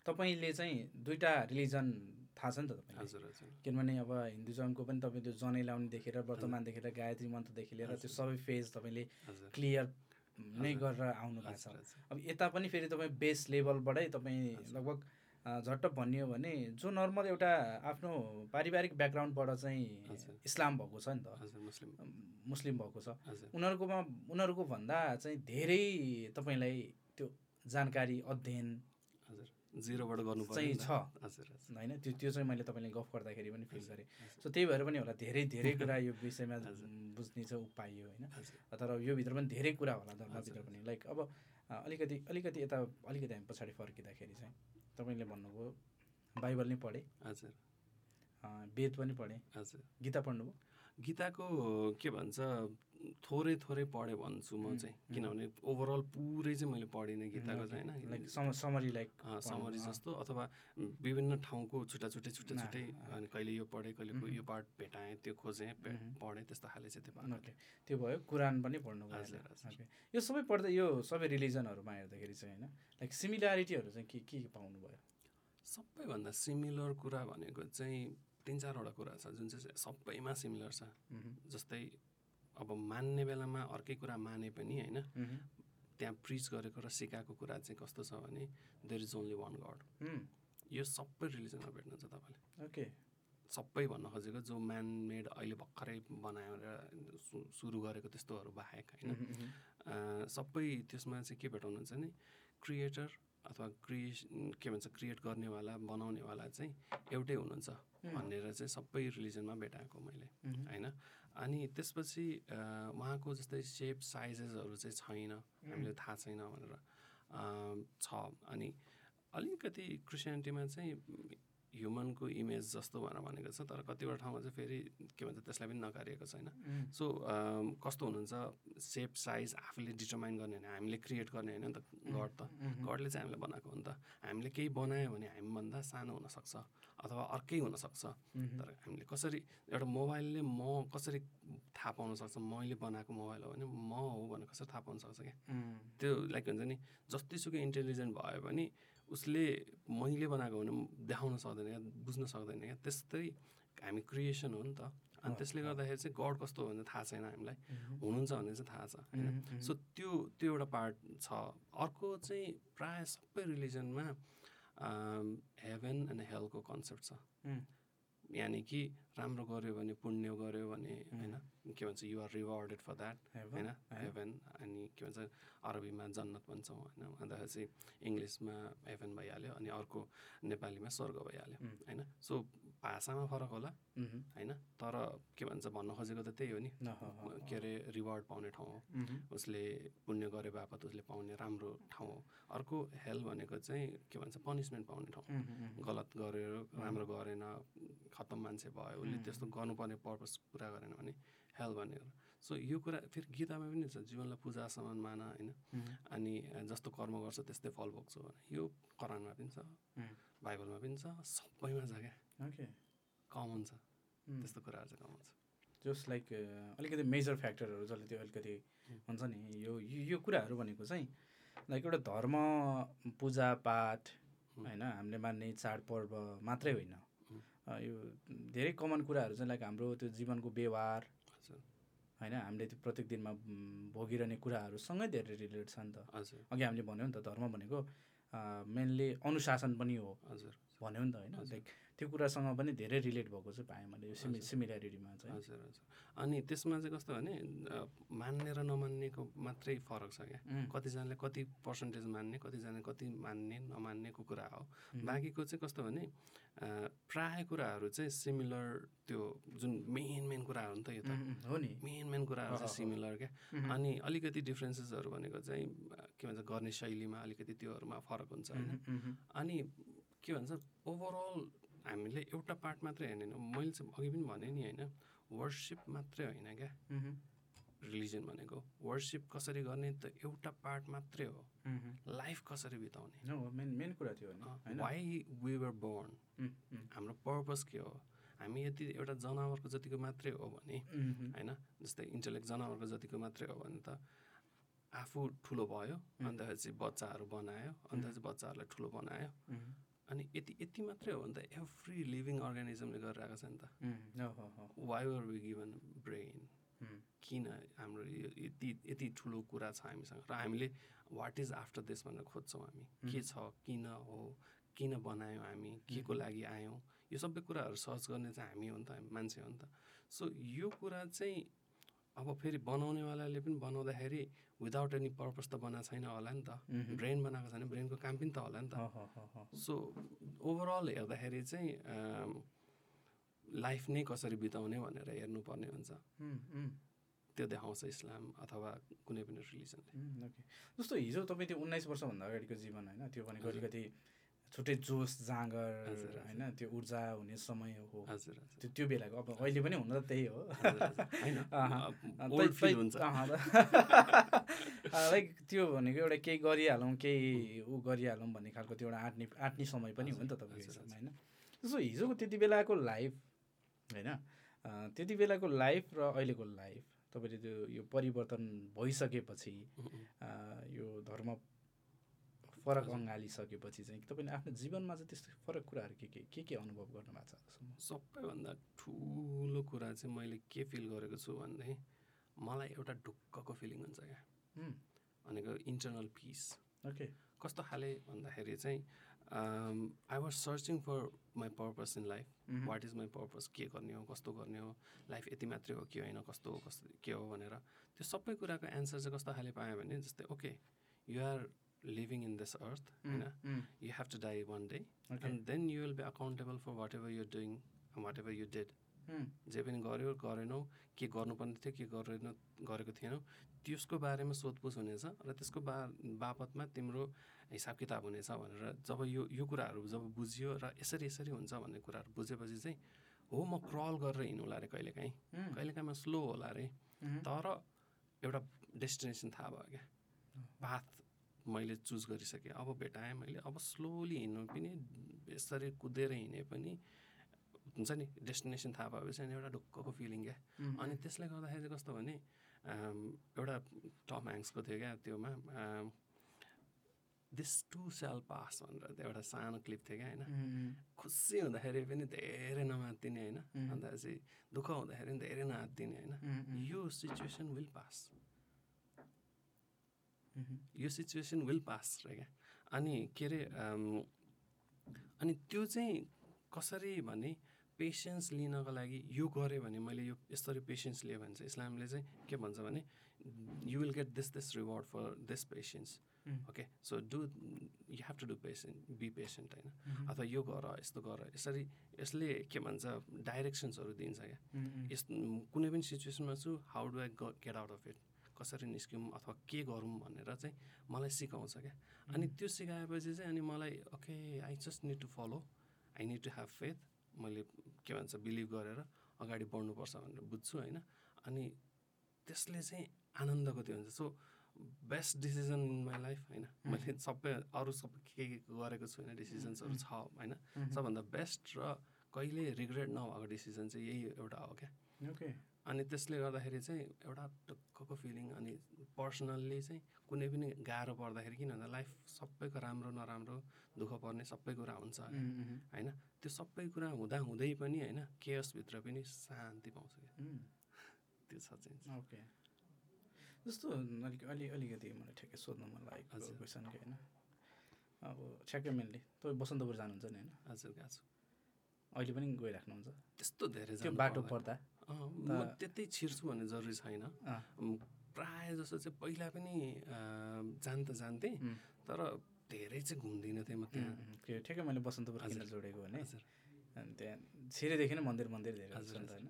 S1: तपाईँले चाहिँ दुईवटा रिलिजन थाहा छ नि त तपाईँलाई
S2: हजुर, हजुर,
S1: किनभने अब हिन्दुजमको पनि तपाईँ त्यो जनै लाउने देखेर वर्तमान देखेर गायत्री मन्त्रदेखि लिएर त्यो सबै फेज तपाईँले
S2: हजुर,
S1: क्लियर नै
S2: हजुर।
S1: गरेर आउनु भएको छ
S2: हजुर, हजुर,
S1: अब यता पनि फेरि तपाईँ बेस लेभलबाटै तपाईँ लगभग अ, झट्ट भनियो भने जो नर्मल एउटा आफ्नो पारिवारिक ब्याकग्राउन्डबाट चाहिँ
S2: हजुर।
S1: इस्लाम भएको छ नि त
S2: हजुर, मुस्लिम,
S1: मुस्लिम भएको छ
S2: हजुर,
S1: उनीहरूकोमा उनीहरूको भन्दा चाहिँ धेरै तपाईँलाई त्यो जानकारी अध्ययन
S2: हजुर, जिरोबाट गर्नु
S1: चाहिँ
S2: पर्यो नि
S1: छ
S2: त। हजुर, हजुर,
S1: होइन त्यो त्यो चाहिँ मैले तपाईँले गफ गर्दाखेरि पनि फिल गरेँ
S2: हजुर,
S1: सो त्यही भएर पनि होला धेरै धेरै कुरा यो विषयमा
S2: हजुर।
S1: बुझ्ने चाहिँ उपाय होइन
S2: हजुर,
S1: तर योभित्र पनि धेरै कुरा होला धर्मभित्र
S2: हजुर,
S1: पनि लाइक अब अ, अलिकति अलिकति यता अलिकति हामी पछाडि फर्किँदाखेरि चाहिँ तपाईँले भन्नुभयो बाइबल नै पढेँ
S2: हजुर,
S1: अ, वेद पनि पढेँ
S2: हजुर।
S1: गीता पढ्नुभयो
S2: गीताको के भन्छ थोरै थोरै पढेँ भन्छु म
S1: हुँ,
S2: चाहिँ
S1: हुँ।
S2: किनभने ओभरअल पुरै चाहिँ मैले पढिनँ गीताको चाहिँ
S1: लाइक
S2: होइन
S1: सम समरी लाइक
S2: अँ, समरी
S1: अँ।
S2: जस्तो अथवा विभिन्न ठाउँको छुट्टा छुट्टै छुट्टा
S1: अँ,
S2: छुट्टै
S1: अँ।
S2: अनि कहिले यो पढेँ कहिले को-
S1: उम्,
S2: यो पार्ट भेटाएँ त्यो खोजेँ पे-
S1: उम्।
S2: पढेँ त्यस्तो खाले चाहिँ त्यो भएको
S1: ओके त्यो भयो कुरान पनि पढ्नुभयो
S2: हजुर,
S1: होला।
S2: हजुर।
S1: ओके यो सबै पढ्दा यो सबै रिलिजनहरूमा हेर्दाखेरि चाहिँ होइन लाइक सिमिल्यारिटीहरू चाहिँ के के पाउनुभयो
S2: सबैभन्दा सिमिलर कुरा भनेको चाहिँ तिन चारवटा कुरा छ जुन चाहिँ सबैमा सिमिलर छ
S1: मह्म,
S2: जस्तै अब मान्ने बेलामा अर्कै कुरा माने पनि होइन
S1: मह्म,
S2: त्यहाँ प्रिच गरेको र सिकाएको कुरा चाहिँ कस्तो छ भने there is only one God
S1: mhm,
S2: यो सबै रिलिजनमा भेट्नुहुन्छ तपाईँले
S1: ओके
S2: सबै भन्न खोजेको जो म्यानमेड अहिले भर्खरै बनाएर सु- सुरु गरेको त्यस्तोहरू बाहेक होइन
S1: मह्म, मह्म,
S2: अँ, सबै त्यसमा चाहिँ के भेटाउनुहुन्छ भने क्रिएटर अथवा क्रिएस के भन्छ क्रिएट गर्नेवाला बनाउनेवाला चाहिँ एउटै हुनुहुन्छ
S1: मह्म,
S2: भनेर चाहिँ सबै रिलिजनमा भेटाएको मैले
S1: मह्म,
S2: होइन अनि त्यसपछि अँ, उहाँको जस्तै सेप साइजेसहरू चाहिँ छैन हामीले थाहा छैन भनेर अँ, छ अनि अलिकति क्रिस्चियनिटीमा चाहिँ ह्युमनको इमेज जस्तो भनेर भनेको छ तर कतिवटा ठाउँमा चाहिँ फेरि के भन्छ त्यसलाई पनि नकारिएको छैन
S1: मह्म,
S2: सो अम, कस्तो हुनुहुन्छ सेप साइज आफूले डिटर्माइन गर्ने होइन हामीले क्रिएट गर्ने होइन नि त गड त
S1: मह्म,
S2: गडले चाहिँ हामीलाई बनाएको हो नि त हामीले केही बनायो भने हामीभन्दा सानो हुनसक्छ अथवा अर्कै हुनसक्छ
S1: मह्म,
S2: तर हामीले कसरी एउटा मोबाइलले म कसरी थाहा पाउन सक्छ मैले बनाएको मोबाइल हो भने म हो भनेर कसरी थाहा पाउन सक्छ क्या
S1: मह्म,
S2: त्यो लाइक हुन्छ नि जतिसुकै इन्टेलिजेन्ट भयो भने उसले मैले बनाएको हो भने देखाउन सक्दैन क्या बुझ्न सक्दैन क्या त्यस्तै हामी क्रिएसन हो नि त अनि
S1: हो,
S2: त्यसले
S1: हो।
S2: गर्दाखेरि चाहिँ गड कस्तो हो भने थाहा छैन हामीलाई
S1: मह्म,
S2: हुनुहुन्छ भने चाहिँ थाहा छ होइन
S1: मह्म, मह्म,
S2: सो त्यो त्यो एउटा पार्ट छ अर्को चाहिँ प्राय सबै um, रिलिजनमा हेभेन एन्ड हेलको कन्सेप्ट छ
S1: मह्म,
S2: यानि कि राम्रो गऱ्यो भने पुण्य गऱ्यो भने
S1: हुँ।
S2: होइन के भन्छ you're rewarded for that
S1: heaven,
S2: होइन
S1: है।
S2: हेभेन अनि के भन्छ अरबीमा जन्नत भन्छौँ होइन भन्दाखेरि चाहिँ इङ्ग्लिसमा हेभेन भइहाल्यो अनि अर्को नेपालीमा स्वर्ग भइहाल्यो
S1: हुँ।
S2: होइन सो भाषामा फरक होला
S1: मह्म,
S2: होइन तर के भन्छ भन्न खोजेको त त्यही हो नि
S1: न, ह, ह,
S2: के अरे रिवार्ड पाउने ठाउँ हो
S1: मह्म,
S2: उसले पुण्य गरे बापत उसले पाउने राम्रो ठाउँ हो अर्को हेल भनेको चाहिँ के भन्छ पनिसमेन्ट पाउने ठाउँ
S1: मह्म, मह्म,
S2: गलत गरेर राम्रो गरेन खतम मान्छे भयो उसले
S1: हुँ।
S2: त्यस्तो गर्नुपर्ने पर्पस पुरा गरेन भने हेल भनेर सो यो कुरा फेरि गीतामा पनि छ जीवनलाई पूजा समान मान होइन
S1: मह्म,
S2: अनि जस्तो कर्म गर्छ त्यस्तै फल भोग्छु भने यो करानमा पनि छ
S1: हुँ।
S2: बाइबलमा पनि छ सबैमा छ क्या
S1: ओके
S2: कमन छ
S1: मह्म।
S2: त्यस्तो कुराहरू चाहिँ कमन छ
S1: जस लाइक अ, अलिकति मेजर फ्याक्टरहरू जसले त्यो अलिकति
S2: Mm.
S1: हुन्छ नि यो यो यो कुराहरू भनेको चाहिँ लाइक एउटा धर्म पूजापाठ
S2: Mm.
S1: होइन हामीले मान्ने चाडपर्व मात्रै होइन
S2: Mm.
S1: अ, यो धेरै कमन कुराहरू चाहिँ लाइक हाम्रो त्यो जीवनको व्यवहार
S2: हजुर
S1: होइन हामीले त्यो प्रत्येक दिनमा म, भोगिरहने कुराहरूसँगै धेरै रिलेटेड छ नि त
S2: हजुर
S1: अघि हामीले भन्यौँ नि त धर्म भनेको मेनली अनुशासन पनि हो
S2: हजुर
S1: भन्यौँ नि त होइन
S2: हजुर।
S1: लाइक त्यो कुरासँग पनि धेरै रिलेट भएको चाहिँ पाएँ मैले यो सिमि
S2: हजुर।
S1: सिमिल्यारिटीमा चाहिँ
S2: हजुर हजुर अनि त्यसमा चाहिँ कस्तो भने अ, मान्ने र नमान्नेको मात्रै फरक छ क्या
S1: Mm.
S2: कतिजनाले कति पर्सेन्टेज मान्ने कतिजनाले कति मान्ने नमान्नेको कुरा हो
S1: Mhm.
S2: बाँकीको चाहिँ कस्तो भने अ, प्राय कुराहरू चाहिँ सिमिलर त्यो जुन मेन मेन कुराहरू नि त यो त
S1: Mm, mm, हो नि
S2: मेन मेन कुराहरू
S1: अहह।
S2: चाहिँ सिमिलर क्या
S1: Mhm.
S2: अनि अलिकति डिफ्रेन्सेसहरू भनेको चाहिँ अ, के भन्छ गर्ने शैलीमा अलिकति त्योहरूमा फरक हुन्छ होइन
S1: मह्म, मह्म,
S2: अनि के भन्छ ओभरअल हामीले एउटा
S1: Mm-hmm.
S2: पार्ट मात्रै हेर्ने होइन मैले चाहिँ अघि पनि भने नि होइन वर्सिप मात्रै होइन क्या
S1: मह्म,
S2: रिलिजन भनेको वर्सिप कसरी गर्ने त एउटा पार्ट मात्रै हो
S1: Mm-hmm.
S2: लाइफ कसरी बिताउने
S1: मेन मेन कुरा थियो नि
S2: Uh,
S1: होइन
S2: why we were born
S1: um, um,
S2: हाम्रो पर्पस के हो हामी यदि एउटा जनावरको जतिको मात्रै हो भने
S1: उम्, उम्,
S2: होइन जस्तै इन्टलेक्ट जनावरको जतिको मात्रै हो भने त आफू ठुलो भयो अन्त चाहिँ बच्चाहरू बनायो अन्त चाहिँ बच्चाहरूलाई ठुलो बनायो
S1: उम्,
S2: अनि यति यति मात्रै हो भने त एभ्री लिभिङ अर्गानिजमले गरिरहेको छ नि त
S1: उम्, हो, हो, हो,
S2: why are we given brain
S1: um,
S2: किन हाम्रो यो यति यति ठुलो कुरा छ हामीसँग र हामीले वाट इज आफ्टर दिस भनेर खोज्छौँ हामी के छ किन हो किन बनायौँ हामी के को लागि आयौँ यो सबै कुराहरू सर्च गर्ने चाहिँ हामी हो नि त हामी मान्छे हो नि त सो यो कुरा चाहिँ अब फेरि बनाउनेवालाले पनि बनाउँदाखेरि विदाउट एनी पर्पज त बनाएको छैन होला नि त
S1: मह्म।
S2: ब्रेन बनाएको छैन ब्रेनको काम पनि त होला नि त
S1: हो, हो, हो, हो,
S2: सो ओभरअल हेर्दाखेरि चाहिँ लाइफ नै कसरी बिताउने भनेर हेर्नुपर्ने हुन्छ
S1: उम्, उम्,
S2: त्यो देखाउँछ इस्लाम अथवा कुनै पनि रिलिजनले
S1: उम्, ओके mm, जस्तो हिजो तपाईँ त्यो उन्नाइस वर्षभन्दा अगाडिको जीवन होइन त्यो भनेको अलिकति छुट्टै जोस जाँगर
S2: हजुर, हजुर।
S1: होइन त्यो ऊर्जा हुने समय हो
S2: हजुर हजुर,
S1: त्यो त्यो बेलाको अब अहिले पनि हुन त त्यही हो
S2: हजुर, हजुर। होइन,
S1: अहँ,
S2: अब old feel हुन्छ
S1: लाइक त्यो भनेको एउटा केही गरिहालौँ केही ऊ गरिहालौँ भन्ने खालको त्यो एउटा आँट्ने आँट्ने समय पनि हो नि त तपाईँको
S2: हजुर,
S1: हिसाबमा होइन जस्तो हिजोको त्यति बेलाको लाइफ होइन अ, त्यति बेलाको लाइफ र अहिलेको लाइफ तपाईँले त्यो यो परिवर्तन भइसकेपछि
S2: उम्,
S1: अ, यो धर्म फरक अँगालिसकेपछि चाहिँ तपाईँले आफ्नो जीवनमा चाहिँ त्यस्तो फरक कुराहरू के के के के अनुभव गर्नु भएको छ आजसम्म
S2: सबैभन्दा ठुलो कुरा चाहिँ मैले के फिल गरेको छु भन्दाखेरि मलाई एउटा ढुक्कको फिलिङ हुन्छ क्या
S1: उम्,
S2: भनेको इन्टरनल पिस
S1: ओके
S2: कस्तो खाले भन्दाखेरि चाहिँ I was searching for my purpose in life
S1: mhm.
S2: What is my purpose के गर्ने हो कस्तो गर्ने हो लाइफ यति मात्रै हो कि होइन कस्तो हो कस्तो के हो भनेर त्यो सबै कुराको एन्सर चाहिँ कस्तो खाले पायो भने जस्तै okay you are living in this earth होइन
S1: um,
S2: you have to die one day
S1: Okay.
S2: And then you will be accountable for whatever you doing whatever you did
S1: um,
S2: जे पनि गऱ्यो गरेनौ के गर्नुपर्ने थियो के गरेन गरेको थिएनौ त्यसको बारेमा सोधपुछ हुनेछ र त्यसको बा बापतमा तिम्रो हिसाब किताब हुनेछ भनेर जब यो यो कुराहरू जब बुझियो र यसरी यसरी हुन्छ भन्ने कुराहरू बुझेपछि चाहिँ हो म क्रल गरेर हिँड्नु होला अरे कहिलेकाहीँ
S1: उम्,
S2: कहिलेकाहीँमा स्लो होला अरे
S1: उम्,
S2: तर एउटा डेस्टिनेसन थाहा भयो क्या पाथ मैले चुज गरिसकेँ अब भेटाएँ मैले अब स्लोली हिँड्नु पनि यसरी कुदेर हिँडे पनि हुन्छ नि डेस्टिनेसन थाहा भएपछि अनि एउटा ढुक्कको फिलिङ क्या
S1: उम्,
S2: अनि त्यसले गर्दाखेरि चाहिँ कस्तो भने अम, एउटा टम ह्याङ्क्सको थियो क्या त्योमा दिस टु सेल पास भनेर त्यो एउटा सानो क्लिप थियो क्या होइन
S1: उम्, उम्,
S2: खुसी हुँदाखेरि पनि धेरै नमात्तिने होइन अन्त चाहिँ दुःख हुँदाखेरि पनि धेरै नआत्तिने होइन
S1: उम्, उम्,
S2: यो सिचुएसन विल पास
S1: उम्,
S2: यो सिचुएसन विल पास र क्या अनि के अरे अम, अनि um, त्यो चाहिँ कसरी भने पेसेन्स लिनको लागि यो गरेँ भने मैले यो यसरी पेसेन्स लिएँ भने चाहिँ इस्लामले चाहिँ के भन्छ भने you will get this this reward for this patience
S1: Mm.
S2: Okay so do you have to do patient be patient
S1: Mhm.
S2: होइन अथवा यो गर यस्तो गर यसरी यसले के भन्छ डाइरेक्सन्सहरू दिन्छ क्या
S1: उम्, उम्,
S2: यस म कुनै पनि सिचुएसनमा छु how do I get out of it कसरी निस्क्यौँ अथवा के गरौँ भनेर चाहिँ मलाई सिकाउँछ क्या
S1: Mhm.
S2: अनि त्यो सिकाएपछि चाहिँ अनि मलाई okay I just need to follow I need to have faith मैले के भन्छ बिलिभ गरेर अगाडि बढ्नुपर्छ भनेर बुझ्छु होइन अनि त्यसले चाहिँ आनन्दको त्यो हुन्छ so best decision in my life होइन मैले सबै अरू सबै के के गरेको छु होइन डिसिजन्सहरू छ होइन
S1: mm. Mhm.
S2: सबभन्दा बेस्ट र कहिले रिग्रेट नभएको डिसिजन चाहिँ यही एउटा हो क्या
S1: ओके
S2: अनि त्यसले गर्दाखेरि चाहिँ एउटा ढुक्कको फिलिङ अनि पर्सनल्ली चाहिँ कुनै पनि गाह्रो पर्दाखेरि किन भन्दा लाइफ सबैको राम्रो नराम्रो दुःख पर्ने सबै कुरा हुन्छ
S1: उम्, उम्,
S2: होइन त्यो सबै कुरा हुँदा हुँदै पनि होइन केयसभित्र पनि शान्ति पाउँछ क्या
S1: उम्,
S2: त्यो छ चाहिँ
S1: ओके जस्तो अलिक अलि अलिकति मलाई ठ्याक्कै सोध्नु मन लागेको
S2: हजुर।
S1: क्वेसन कि होइन अब ठ्याक्कै मेनली तपाईँ बसन्तपुर जानुहुन्छ नि होइन
S2: हजुर गएको छु
S1: अहिले पनि गइराख्नुहुन्छ
S2: त्यस्तो धेरै
S1: त्यो
S2: जानु
S1: बाटो
S2: पर्दैन।
S1: पर्दा
S2: अँ, म त्यतै छिर्छु भन्ने जरुरी छैन
S1: अँ।
S2: म प्रायः जसो चाहिँ पहिला पनि अँ, जान त जान्थेँ
S1: उम्,
S2: तर धेरै चाहिँ घुम्दिनँ थिएँ म
S1: उम्,
S2: त्यहाँ
S1: उम्, त्यो ठ्याक्कै मैले बसन्तपुर किन
S2: हजुर।
S1: जोडेको भने
S2: हजुर
S1: अनि त्यहाँ छिरेदेखि नै मन्दिर मन्दिर धेरै
S2: हजुर,
S1: हुन्छ नि त
S2: हजुर।
S1: होइन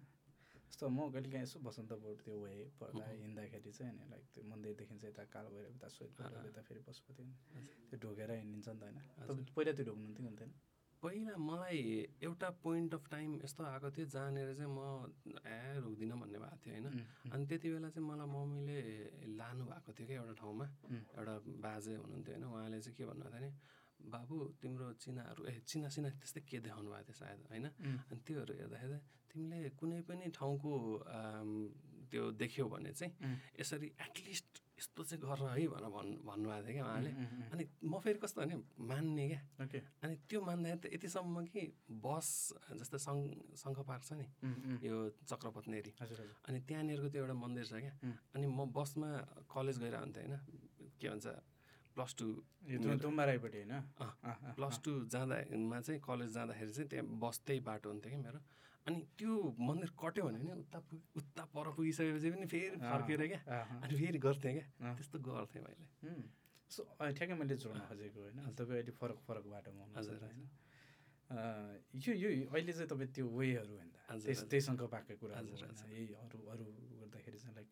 S1: जस्तो म कहिले काहीँ यसो बसन्तपुर त्यो वे पर्दा हिँड्दाखेरि चाहिँ अनि लाइक त्यो मन्दिरदेखि चाहिँ यता कालो भएर उता सोधेर
S2: अँ, अँ।
S1: यता फेरि पशुपति
S2: हजुर।
S1: त्यो ढोकेर हिँडिन्छ नि त होइन
S2: हजुर।
S1: तपाईँ पहिला त्यो ढोक्नुहुन्थ्यो हुन्थेन
S2: पहिला मलाई एउटा पोइन्ट अफ टाइम यस्तो आएको थियो जहाँनिर चाहिँ म ए रोक्दिनँ भन्ने भएको थियो होइन अनि त्यति बेला चाहिँ मलाई मम्मीले लानु भएको थियो क्या एउटा ठाउँमा एउटा बाजे हुनुहुन्थ्यो होइन उहाँले चाहिँ के भन्नुभएको थियो भने बाबु तिम्रो चिनाहरू ए चिना चिना त्यस्तै के देखाउनु भएको थियो सायद होइन अनि त्योहरू हेर्दाखेरि तिमीले कुनै पनि ठाउँको आम, त्यो देख्यौ भने चाहिँ यसरी एटलिस्ट यस्तो चाहिँ गर है भनेर भन्नु भन्नुभएको थियो क्या उहाँले अनि म फेरि कस्तो भने मान्ने क्या
S1: ओके
S2: अनि त्यो मान्दाखेरि त यतिसम्म कि बस जस्तो सङ्घ सङ्घ पार्क छ नि यो चक्रपत्नेरी
S1: हजुर हजुर
S2: अनि त्यहाँनिरको त्यो एउटा मन्दिर छ क्या
S1: उम्.
S2: अनि म बसमा कलेज गएर हुन्थेँ होइन के भन्छ प्लस टू
S1: यो दु- दुम्बा राईपट्टि होइन
S2: अँ,
S1: अँ, अँ,
S2: प्लस टू जाँदामा चाहिँ कलेज जाँदाखेरि चाहिँ त्यहाँ बस त्यही बाटो हुन्थ्यो कि मेरो अनि त्यो मन्दिर कट्यो भने नि उता पुग उता पर पुगिसकेपछि पनि फेरि
S1: अँ,
S2: फर्केर क्या
S1: अँ, अँ,
S2: अनि फेरि गर्थेँ क्या
S1: अँ।
S2: त्यस्तो गर्थेँ मैले
S1: उम्। सो अँ, ठ्याक्कै मैले जोड्न खोजेको होइन तपाईँ अहिले फरक फरक बाटोमा हुनुहुन्छ
S2: हजुर,
S1: त होइन अँ, यो यो अहिले चाहिँ तपाईँ त्यो वेहरू भन्दा
S2: हजुर,
S1: त्यस
S2: हजुर।
S1: त्यहीसँग पाएको कुरा
S2: हजुर,
S1: यही अरू अरू गर्दाखेरि चाहिँ लाइक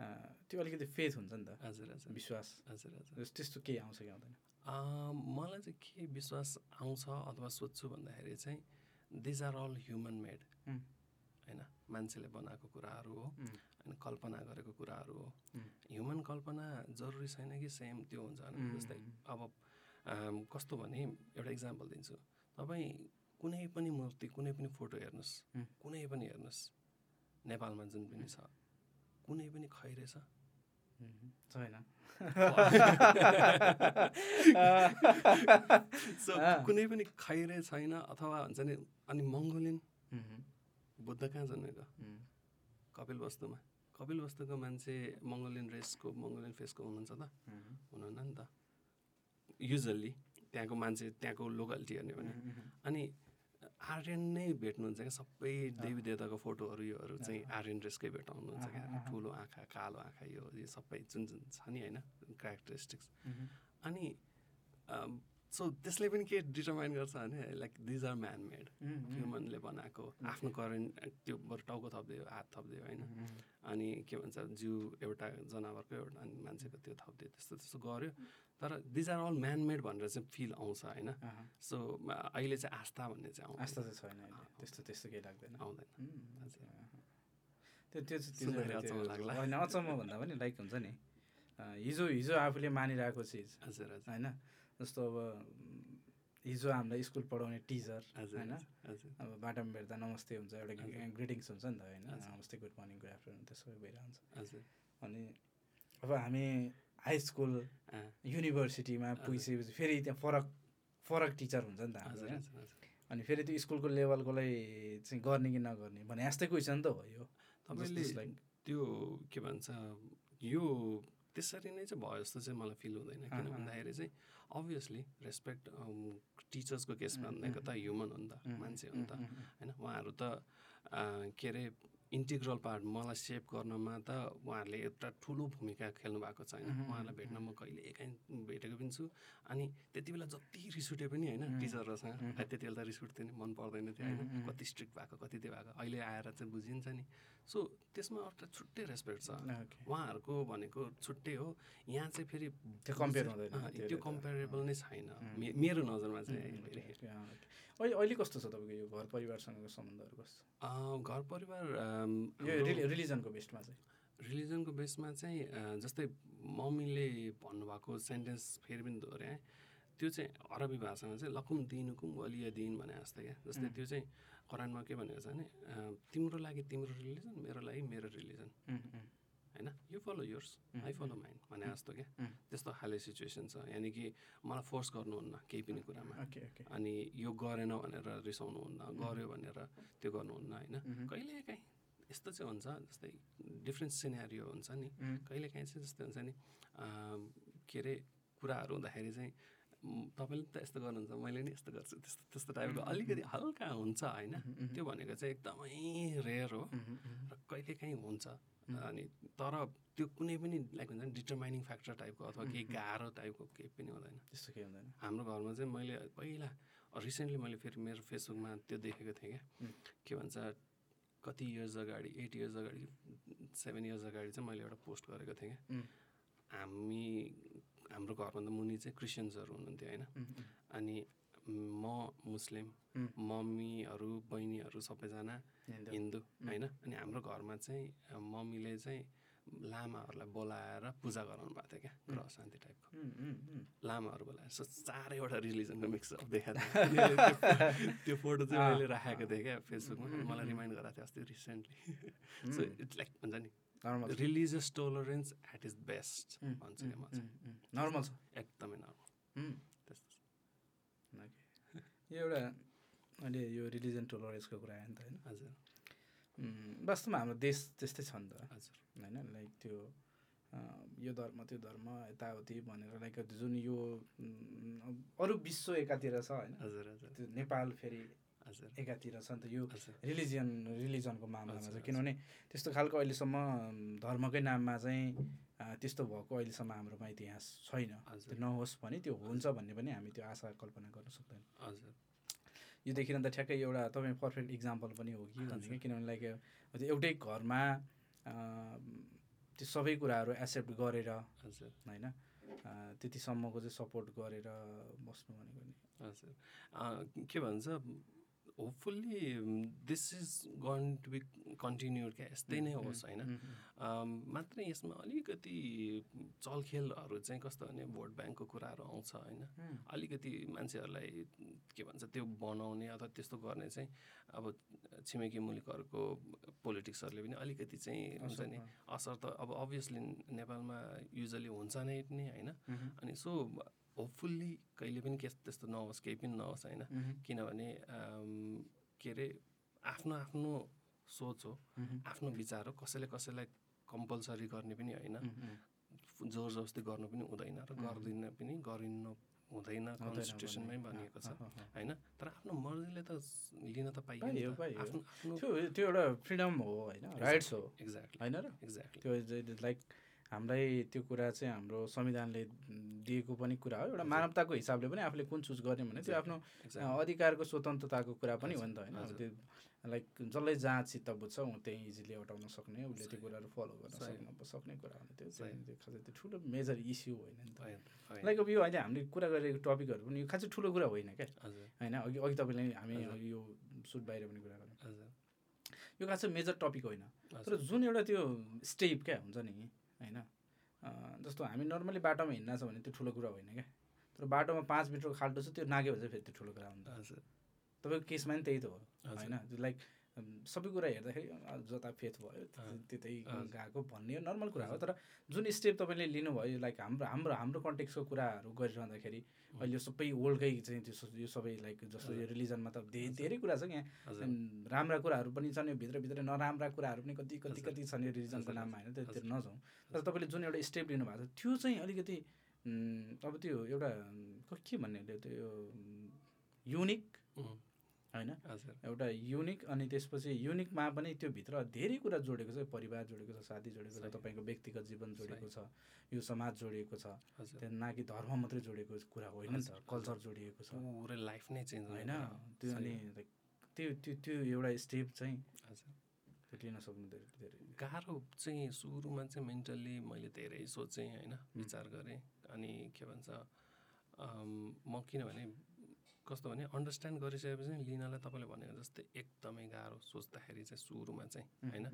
S1: अँ, त्यो अलिकति फेथ हुन्छ नि त
S2: हजुर हजुर
S1: विश्वास
S2: हजुर हजुर
S1: जस- त्यस्तो केही आउँछ कि आउँदैन
S2: अम, मलाई चाहिँ के विश्वास आउँछ अथवा सोध्छु भन्दाखेरि चाहिँ these are all human made
S1: um.
S2: होइन मान्छेले बनाएको कुराहरू हो
S1: उम्.
S2: अनि कल्पना गरेको कुराहरू हो
S1: उम्.
S2: ह्युमन कल्पना जरुरी छैन कि सेम त्यो हुन्छ भने
S1: उम्.
S2: जस्तै अब अम, कस्तो भने एउटा इक्जाम्पल दिन्छु तपाईँ कुनै पनि मूर्ति कुनै पनि फोटो हेर्नुहोस्
S1: उम्.
S2: कुनै पनि हेर्नुहोस् नेपालमा जुन पनि छ कुनै पनि खैरे छ
S1: उम्, छैन
S2: सो
S1: अँ।
S2: कुनै पनि खैरे छैन अथवा हुन्छ नि अनि मङ्गोलियन
S1: उम्,
S2: बुद्ध कहाँ जन्मेको
S1: उम्,
S2: कपिल वस्तुमा कपिल वस्तुको मान्छे मङ्गोलियन रेसको मङ्गोलियन फेसको हुनुहुन्छ त
S1: उम्,
S2: हुनुहुन्न नि त युजल्ली त्यहाँको मान्छे त्यहाँको लोकालिटी हेर्ने भने
S1: उम्,
S2: अनि आर्यन नै भेट्नुहुन्छ क्या सबै देवी देवताको फोटोहरू योहरू चाहिँ आर्यन ड्रेसकै भेटाउनुहुन्छ क्या ठुलो आँखा कालो आँखा यो यो सबै जुन जुन छ नि होइन क्यारेक्टरिस्टिक्स
S1: उम्,
S2: अनि सो त्यसले पनि के डिटर्माइन गर्छ भने like these are man made
S1: um,
S2: ह्युमनले बनाएको आफ्नो करेन्ट त्यो बरु टाउको थपिदियो हात थपिदियो होइन
S1: उम्,
S2: अनि के भन्छ जिउ एउटा जनावरको एउटा अनि मान्छेको त्यो थपिदियो त्यस्तो त्यस्तो गऱ्यो तर these are all man made भनेर चाहिँ फिल आउँछ होइन
S1: अहँ।
S2: सो म- अहिले चाहिँ आस्था भन्ने चाहिँ आउँदैन
S1: आस्था चाहिँ छैन अहिले त्यस्तो त्यस्तो केही लाग्दैन
S2: आउँदैन
S1: उम्, हजुर, अँ, अँ। त्यो त्यो चाहिँ- त्यो
S2: सुन्दाखेरि
S1: चाहिँ
S2: अचम्म
S1: त्यो-
S2: लाग्ला।
S1: होइन अचम्म भन्दा पनि लाइक हुन्छ नि अँ, हिजो हिजो आफूले मानिरहेको चिज
S2: हजुर हजुर
S1: होइन जस्तो अब उम्, हिजो हामीलाई स्कुल पढाउने टिचर
S2: हजुर
S1: होइन
S2: हजुर
S1: अब बाटामा भेट्दा नमस्ते हुन्छ एउटा
S2: हजुर।
S1: ग्रिटिङ्स हुन्छ नि त होइन
S2: हजुर।
S1: नमस्ते गुड मर्निङ गुड आफ्टरनुन त्यो सबै भइरहन्छ
S2: हजुर
S1: अनि अब हामी हाई स्कुल
S2: अँ,
S1: युनिभर्सिटीमा
S2: हजुर।
S1: पुगिसकेपछि फेरि त्यहाँ फरक फरक टिचर हुन्छ नि त हाम्रो
S2: हजुर
S1: होइन
S2: हजुर हजुर
S1: अनि फेरि त्यो स्कुलको लेभलकोलाई चाहिँ गर्ने कि नगर्ने भने जस्तै क्वेसन त हो यो
S2: तपाईँले
S1: जस्तो like-
S2: त्यो के भन्छ यो त्यसरी नै चाहिँ भयो जस्तो चाहिँ मलाई फिल हुँदैन किन
S1: अँ, अँ।
S2: भन्दाखेरि चाहिँ um, अभियसली रेस्पेक्ट टिचर्सको केसमा
S1: उम्,
S2: भनेको त ह्युमन हो नि त
S1: उम्,
S2: मान्छे हो नि
S1: उम्,
S2: त
S1: उम्,
S2: होइन उहाँहरू त अँ, के अरे इन्टिग्रल पार्ट मलाई सेभ गर्नमा त उहाँहरूले एउटा ठुलो भूमिका खेल्नु भएको छ होइन
S1: उम्,
S2: उहाँहरूलाई भेट्न म कहिले काहीँ भेटेको पनि छु अनि त्यति बेला जति रिस उठे पनि होइन
S1: उम्,
S2: टिचरहरूसँग
S1: उम्,
S2: खै त्यति बेला त रिस उठ्थ्यो नि मन पर्दैन थियो होइन
S1: उम्, उम्।
S2: कति स्ट्रिक्ट भएको कति त्यो भएको अहिले आएर चाहिँ बुझिन्छ नि सो त्यसमा एउटा छुट्टै रेस्पेक्ट छ
S1: उम्, Mm-hmm. Ah, okay.
S2: उहाँहरूको भनेको छुट्टै हो यहाँ चाहिँ फेरि
S1: त्यो compare हुँदैन,
S2: अँ,
S1: त्यसले
S2: ah, त्यो
S1: त,
S2: कम्पेरेबल नै छैन
S1: उम्।
S2: मे- मेरो नजरमा
S1: उम्,
S2: चाहिँ
S1: okay,
S2: फेरि
S1: Mm-hmm. okay, अँ, okay. अहिले अहिले कस्तो छ तपाईँको यो घर परिवारसँगको सम्बन्धहरू कस्तो
S2: अँ, घर परिवार
S1: यो रिलि- रिलिजनको बेस्टमा चाहिँ
S2: रिलिजनको बेसमा चाहिँ अँ, जस्तै मम्मीले भन्नुभएको सेन्टेन्स फेरि पनि दोहोऱ्याएँ त्यो चाहिँ अरबी भाषामा चाहिँ लकुम दिनुकुम वलिया दिन भने जस्तै क्या जस्तै
S1: उम्.
S2: त्यो चाहिँ कुरानमा के भनेको छ भने अँ, तिम्रो लागि तिम्रो रिलिजन मेरो लागि मेरो रिलिजन
S1: उम्,
S2: Mm-hmm.
S1: उम्,
S2: होइन you follow yours
S1: um,
S2: I follow mine भने जस्तो क्या
S1: उम्.
S2: त्यस्तो खाले सिचुएसन छ यानि कि मलाई फोर्स गर्नुहुन्न केही पनि कुरामा
S1: Mm-hmm. okay, okay.
S2: अनि यो गरेन भनेर रिसाउनुहुन्न गऱ्यो भनेर त्यो गर्नुहुन्न होइन
S1: उम्,
S2: कहिलेकाहीँ यस्तो चाहिँ हुन्छ जस्तै डिफ्रेन्ट सिनेरियो हुन्छ नि
S1: उम्,
S2: कहिलेकाहीँ चाहिँ जस्तै हुन्छ नि अम, के अरे कुराहरू हुँदाखेरि चाहिँ म, तपाईँले पनि त यस्तो गर्नुहुन्छ मैले नि यस्तो गर्छु त्यस्तो त्यस्तो टाइपको अलिकति हल्का हुन्छ होइन
S1: उम्, उम्,
S2: त्यो भनेको चाहिँ एकदमै रेयर हो
S1: उम्, उम्,
S2: र कहिलेकाहीँ हुन्छ अनि तर त्यो कुनै पनि लाइक हुन्छ नि डिटर्माइनिङ फ्याक्टर टाइपको अथवा केही गाह्रो टाइपको केही पनि हुँदैन
S1: त्यस्तो केही हुँदैन
S2: हाम्रो घरमा चाहिँ मैले पहिला रिसेन्टली मैले फेरि मेरो फेसबुकमा त्यो देखेको थिएँ क्या
S1: उम्.
S2: के भन्छ कति इयर्स अगाडि एट इयर्स अगाडि सेभेन इयर्स अगाडि चाहिँ मैले एउटा पोस्ट गरेको थिएँ क्या
S1: उम्,
S2: हामी हाम्रो घरमा त मुनि चाहिँ क्रिस्चियन्सहरू हुनुहुन्थ्यो होइन
S1: उम्, उम्,
S2: अनि म मुस्लिम मम्मीहरू बहिनीहरू सबैजना
S1: Mm-hmm.
S2: हिन्दू होइन अनि हाम्रो घरमा चाहिँ मम्मीले चाहिँ लामाहरूलाई बोलाएर पूजा गराउनु भएको थियो क्या ग्रह शान्ति टाइपको
S1: Mm-hmm.
S2: लामाहरू बोलाएर सो चारैवटा रिलिजनको मिक्सअप देखा त्यो फोटो चाहिँ मैले राखेको थिएँ क्या फेसबुकमा मलाई रिमाइन्ड गराएको थियो अस्ति recently so
S1: Mm-hmm.
S2: It's like हुन्छ नि religious tolerance at its best
S1: Mm-hmm.
S2: भन्छु क्या म चाहिँ
S1: नर्मल Mm-hmm. छ Mm-hmm.
S2: एकदमै नर्मल त्यस्तो
S1: यो एउटा अहिले यो रिलिजन टोलरेन्सको कुरा आयो नि त होइन
S2: हजुर
S1: वास्तवमा हाम्रो देश त्यस्तै छ नि त
S2: हजुर
S1: होइन लाइक त्यो अ, यो धर्म त्यो धर्म यताउति भनेर लाइक जुन यो म, अरू विश्व एकातिर छ होइन
S2: हजुर हजुर
S1: त्यो नेपाल फेरि
S2: हजुर
S1: एकातिर छ नि त यो
S2: हजुर
S1: रिलिजियन रिलिजनको मामलामा
S2: हजुर,
S1: चाहिँ
S2: हजुर।
S1: किनभने त्यस्तो खालको अहिलेसम्म धर्मकै नाममा चाहिँ अ, त्यस्तो भएको अहिलेसम्म हाम्रोमा इतिहास छैन
S2: हजुर।
S1: त्यो नहोस् भने त्यो हुन्छ भन्ने पनि हामी त्यो आशा कल्पना गर्न सक्दैनौँ
S2: हजुर
S1: यो देखिरहँदा ठ्याक्कै एउटा तपाईँ पर्फेक्ट इक्जाम्पल पनि हो कि भनेको किनभने लाइक त्यो एउटै घरमा अ, त्यो सबै कुराहरू एक्सेप्ट गरेर
S2: हजुर
S1: होइन अ, त्यतिसम्मको चाहिँ सपोर्ट गरेर बस्नु भनेको नि
S2: हजुर अ, के भन्छ hopefully this is gonna be continued क्या यस्तै नै होस् होइन
S1: उम्, उम्,
S2: अम, मात्र यसमा अलिकति चलखेलहरू चाहिँ कस्तो भने भोट ब्याङ्कको कुराहरू आउँछ होइन
S1: उम्,
S2: अलिकति मान्छेहरूलाई के भन्छ त्यो बनाउने अथवा त्यस्तो गर्ने चाहिँ अब छिमेकी मुलुकहरूको पोलिटिक्सहरूले पनि अलिकति चाहिँ हुन्छ नि असर त अब अभियसली नेपालमा युजली हुन्छ नै नि होइन
S1: उम्,
S2: अनि सो होपफुल्ली कहिले पनि के त्यस्तो नहोस् केही पनि नहोस् होइन
S1: उम्,
S2: किनभने अम, के अरे आफ्नो आफ्नो सोच हो
S1: उम्,
S2: आफ्नो विचार हो कसैले कसैलाई कम्पलसरी गर्ने पनि होइन
S1: उम्, उम्,
S2: जोर जबस्ती गर्नु पनि हुँदैन र गर्दिन पनि गरिनु हुँदैन
S1: भन्ने।
S2: कन्स्टिट्युसनमै भनिएको
S1: अँ,
S2: छ
S1: अँ, अँ।
S2: होइन तर आफ्नो मर्जीले त लिन त पाइयो नि
S1: पाइयो,
S2: त।
S1: पाइयो।
S2: आफ्नो आफ्नो
S1: त्यो त्यो एउटा फ्रिडम हो होइन राइट्स हो
S2: एक्ज्याक्टली
S1: होइन र
S2: एक्ज्याक्टली
S1: त्यो ज- लाइक हामीलाई त्यो कुरा चाहिँ हाम्रो संविधानले दिएको पनि कुरा हो एउटा मानवताको हिसाबले पनि आफूले कुन चुज गर्ने भने त्यो आफ्नो अ,
S2: एक्ज्याक्टली
S1: अधिकारको स्वतन्त्रताको कुरा पनि हो नि त होइन अब
S2: हजुर।
S1: त्यो लाइक जसलाई जहाँ चित्त बुझ्छ ऊ त्यही इजिली अटाउन सक्ने उसले त्यो कुराहरू फलो गर्न
S2: सही।
S1: सक्नु सक्ने कुरा हो नि त्यो
S2: सही।
S1: त्यो खासै त्यो ठुलो मेजर इस्यु होइन नि त
S2: होइन, होइन,
S1: लाइक अब यो अहिले हामीले कुरा गरेको टपिकहरू पनि यो खासै ठुलो कुरा होइन क्या
S2: हजुर
S1: होइन अघि अघि तपाईँले हामी
S2: हजुर।
S1: यो सुट बाहिर पनि कुरा गर्यौँ
S2: हजुर
S1: यो खासै मेजर टपिक होइन तर
S2: हजुर
S1: जुन एउटा त्यो स्टेप क्या हुन्छ नि होइन अ, जस्तो हामी नर्मली बाटोमा हिँड्न छ भने त्यो ठुलो कुरा होइन क्या तर बाटोमा पाँच मिटरको खाल्टो छ त्यो नाग्यो भने चाहिँ फेरि त्यो ठुलो कुरा हुन्छ
S2: हजुर
S1: तपाईँको केसमा नि त्यही त हो
S2: हजुर।
S1: होइन लाइक अम, सबै कुरा हेर्दाखेरि अ, जता फेथ भयो त-
S2: अँ,
S1: त्यतै
S2: हजुर।
S1: गएको भन्ने हो नर्मल कुरा हो तर जुन स्टेप तपाईँले लिनुभयो लाइक हाम्रो हाम्रो हाम्रो कन्टेक्सको कुराहरू गरिरहँदाखेरि अहिले यो सबै वर्ल्डकै चाहिँ त्यो स- यो सबै लाइक जस्तो यो रिलिजनमा त धे- धेरै कुरा छ क्या
S2: हजुर
S1: अम, राम्रा कुराहरू पनि छन् यो भित्रभित्र नराम्रा कुराहरू पनि कति कति
S2: हजुर।
S1: कति छन् यो रिलिजनको
S2: हजुर,
S1: नाममा होइन त्यो त्यो
S2: हजुर।
S1: नजाउँ तर तपाईँले जुन एउटा स्टेप लिनुभएको छ त्यो चाहिँ अलिकति अम, अब त्यो एउटा अम, क- के भन्ने अरे त्यो युनिक
S2: उम्,
S1: होइन
S2: हजुर
S1: एउटा युनिक अनि त्यसपछि युनिकमा पनि त्यो भित्र धेरै कुरा जोडेको छ परिवार जोडेको छ साथी जोडेको छ
S2: सही।
S1: तपाईँको व्यक्तिगत जीवन जोडेको छ यो समाज जोडिएको छ
S2: हजुर
S1: त्यहाँ ना कि धर्म मात्रै जोडेको कुरा होइन नि त
S2: हजुर,
S1: कल्चर जोडिएको छ
S2: पुरै लाइफ नै चेन्ज
S1: होइन त्यो अनि like त्यो त्यो त्यो एउटा स्टेप चाहिँ
S2: हजुर
S1: त्यो लिन सक्नु धेरै धेरै
S2: गाह्रो चाहिँ सुरुमा चाहिँ मेन्टल्ली मैले धेरै सोचेँ होइन विचार गरेँ अनि के भन्छ अम, म किनभने कस्तो भने अन्डरस्ट्यान्ड गरिसकेपछि लिनलाई तपाईँले भनेको जस्तै एकदमै गाह्रो सोच्दाखेरि चाहिँ सुरुमा चाहिँ होइन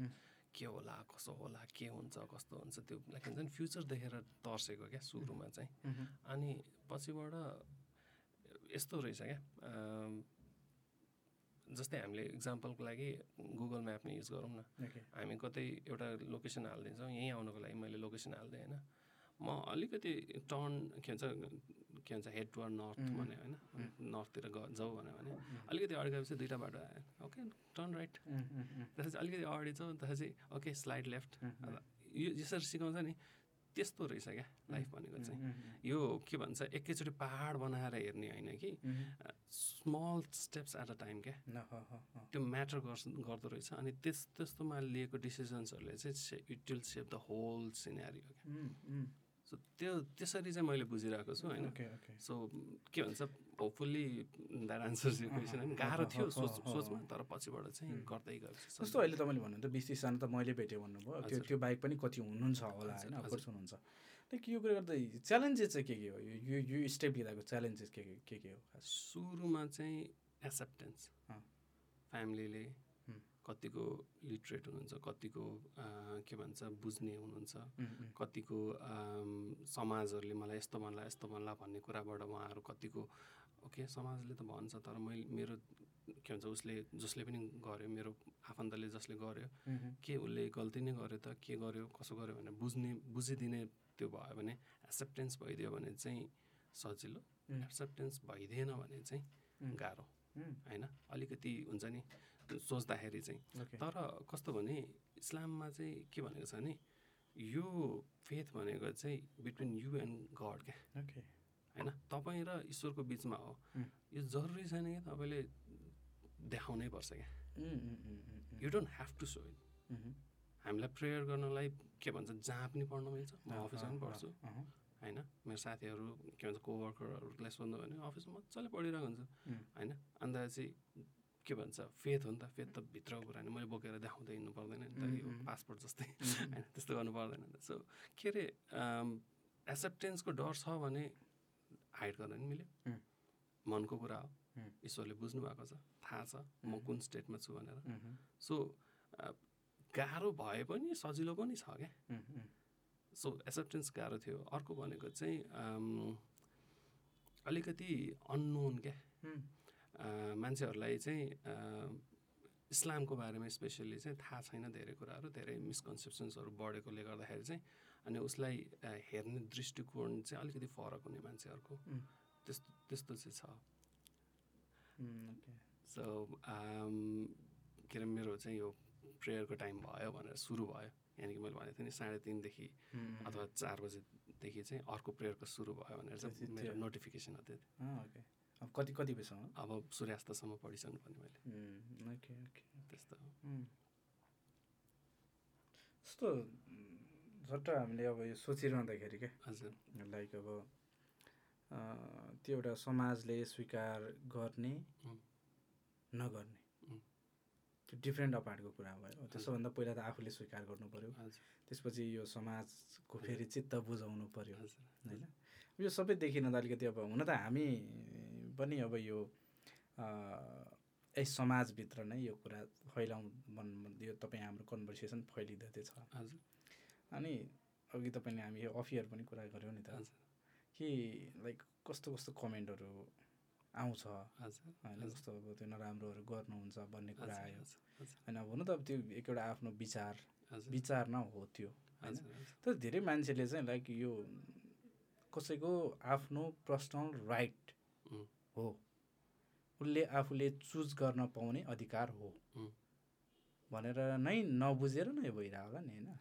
S2: के होला कसो होला के हुन्छ कस्तो हुन्छ त्यो लाइक हुन्छ नि फ्युचर देखेर तर्सेको क्या सुरुमा चाहिँ अनि पछिबाट यस्तो रहेछ क्या अम, जस्तै हामीले इक्जाम्पलको लागि गुगल म्याप नै युज गरौँ न
S1: ओके
S2: हामी कतै एउटा लोकेसन हालिदिन्छौँ यहीँ आउनको लागि मैले लोकेसन हालिदिएँ होइन म अलिकति टर्न के भन्छ के भन्छ हेड टुवर्ड नर्थ
S1: उम्,
S2: भन्यो होइन नर्थतिर ग जाऊ भन्यो भने अलिकति अगाडि गएपछि दुइटा बाटो आयो ओके टर्न राइट त्यसपछि अलिकति अगाडि जाउँ त्यसपछि ओके स्लाइड लेफ्ट यो जसरी सिकाउँछ नि त्यस्तो रहेछ क्या लाइफ भनेको चाहिँ यो के भन्छ एकैचोटि पाहाड बनाएर हेर्ने होइन कि small steps at a time क्या त्यो म्याटर गर्छ गर्दो रहेछ अनि त्यस त्यस्तोमा लिएको डिसिजन्सहरूले चाहिँ say it will save the whole scenery क्या सो त्यो त्यसरी चाहिँ मैले बुझिरहेको छु होइन
S1: ओके ओके
S2: सो के भन्छ होपफुल्ली द्याट आन्सर्स यो क्वेसन होइन गाह्रो थियो सोच सोचमा तर पछिबाट चाहिँ गर्दै गएपछि
S1: जस्तो अहिले तपाईँले भन्नुहुन्छ बिस तिसजना त मैले भेटेँ भन्नुभयो त्यो
S2: हजुर।
S1: त्यो बाहेक पनि कति हुनुहुन्छ होला होइन
S2: हजुर,
S1: अफकोर्स हुनुहुन्छ लाइक यो कुरा गर्दा च्यालेन्जेस चाहिँ के के हो यो- यो यो स्टेप लिँदाको च्यालेन्जेस के के के के हो खास
S2: सुरुमा चाहिँ एक्सेप्टेन्स
S1: अँ।
S2: फ्यामिलीले
S1: हुँ।
S2: कतिको लिटरेट हुनुहुन्छ कतिको अँ, के भन्छ बुझ्ने हुनुहुन्छ
S1: उम्, उम्,
S2: कतिको अम, समाजहरूले मलाई यस्तो भन्ला यस्तो भन्ला भन्ने कुराबाट उहाँहरू कतिको ओके समाजले त भन्छ तर मैले मेरो के भन्छ उसले जसले पनि गर्यो मेरो आफन्तले जसले गर्यो
S1: उम्, उम्,
S2: के उसले गल्ती नै गर्यो त के गर्यो कसो गर्यो भनेर बुझ्ने बुझिदिने त्यो भयो भने एक्सेप्टेन्स भइदियो भने चाहिँ सजिलो
S1: उम्,
S2: एक्सेप्टेन्स भइदिएन भने चाहिँ
S1: उम्,
S2: गाह्रो
S1: उम्,
S2: होइन अलिकति हुन्छ नि सोच्दाखेरि चाहिँ
S1: ओके
S2: तर कस्तो भने इस्लाममा चाहिँ के भनेको छ भने यो फेथ भनेको चाहिँ बिट्विन यु एन्ड गड क्या
S1: ओके
S2: होइन तपाईँ र ईश्वरको बिचमा हो
S1: उम्.
S2: यो जरुरी छैन कि तपाईँले देखाउनै पर्छ क्या
S1: उम्, उम्, उम्, उम्, um,
S2: you don't have to show it
S1: um, um,
S2: हामीलाई प्रेयर गर्नलाई के भन्छ जहाँ पनि पढ्न मिल्छ म
S1: अँ,
S2: अफिसमा पनि
S1: अँ,
S2: पढ्छु
S1: अँ, अँ,
S2: होइन मेरो साथीहरू के भन्छ कोवर्करहरूलाई सोध्नु भने अफिसमा मजाले पढिरहेको हुन्छ
S1: उम्,
S2: होइन अन्त चाहिँ के भन्छ फेथ हो नि त फेथ त भित्रको कुरा नि मैले बोकेर देखाउँदै हिँड्नु पर्दैन नि त
S1: उम्,
S2: यो
S1: उम्।
S2: पासपोर्ट जस्तै
S1: उम्,
S2: होइन त्यस्तो गर्नु पर्दैन नि त सो के अरे एक्सेप्टेन्सको डर छ भने हाइड गर्न नि मिल्यो
S1: उम्.
S2: मनको कुरा हो
S1: उम्.
S2: ईश्वरले बुझ्नु भएको छ थाहा छ म
S1: उम्.
S2: कुन स्टेटमा छु भनेर
S1: उम्, उम्,
S2: सो अ, गाह्रो भए पनि सजिलो पनि छ क्या
S1: उम्, उम्,
S2: सो एक्सेप्टेन्स गाह्रो थियो अर्को भनेको चाहिँ अम, अलिकति अननोन क्या
S1: उम्,
S2: अ, मान्छेहरूलाई चाहिँ अ, इस्लामको बारेमा स्पेसल्ली चाहिँ थाहा छैन धेरै कुराहरू धेरै मिसकन्सेप्सन्सहरू बढेकोले गर्दाखेरि चाहिँ अनि उसलाई अ, हेर्ने दृष्टिकोण चाहिँ अलिकति फरक हुने मान्छेहरूको
S1: उम्.
S2: त्यस्तो त्यस्तो चाहिँ छ
S1: उम्, ओके
S2: सो के अरे मेरो चाहिँ यो प्रेयरको टाइम भयो भनेर सुरु भयो यानि कि मैले भनेको थिएँ नि साढे तिनदेखि
S1: उम्, उम्,
S2: अथवा चार बजेदेखि चाहिँ अर्को प्रेयरको सुरु भयो भनेर चाहिँ
S1: त्यसपछि
S2: मेरो
S1: त्यो-
S2: नोटिफिकेसन आउँथ्यो
S1: अँ, ओके अब कति कति बजीसम्म
S2: अब सूर्यास्तसम्म पढिसक्नु पर्ने मैले
S1: उम्, ओके ओके
S2: त्यस्तो हो।
S1: जस्तो झट्ट हामीले अब यो सोचिरहँदाखेरि क्या
S2: हजुर
S1: लाइक अब अ, त्यो एउटा समाजले स्वीकार गर्ने
S2: उम्.
S1: नगर्ने
S2: उम्.
S1: त्यो डिफ्रेन्ट अपार्टको कुरा भयो त्यसोभन्दा पहिला त आफूले स्वीकार गर्नु पऱ्यो
S2: हजुर
S1: त्यसपछि यो समाजको फेरि चित्त बुझाउनु पऱ्यो
S2: हजुर
S1: होइन यो सबै देखिन त अलिकति अब हुन त हामी पनि अब यो अ, यही समाजभित्र नै यो कुरा फैलाउँ मन मन- यो तपाईँ हाम्रो कन्भर्सेसन फैलिँदै छ
S2: हजुर
S1: अनि अघि तपाईँले हामी यो अफियर पनि कुरा गऱ्यौँ नि त
S2: हजुर।
S1: कि लाइक कस्तो कस्तो कमेन्टहरू आउँछ
S2: हजुर
S1: होइन
S2: हजुर,
S1: जस्तो अब त्यो नराम्रोहरू गर्नुहुन्छ भन्ने कुरा
S2: हजुर,
S1: आयो
S2: हजुर,
S1: होइन अब हुन त अब त्यो एक एउटा आफ्नो विचार
S2: हजुर,
S1: विचारमा हो त्यो होइन
S2: हजुर, हजुर,
S1: तर धेरै मान्छेले चाहिँ लाइक यो कसैको आफ्नो पर्सनल राइट
S2: उम्.
S1: हो उसले आफूले चुज गर्न पाउने अधिकार हो
S2: उम्.
S1: भनेर नै नबुझेर नै भइरहेको होला नि होइन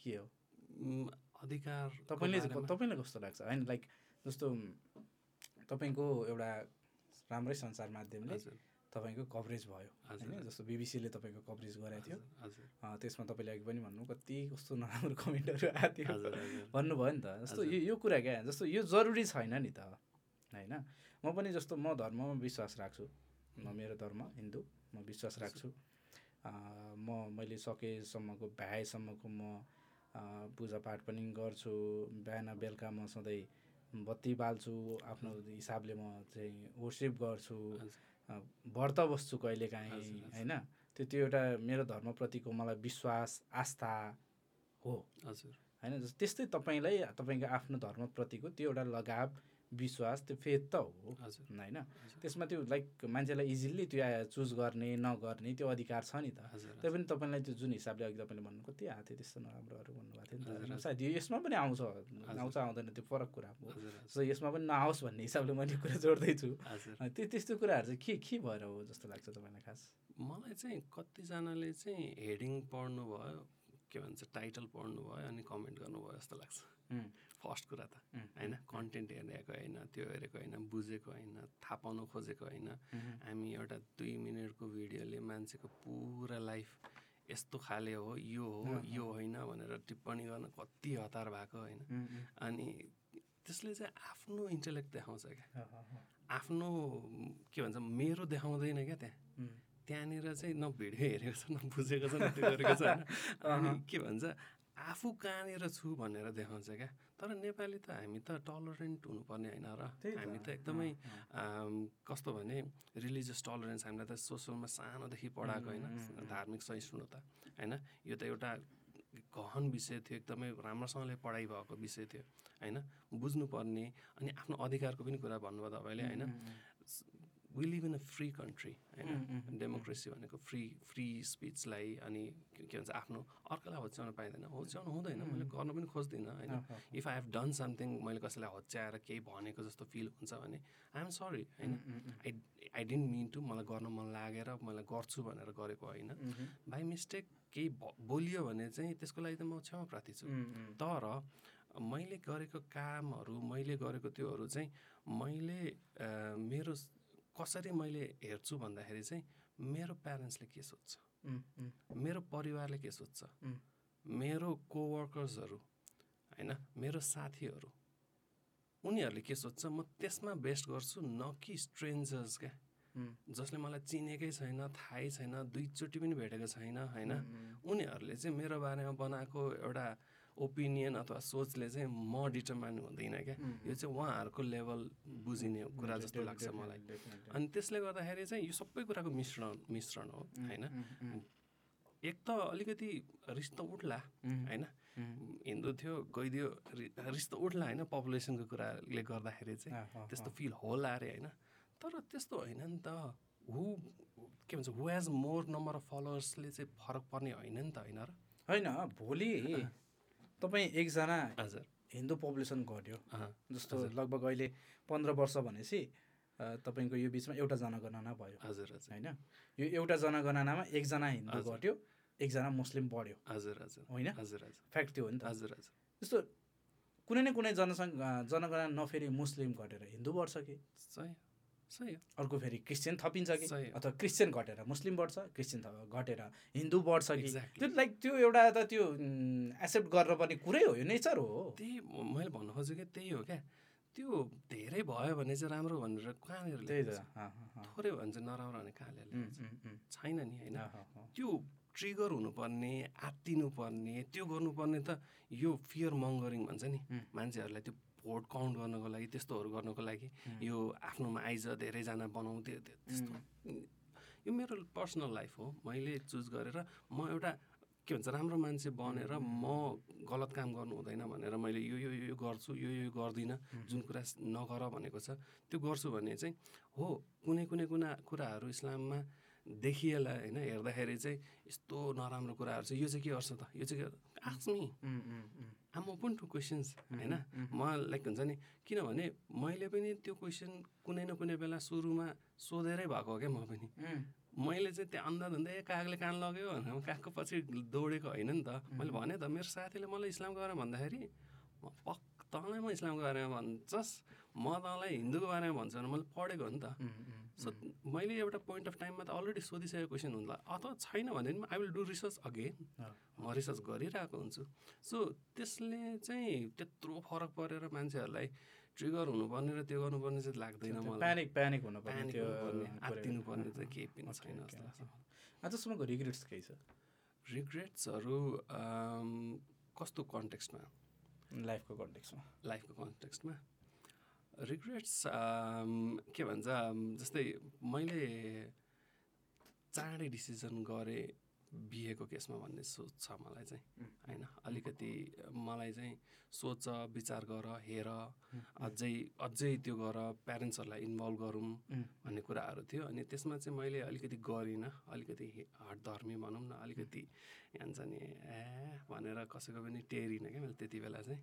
S1: के हो
S2: उम्, अधिकार
S1: तपाईँले तपाईँलाई कस्तो लाग्छ होइन लाइक जस्तो तपाईँको एउटा राम्रै सञ्चार माध्यमले
S2: हजुर
S1: तपाईँको कभरेज भयो
S2: हजुर,
S1: होइन
S2: हजुर।
S1: जस्तो बिबिसीले तपाईँको कभरेज गरेको थियो
S2: हजुर, हजुर
S1: अँ, त्यसमा तपाईँले अघि पनि भन्नु कति कस्तो नराम्रो कमेन्टहरू आएको थियो
S2: हजुर, हजुर,
S1: भन्नुभयो नि त जस्तो
S2: हजुर।
S1: यो यो कुरा क्या जस्तो यो जरुरी छैन नि त होइन म पनि जस्तो म धर्ममा विश्वास राख्छु म मेरो धर्म हिन्दू म विश्वास राख्छु अ, म मैले सकेसम्मको भ्याएसम्मको म अ, पूजापाठ पनि गर्छु बिहान बेलुका म सधैँ बत्ती बाल्छु आफ्नो हिसाबले म चाहिँ वर्सिप गर्छु
S2: हजुर।
S1: अ, व्रत बस्छु कहिलेकाहीँ
S2: हजुर, हजुर।
S1: होइन त्यो त्यो एउटा मेरो धर्मप्रतिको मलाई विश्वास आस्था हो
S2: हजुर
S1: होइन जस्तो त्यस्तै तपाईँलाई तपाईँको आफ्नो धर्मप्रतिको त्यो एउटा लगाव विश्वास त्यो फेद त हो
S2: हजुर
S1: होइन त्यसमा त्यो लाइक मान्छेलाई इजिली त्यो चुज गर्ने नगर्ने त्यो अधिकार छ नि त
S2: हजुर
S1: तै पनि तपाईँलाई त्यो जुन हिसाबले अघि तपाईँले भन्नु कति आएको थियो त्यस्तो नराम्रोहरू भन्नुभएको थियो
S2: हजुर,
S1: नि त
S2: हजुर।
S1: सायद यो यसमा पनि आउँछ आउँछ आउँदैन त्यो फरक कुरा हो
S2: हजुर, हजुर,
S1: सो यसमा पनि नआओस् भन्ने हिसाबले मैले कुरा जोड्दैछु
S2: हजुर
S1: अँ, त्यो त्यस्तो कुराहरू चाहिँ के के भएर हो जस्तो लाग्छ तपाईँलाई खास
S2: मलाई चाहिँ कतिजनाले चाहिँ हेडिङ पढ्नुभयो के भन्छ टाइटल पढ्नुभयो अनि कमेन्ट गर्नुभयो जस्तो लाग्छ
S1: उम्,
S2: फर्स्ट कुरा त
S1: उम्,
S2: होइन कन्टेन्ट हेरेको होइन त्यो हेरेको होइन बुझेको होइन थाहा पाउन खोजेको होइन
S1: उम्,
S2: हामी एउटा दुई मिनटको भिडियोले मान्छेको पुरा लाइफ यस्तो खाले हो यो हो
S1: अँ,
S2: यो होइन भनेर टिप्पणी गर्न कति हतार भएको होइन
S1: उम्, उम्,
S2: अनि त्यसले चाहिँ आफ्नो इन्टेलेक्ट देखाउँछ क्या
S1: अँ, अँ, अँ,
S2: आफ्नो म, के भन्छ मेरो देखाउँदैन क्या त्यहाँ
S1: उम्,
S2: त्यहाँनिर चाहिँ न भिडियो हेरेको छ न बुझेको छ न त्यो गरेको छ होइन अनि के भन्छ आफू कहाँनिर छु भनेर देखाउँछ क्या तर नेपाली त हामी त टलरेन्ट हुनुपर्ने होइन र
S1: त्यही त,
S2: हामी त एकदमै
S1: अँ, अँ।
S2: आम, कस्तो भने रिलिजियस टलरेन्स हामीलाई त सोसलमा सानोदेखि पढाएको होइन धार्मिक सहिष्णुता होइन यो त एउटा गहन विषय थियो एकदमै राम्रोसँगले पढाइ भएको विषय थियो होइन बुझ्नुपर्ने अनि आफ्नो अधिकारको पनि कुरा भन्नुभयो तपाईँले होइन
S1: Mm,
S2: we live in a free country होइन
S1: mm.
S2: डेमोक्रेसी भनेको फ्री फ्री स्पिचलाई अनि के के भन्छ आफ्नो अर्कालाई होच्याउन पाइँदैन होच्याउन हुँदैन मैले गर्न पनि खोज्दिनँ होइन
S1: अँ, अँ,
S2: if I have done something मैले कसैलाई होच्याएर केही भनेको जस्तो फिल हुन्छ भने आइएम सरी होइन I I didn't mean to मलाई गर्न मन लागेर मलाई गर्छु भनेर गरेको होइन
S1: मह्म,
S2: बाई मिस्टेक केही भ- बोलियो भने चाहिँ त्यसको लागि त म क्षमा प्रार्थी छु
S1: मह्म,
S2: तर मैले गरेको कामहरू मैले गरेको त्योहरू चाहिँ मैले अ, मेरो स- कसरी मैले हेर्छु भन्दाखेरि चाहिँ मेरो प्यारेन्ट्सले के सोध्छ
S1: मह्म,
S2: मेरो परिवारले के सोध्छ
S1: उम्.
S2: मेरो कोवर्कर्सहरू होइन मेरो साथीहरू उनीहरूले के सोध्छ म त्यसमा बेस्ट गर्छु न कि स्ट्रेन्जर्स क्या
S1: उम्.
S2: जसले मलाई चिनेकै छैन थाहै छैन दुईचोटि पनि भेटेको छैन होइन उनीहरूले चाहिँ मेरो बारेमा बनाएको एउटा ओपिनियन अथवा सोचले चाहिँ म डिटर्माइन हुँदैन क्या यो चाहिँ उहाँहरूको लेभल बुझिने कुरा जस्तो लाग्छ
S1: डेफिनेटली,
S2: मलाई
S1: डेफिनेटली।
S2: अनि त्यसले गर्दाखेरि चाहिँ यो सबै कुराको मिश्रण मिश्रण हो होइन
S1: मह्म,
S2: एक त अलिकति रिस त उठ्ला
S1: मह्म,
S2: होइन
S1: मह्म,
S2: हिन्दू थियो गइदियो रि- रिस त उठ्ला होइन पपुलेसनको कुराले गर्दाखेरि चाहिँ
S1: अँ, अँ,
S2: त्यस्तो फिल होला अरे होइन तर त्यस्तो होइन नि त हु के भन्छ who has more number of फलोवर्सले चाहिँ फरक पर्ने होइन नि त होइन र
S1: होइन भोलि तपाईँ एकजना
S2: हजुर
S1: हिन्दू पपुलेसन घट्यो
S2: अँ,
S1: जस्तो लगभग अहिले पन्ध्र वर्ष भनेपछि अ, तपाईँको यो बिचमा एउटा जनगणना भयो
S2: हजुर हजुर
S1: होइन यो एउटा जनगणनामा एकजना हिन्दू
S2: हजुर।
S1: घट्यो एकजना मुस्लिम बढ्यो
S2: हजुर हजुर
S1: होइन
S2: हजुर हजुर
S1: फ्याक्ट त्यो हो नि त
S2: हजुर हजुर
S1: जस्तो कुनै न कुनै जनसङ् अ, जनगणना नफेरि मुस्लिम घटेर हिन्दू बढ्छ कि
S2: सही सही हो
S1: अर्को फेरि क्रिस्चियन थपिन्छ कि
S2: सही हो।
S1: अथवा क्रिस्चियन घटेर मुस्लिम बढ्छ क्रिस्चियन थ- घटेर हिन्दू बढ्छ कि
S2: एक्ज्याक्टली
S1: त्यो लाइक त्यो एउटा त त्यो एक्सेप्ट गर्न पर्ने कुरै हो यो नेचर हो
S2: त्यही म- मैले भन्नु खोजेको त्यही हो क्या त्यो धेरै भयो भने चाहिँ राम्रो भनेर कहाँनिर
S1: त्यही त
S2: लेख्छ?
S1: अँ, अँ, अँ।
S2: थोरै भन्छ नराम्रो भने कहाँले
S1: उम्, उम्, उम्।
S2: छैन नि होइन
S1: अँ, अँ, अँ।
S2: त्यो ट्रिगर हुनुपर्ने आत्तिनुपर्ने त्यो गर्नुपर्ने त यो फियर मङ्गरिङ भन्छ नि
S1: उम्.
S2: मान्छेहरूलाई त्यो भोट काउन्ट गर्नको लागि त्यस्तोहरू गर्नको लागि
S1: उम्.
S2: यो आफ्नोमा आइज धेरैजना बनाउँथ्यो त्यो त्यस्तो यो मेरो पर्सनल लाइफ हो मैले चुज गरेर म एउटा के भन्छ राम्रो मान्छे बनेर म गलत काम गर्नु हुँदैन भनेर मैले यो यो यो गर्छु यो यो गर्दिनँ जुन कुरा स- नगर भनेको छ त्यो गर्छु भने चाहिँ हो कुनै कुनै कुना कुराहरू इस्लाममा देखिएला होइन हेर्दाखेरि चाहिँ यस्तो नराम्रो कुराहरू छ यो चाहिँ के गर्छ त यो चाहिँ के आफ्नै
S1: उम्, उम्, um.
S2: I'm open to questions होइन
S1: उम्,
S2: म लाइक हुन्छ नि किनभने मैले पनि त्यो क्वेसन कुनै न कुनै बेला सुरुमा सोधेरै भएको हो क्या म पनि
S1: उम्,
S2: मैले चाहिँ त्यहाँ अन्दाज हुँदै "ए, कागले कान लग्यो भनेर म कागको पछि दौडेको होइन नि त मैले भने त मेरो साथीले मलाई इस्लामको बारेमा भन्दाखेरि म पक्क तँलाई म इस्लामको बारेमा भन्छस् म तँलाई हिन्दूको बारेमा भन्छु भने मैले पढेको हो नि त
S1: उम्, उम्।
S2: सो मैले एउटा पोइन्ट अफ टाइममा त अलरेडी सोधिसकेको क्वेसन हुन्ला अथवा छैन भने पनि I will do research again
S1: अँ।
S2: म रिसर्च गरिरहेको हुन्छु सो त्यसले चाहिँ त्यत्रो फरक परेर मान्छेहरूलाई ट्रिगर हुनुपर्ने र त्यो गर्नुपर्ने चाहिँ लाग्दैन
S1: त्यो
S2: मलाई
S1: प्यानिक प्यानिक हुनुपर्ने
S2: Panic
S1: त्यो
S2: हुनुपर्ने,
S1: कुराहरू।
S2: आत्तिनुपर्ने चाहिँ केही पनि
S1: Okay,
S2: छैन
S1: okay,
S2: जस्तो लाग्छ
S1: okay. आजसम्मको रिग्रेट्स केही छ
S2: रिग्रेट्सहरू अम, कस्तो कन्टेक्स्टमा
S1: लाइफको कन्टेक्समा
S2: लाइफको कन्टेक्स्टमा रिग्रेट्स के भन्छ अम, जस्तै मैले चाँडै डिसिजन गरेँ बिहेको केसमा भन्ने सोच छ मलाई चाहिँ होइन अलिकति मलाई चाहिँ सोच विचार गर हेर अझै अझै त्यो गर प्यारेन्ट्सहरूलाई इन्भल्भ गरौँ
S1: उम्.
S2: भन्ने कुराहरू थियो अनि त्यसमा चाहिँ मैले अलिकति गरिनँ अलिकति हटधर्मी भनौँ न अलिकति भन्छ नि ए भनेर कसैको पनि टेरिनँ क्या मैले त्यति बेला चाहिँ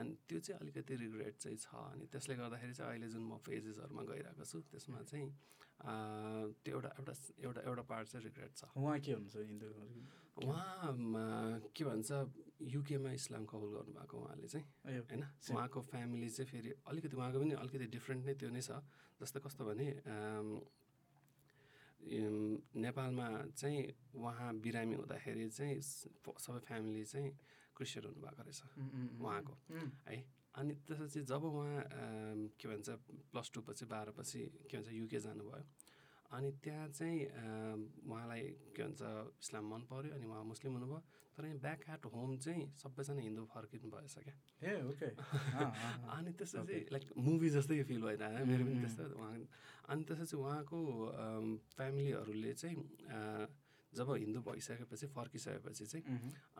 S2: अनि त्यो चाहिँ अलिकति रिग्रेट चाहिँ छ अनि त्यसले गर्दाखेरि चाहिँ अहिले जुन म फेजेसहरूमा गइरहेको छु त्यसमा चाहिँ अ, त्यो एउटा एउटा एउटा एउटा पार्ट चाहिँ रिग्रेट छ
S1: उहाँ के हुनुहुन्छ हिन्दू
S2: उहाँ म, के भन्छ युकेमा इस्लाम कबुल गर्नुभएको उहाँले चाहिँ
S1: ए,
S2: होइन उहाँको फ्यामिली चाहिँ फेरि अलिकति उहाँको पनि अलिकति डिफ्रेन्ट नै त्यो नै छ जस्तो कस्तो भने अम, यम, नेपालमा चाहिँ उहाँ बिरामी हुँदाखेरि चाहिँ स- फ- सबै फ्यामिली चाहिँ क्रिस्चियन हुनुभएको रहेछ
S1: उम्, उम्, उम्,
S2: उहाँको
S1: उम्,
S2: है अनि त्यसपछि जब उहाँ अम, के भन्छ प्लस टू पछि बाह्र पछि के भन्छ युके जानुभयो अनि त्यहाँ चाहिँ अम, उहाँलाई के भन्छ इस्लाम मन पऱ्यो अनि उहाँ मुस्लिम हुनुभयो तर यहाँ ब्याक एट होम चाहिँ सबैजना हिन्दू फर्किनु भएछ क्या
S1: ए ओके
S2: अनि त्यसो चाहिँ लाइक मुभी जस्तै फिल भइरहेको मेरो पनि त्यस्तो उहाँ अनि त्यसो चाहिँ उहाँको अम, फ्यामिलीहरूले चाहिँ अ, जब हिन्दू भइसकेपछि फर्किसकेपछि चाहिँ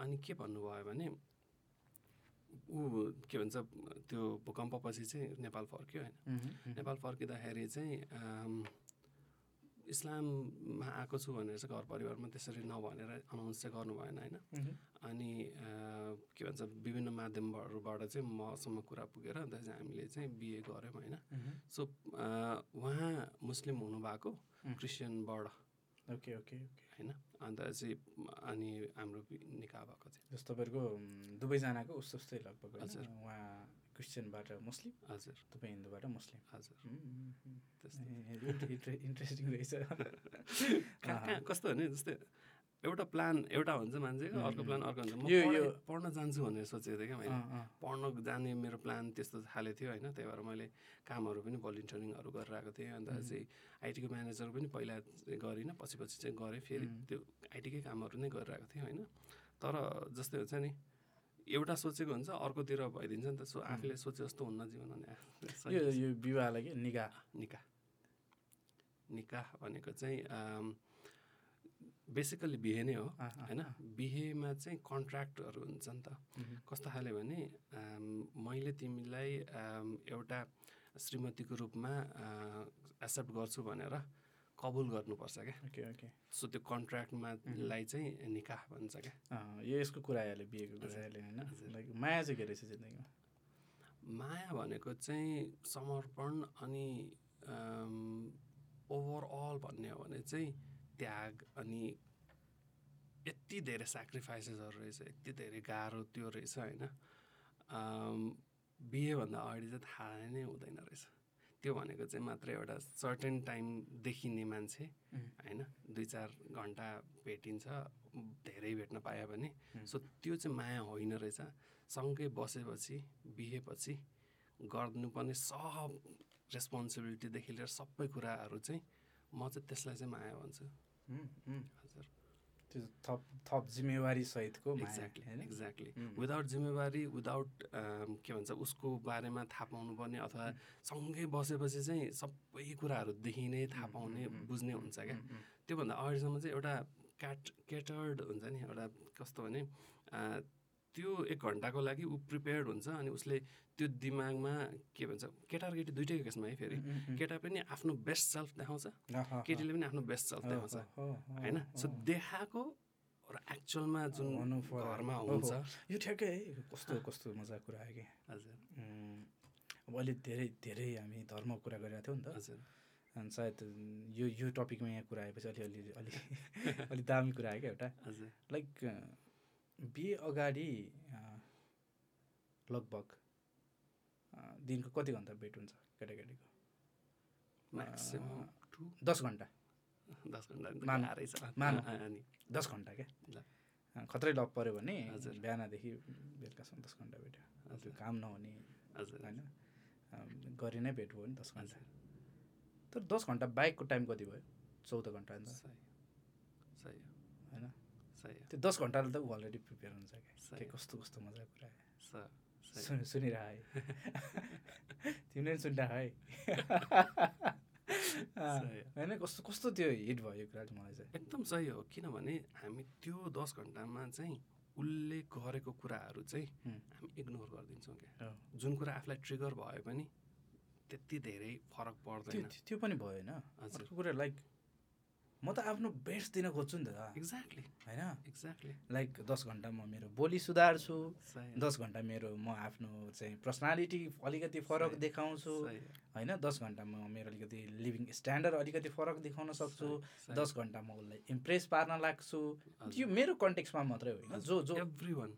S2: अनि के भन्नुभयो भने ऊ के भन्छ त्यो भूकम्पपछि चाहिँ नेपाल फर्क्यो
S1: Mm.
S2: होइन नेपाल फर्किँदाखेरि चाहिँ अम, इस्लाममा आएको छु भनेर चाहिँ घर परिवारमा त्यसरी नभनेर अनाउन्स चाहिँ गर्नु भएन होइन अनि अ, के भन्छ विभिन्न माध्यमहरूबाट चाहिँ मसम्म कुरा पुगेर अन्त चाहिँ हामीले चाहिँ बिए गऱ्यौँ होइन सो अ, उहाँ मुस्लिम हुनुभएको
S1: उम्.
S2: क्रिस्चियनबाट
S1: ओके ओके ओके
S2: होइन अन्त चाहिँ अनि हाम्रो निका भएको चाहिँ
S1: जस्तो तपाईँहरूको उम्, दुवैजनाको उस्तो उस्तै लगभग होइन?
S2: हजुर।
S1: उहाँ क्रिस्चियनबाट मुस्लिम
S2: हजुर
S1: तपाईँ हिन्दूबाट मुस्लिम
S2: हजुर
S1: उम्, उम्, उम्।
S2: त्यस्तो
S1: ए, इन्ट्रे- इन्ट्रे- इन्ट्रेस्टिङ रहेछ
S2: कहाँ कहाँ कस्तो भने जस्तै एउटा प्लान एउटा हुन्छ मान्छेको अर्को
S1: उम्,
S2: प्लान अर्को हुन्छ म
S1: यो-
S2: पढाइ-
S1: यो-
S2: पढ्न जान्छु भनेर सोचेको थिएँ क्या मैले
S1: अँ, अँ,
S2: पढ्न जाने मेरो प्लान त्यस्तो थाले थियो होइन त्यही भएर मैले कामहरू पनि भलिन्टियरिङहरू गरेर आएको थिएँ अन्त
S1: उम्.
S2: चाहिँ आइटीको म्यानेजर पनि पहिला चाहिँ गरिनँ पछि पछि चाहिँ गरेँ फेरि
S1: उम्.
S2: त्यो आइटीकै कामहरू नै गरेर आएको थिएँ होइन तर जस्तै हुन्छ नि एउटा सोचेको हुन्छ अर्कोतिर भइदिन्छ नि त सो आफूले सोचे जस्तो हुन्न जीवन अनि आफूले
S1: यो यो विवाहलाई कि निगा
S2: निकाह निकाह भनेको चाहिँ बेसिकली बिहे नै हो
S1: अँ, अँ,
S2: होइन बिहेमा चाहिँ कन्ट्र्याक्टहरू हुन्छ नि त
S1: उम्,
S2: कस्तो खाले भने अम, मैले तिमीलाई अम, एउटा श्रीमतीको रूपमा एक्सेप्ट गर्छु भनेर कबुल गर्नुपर्छ क्या
S1: ओके ओके
S2: सो त्यो कन्ट्र्याक्टमा लाई चाहिँ निकाह भन्छ क्या
S1: अँ, यो यसको कुरा आइहाल्यो बिहेको कुरा आइहाल्यो होइन
S2: हजुर।
S1: लाइक माया चाहिँ के रहेछ जिन्दगीमा
S2: माया भनेको चाहिँ समर्पण अनि ओभरअल भन्ने हो भने चाहिँ त्याग अनि यति धेरै सेक्रिफाइसेसहरू रहेछ यति धेरै गाह्रो त्यो रहेछ होइन अम, बिहेभन्दा अगाडि चाहिँ थाहा नै हुँदैन रहेछ त्यो भनेको चाहिँ मात्र एउटा सर्टेन टाइम देखिने मान्छे
S1: उम्.
S2: होइन दुई चार घन्टा भेटिन्छ धेरै भेट्न पायो भने
S1: उम्.
S2: सो त्यो चाहिँ माया होइन रहेछ सँगै बसेपछि बिहेपछि गर्नुपर्ने सब रेस्पोन्सिबिलिटीदेखि लिएर सबै कुराहरू चाहिँ म चाहिँ त्यसलाई चाहिँ माया भन्छु
S1: उम्, उम्,
S2: हजुर
S1: त्यो थप थप जिम्मेवारी सहितको माया
S2: एक्ज्याक्टली
S1: होइन
S2: एक्ज्याक्टली
S1: उम्,
S2: विदाउट जिम्मेवारी विदाउट के भन्छ उसको बारेमा थाहा पाउनुपर्ने अथवा सँगै बसेपछि चाहिँ सबै कुराहरूदेखि नै थाहा
S1: उम्,
S2: पाउने
S1: उम्, उम्,
S2: बुझ्ने हुन्छ क्या
S1: उम्, उम्,
S2: त्योभन्दा अगाडिसम्म चाहिँ एउटा क्याट क्याटर्ड हुन्छ नि एउटा कस्तो भने अ, त्यो एक घन्टाको लागि ऊ प्रिपेयर्ड हुन्छ अनि उसले त्यो दिमागमा के भन्छ केटा र केटी दुइटैको केसमा है फेरि
S1: उम्, उम्,
S2: केटा पनि आफ्नो बेस्ट सेल्फ देखाउँछ
S1: ल, ह, ह,
S2: केटीले पनि आफ्नो बेस्ट सेल्फ
S1: हो,
S2: देखाउँछ
S1: हो, हो, हो,
S2: होइन सो
S1: हो।
S2: देखाएको र एक्चुअलमा जुन
S1: हुनु फरक।
S2: घरमा
S1: हो, हो।
S2: हुन्छ
S1: यो ठ्याक्कै है कस्तो कस्तो मजाको कुरा आयो कि
S2: हजुर
S1: उम्, अब अहिले धेरै धेरै हामी धर्मको कुरा गरिरहेको थियौँ नि त
S2: हजुर
S1: अनि सायद उम्, यो यो टपिकमा यहाँ कुरा आएपछि अलिअलि अलि अलि दामी कुरा आयो क्या एउटा
S2: हजुर
S1: लाइक अ, बिहे अगाडि अ, लगभग अ, दिनको कति घन्टा भेट हुन्छ केटाकेटीको
S2: म्याक्सिमम् टु
S1: दस घन्टा
S2: दस घन्टा नि त
S1: मानौँ।
S2: गाह्रै छ
S1: मानौँ।
S2: अँ, अनि
S1: दस घन्टा क्या
S2: ल।
S1: अ, खत्रै लप पऱ्यो भने
S2: हजुर।
S1: बिहानदेखि बेलुकासम्म दस घन्टा भेट्यो अब त्यो काम नहुने
S2: हजुर
S1: होइन अ, गरी नै भेट भयो नि दस घन्टा
S2: हजुर
S1: तर दस घन्टा बाइकको टाइम कति भयो चौध घन्टा अन्त
S2: सही सही हो,
S1: होइन
S2: सही हो,
S1: त्यो दस घन्टाले त ऊ अलरेडी प्रिपेयर हुन्छ क्या
S2: सही।
S1: के कस्तो कस्तो मजाको कुरा आयो।
S2: स- सही
S1: सुन सुनिरह है तिमीले पनि सुनिरह है अँ,
S2: सही हो।
S1: होइन कस्तो कस्तो त्यो हिट भयो यो कुरा चाहिँ मलाई चाहिँ
S2: एकदम सही हो किनभने हामी त्यो दस घन्टामा चाहिँ उसले गरेको कुराहरू चाहिँ
S1: हुँ।
S2: हामी इग्नोर गरिदिन्छौँ क्या
S1: हो।
S2: जुन कुरा आफूलाई ट्रिगर भयो पनि त्यति धेरै फरक
S1: त्यो
S2: पर्दैन
S1: त्यो- त्यो पनि भयो होइन
S2: हजुर।
S1: अर्को कुरा लाइक म त आफ्नो बेस्ट दिन खोज्छु नि त
S2: एक्ज्याक्टली
S1: होइन
S2: एक्ज्याक्टली
S1: लाइक दस घन्टा म मेरो बोली सुधार्छु
S2: सही हो,
S1: दस घन्टा मेरो म आफ्नो चाहिँ पर्सनालिटी अलिकति फरक
S2: सही।
S1: देखाउँछु
S2: सही हो,
S1: होइन दस घन्टा म मेरो अलिकति लिभिङ स्ट्यान्डर्ड अलिकति फरक देखाउन सक्छु
S2: सही,
S1: दस घन्टा म उसलाई इम्प्रेस पार्न लाग्छु
S2: हजुर।
S1: यो मेरो कन्टेक्समा मात्रै होइन जो जो
S2: everyone,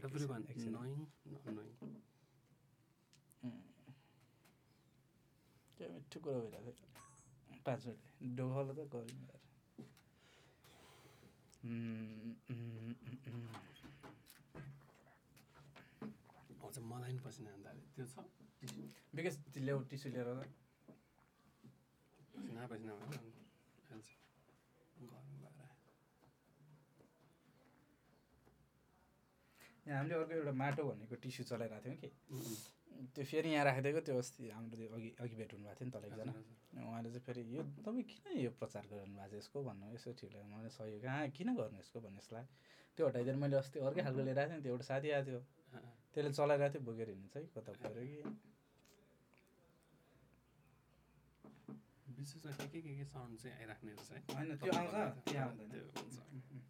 S2: everyone,
S1: एकछिन।
S2: knowing, not knowing.
S1: mm. त्यो मिठो कुरा भइरहेको थियो पाँच मिनट डोहल त गरौँ यार। उम्, उम्, उम्, उम्।
S2: हजुर, मलाई पनि पसिना आउन थाल्यो। त्यो छ
S1: विकास ल्याउ टिस्यु लिएर आऊ।
S2: पसिना पसिना भयो। निकाल्छ गर्मी भएर
S1: यहाँ हामीले अर्को एउटा माटो भनेको टिस्यु चलाइरहेको थियौँ कि
S2: उम्,
S1: त्यो फेरि यहाँ राखिदिएको त्यो अस्ति हाम्रो त्यो अघि अघि भेट हुनुभएको थियो नि तल एकजना
S2: हजुर,
S1: उहाँले चाहिँ फेरि यो तपाईँ किन यो प्रचार गरिरहनु भएको छ यसको भन्नु यसो ठिक लाग्यो मलाई सहयोग कहाँ किन गर्नु यसको भन्ने जस्तो लाग्यो त्यो हटाइदिएर मैले अस्ति अर्कै खालको लिएर आएको थिएँ नि त्यो एउटा साथी आएको थियो
S2: अँ, अँ,
S1: त्यसले चलाइरहेको थियो बोकेर हिँड्नु चाहिँ कता पऱ्यो कि
S2: विशेषमा के के के के साउन्ड चाहिँ आइराख्ने रहेछ है
S1: होइन त्यो आउँछ त्यो आउँदैन
S2: त्यो हुन्छ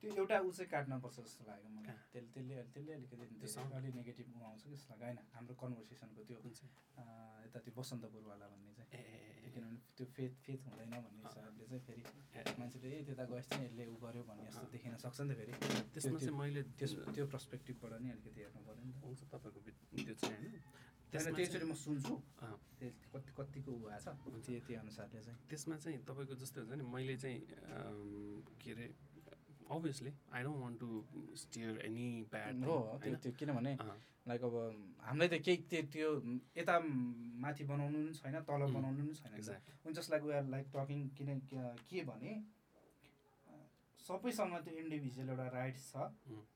S1: त्यो एउटा ऊ चाहिँ काट्नुपर्छ जस्तो लाग्यो मलाई
S2: कहाँ?
S1: त्यसले त्यसले अलि- त्यसले अलिकति
S2: त्यो
S1: धेरै-
S2: sound?
S1: अलि नेगेटिभ ऊ आउँछ कि जस्तो लाग्यो होइन हाम्रो कन्भर्सेसनको त्यो
S2: हुन्छ
S1: अ, यता त्यो बसन्तपुरवाला भन्ने चाहिँ
S2: ए, ए,
S1: त्यो
S2: ए,
S1: किनभने त्यो फेथ फेथ हुँदैन भन्ने हिसाबले चाहिँ फेरि
S2: ए,
S1: मान्छेले ए त्यता गएछ नि यसले ऊ गर्यो भन्ने जस्तो
S2: अँ।
S1: देखिन सक्छ नि त फेरि
S2: त्यसमा
S1: त्यो-
S2: चाहिँ मैले
S1: त्यस
S2: त्यस
S1: त्यो पर्सपेक्टिभबाट नि अलिकति हेर्नु पऱ्यो नि त
S2: हुन्छ तपाईँको बिच- त्यो चाहिँ होइन
S1: त्यसमा
S2: त्यसमा
S1: त्यसरी
S2: चाहिँ-
S1: म सुन्छु
S2: अँ,
S1: त्यो कति कतिको ऊ भएको छ
S2: हुन्छ।
S1: त्यो त्यो अनुसारले चाहिँ
S2: त्यसमा चाहिँ तपाईँको जस्तो हुन्छ नि मैले चाहिँ अम, के अरे obviously I don't want to steer any bad
S1: हो त्यो त्यो किनभने लाइक अब हामीलाई त केही त्यो त्यो यता माथि बनाउनु नि छैन तल
S2: उम्,
S1: बनाउनु नि छैन नि त।
S2: एक्ज्याक्ट
S1: उन just like we are like talking किन के- के भने अ, सबैसँग त्यो इन्डिभिजुअल एउटा राइट्स छ
S2: उम्.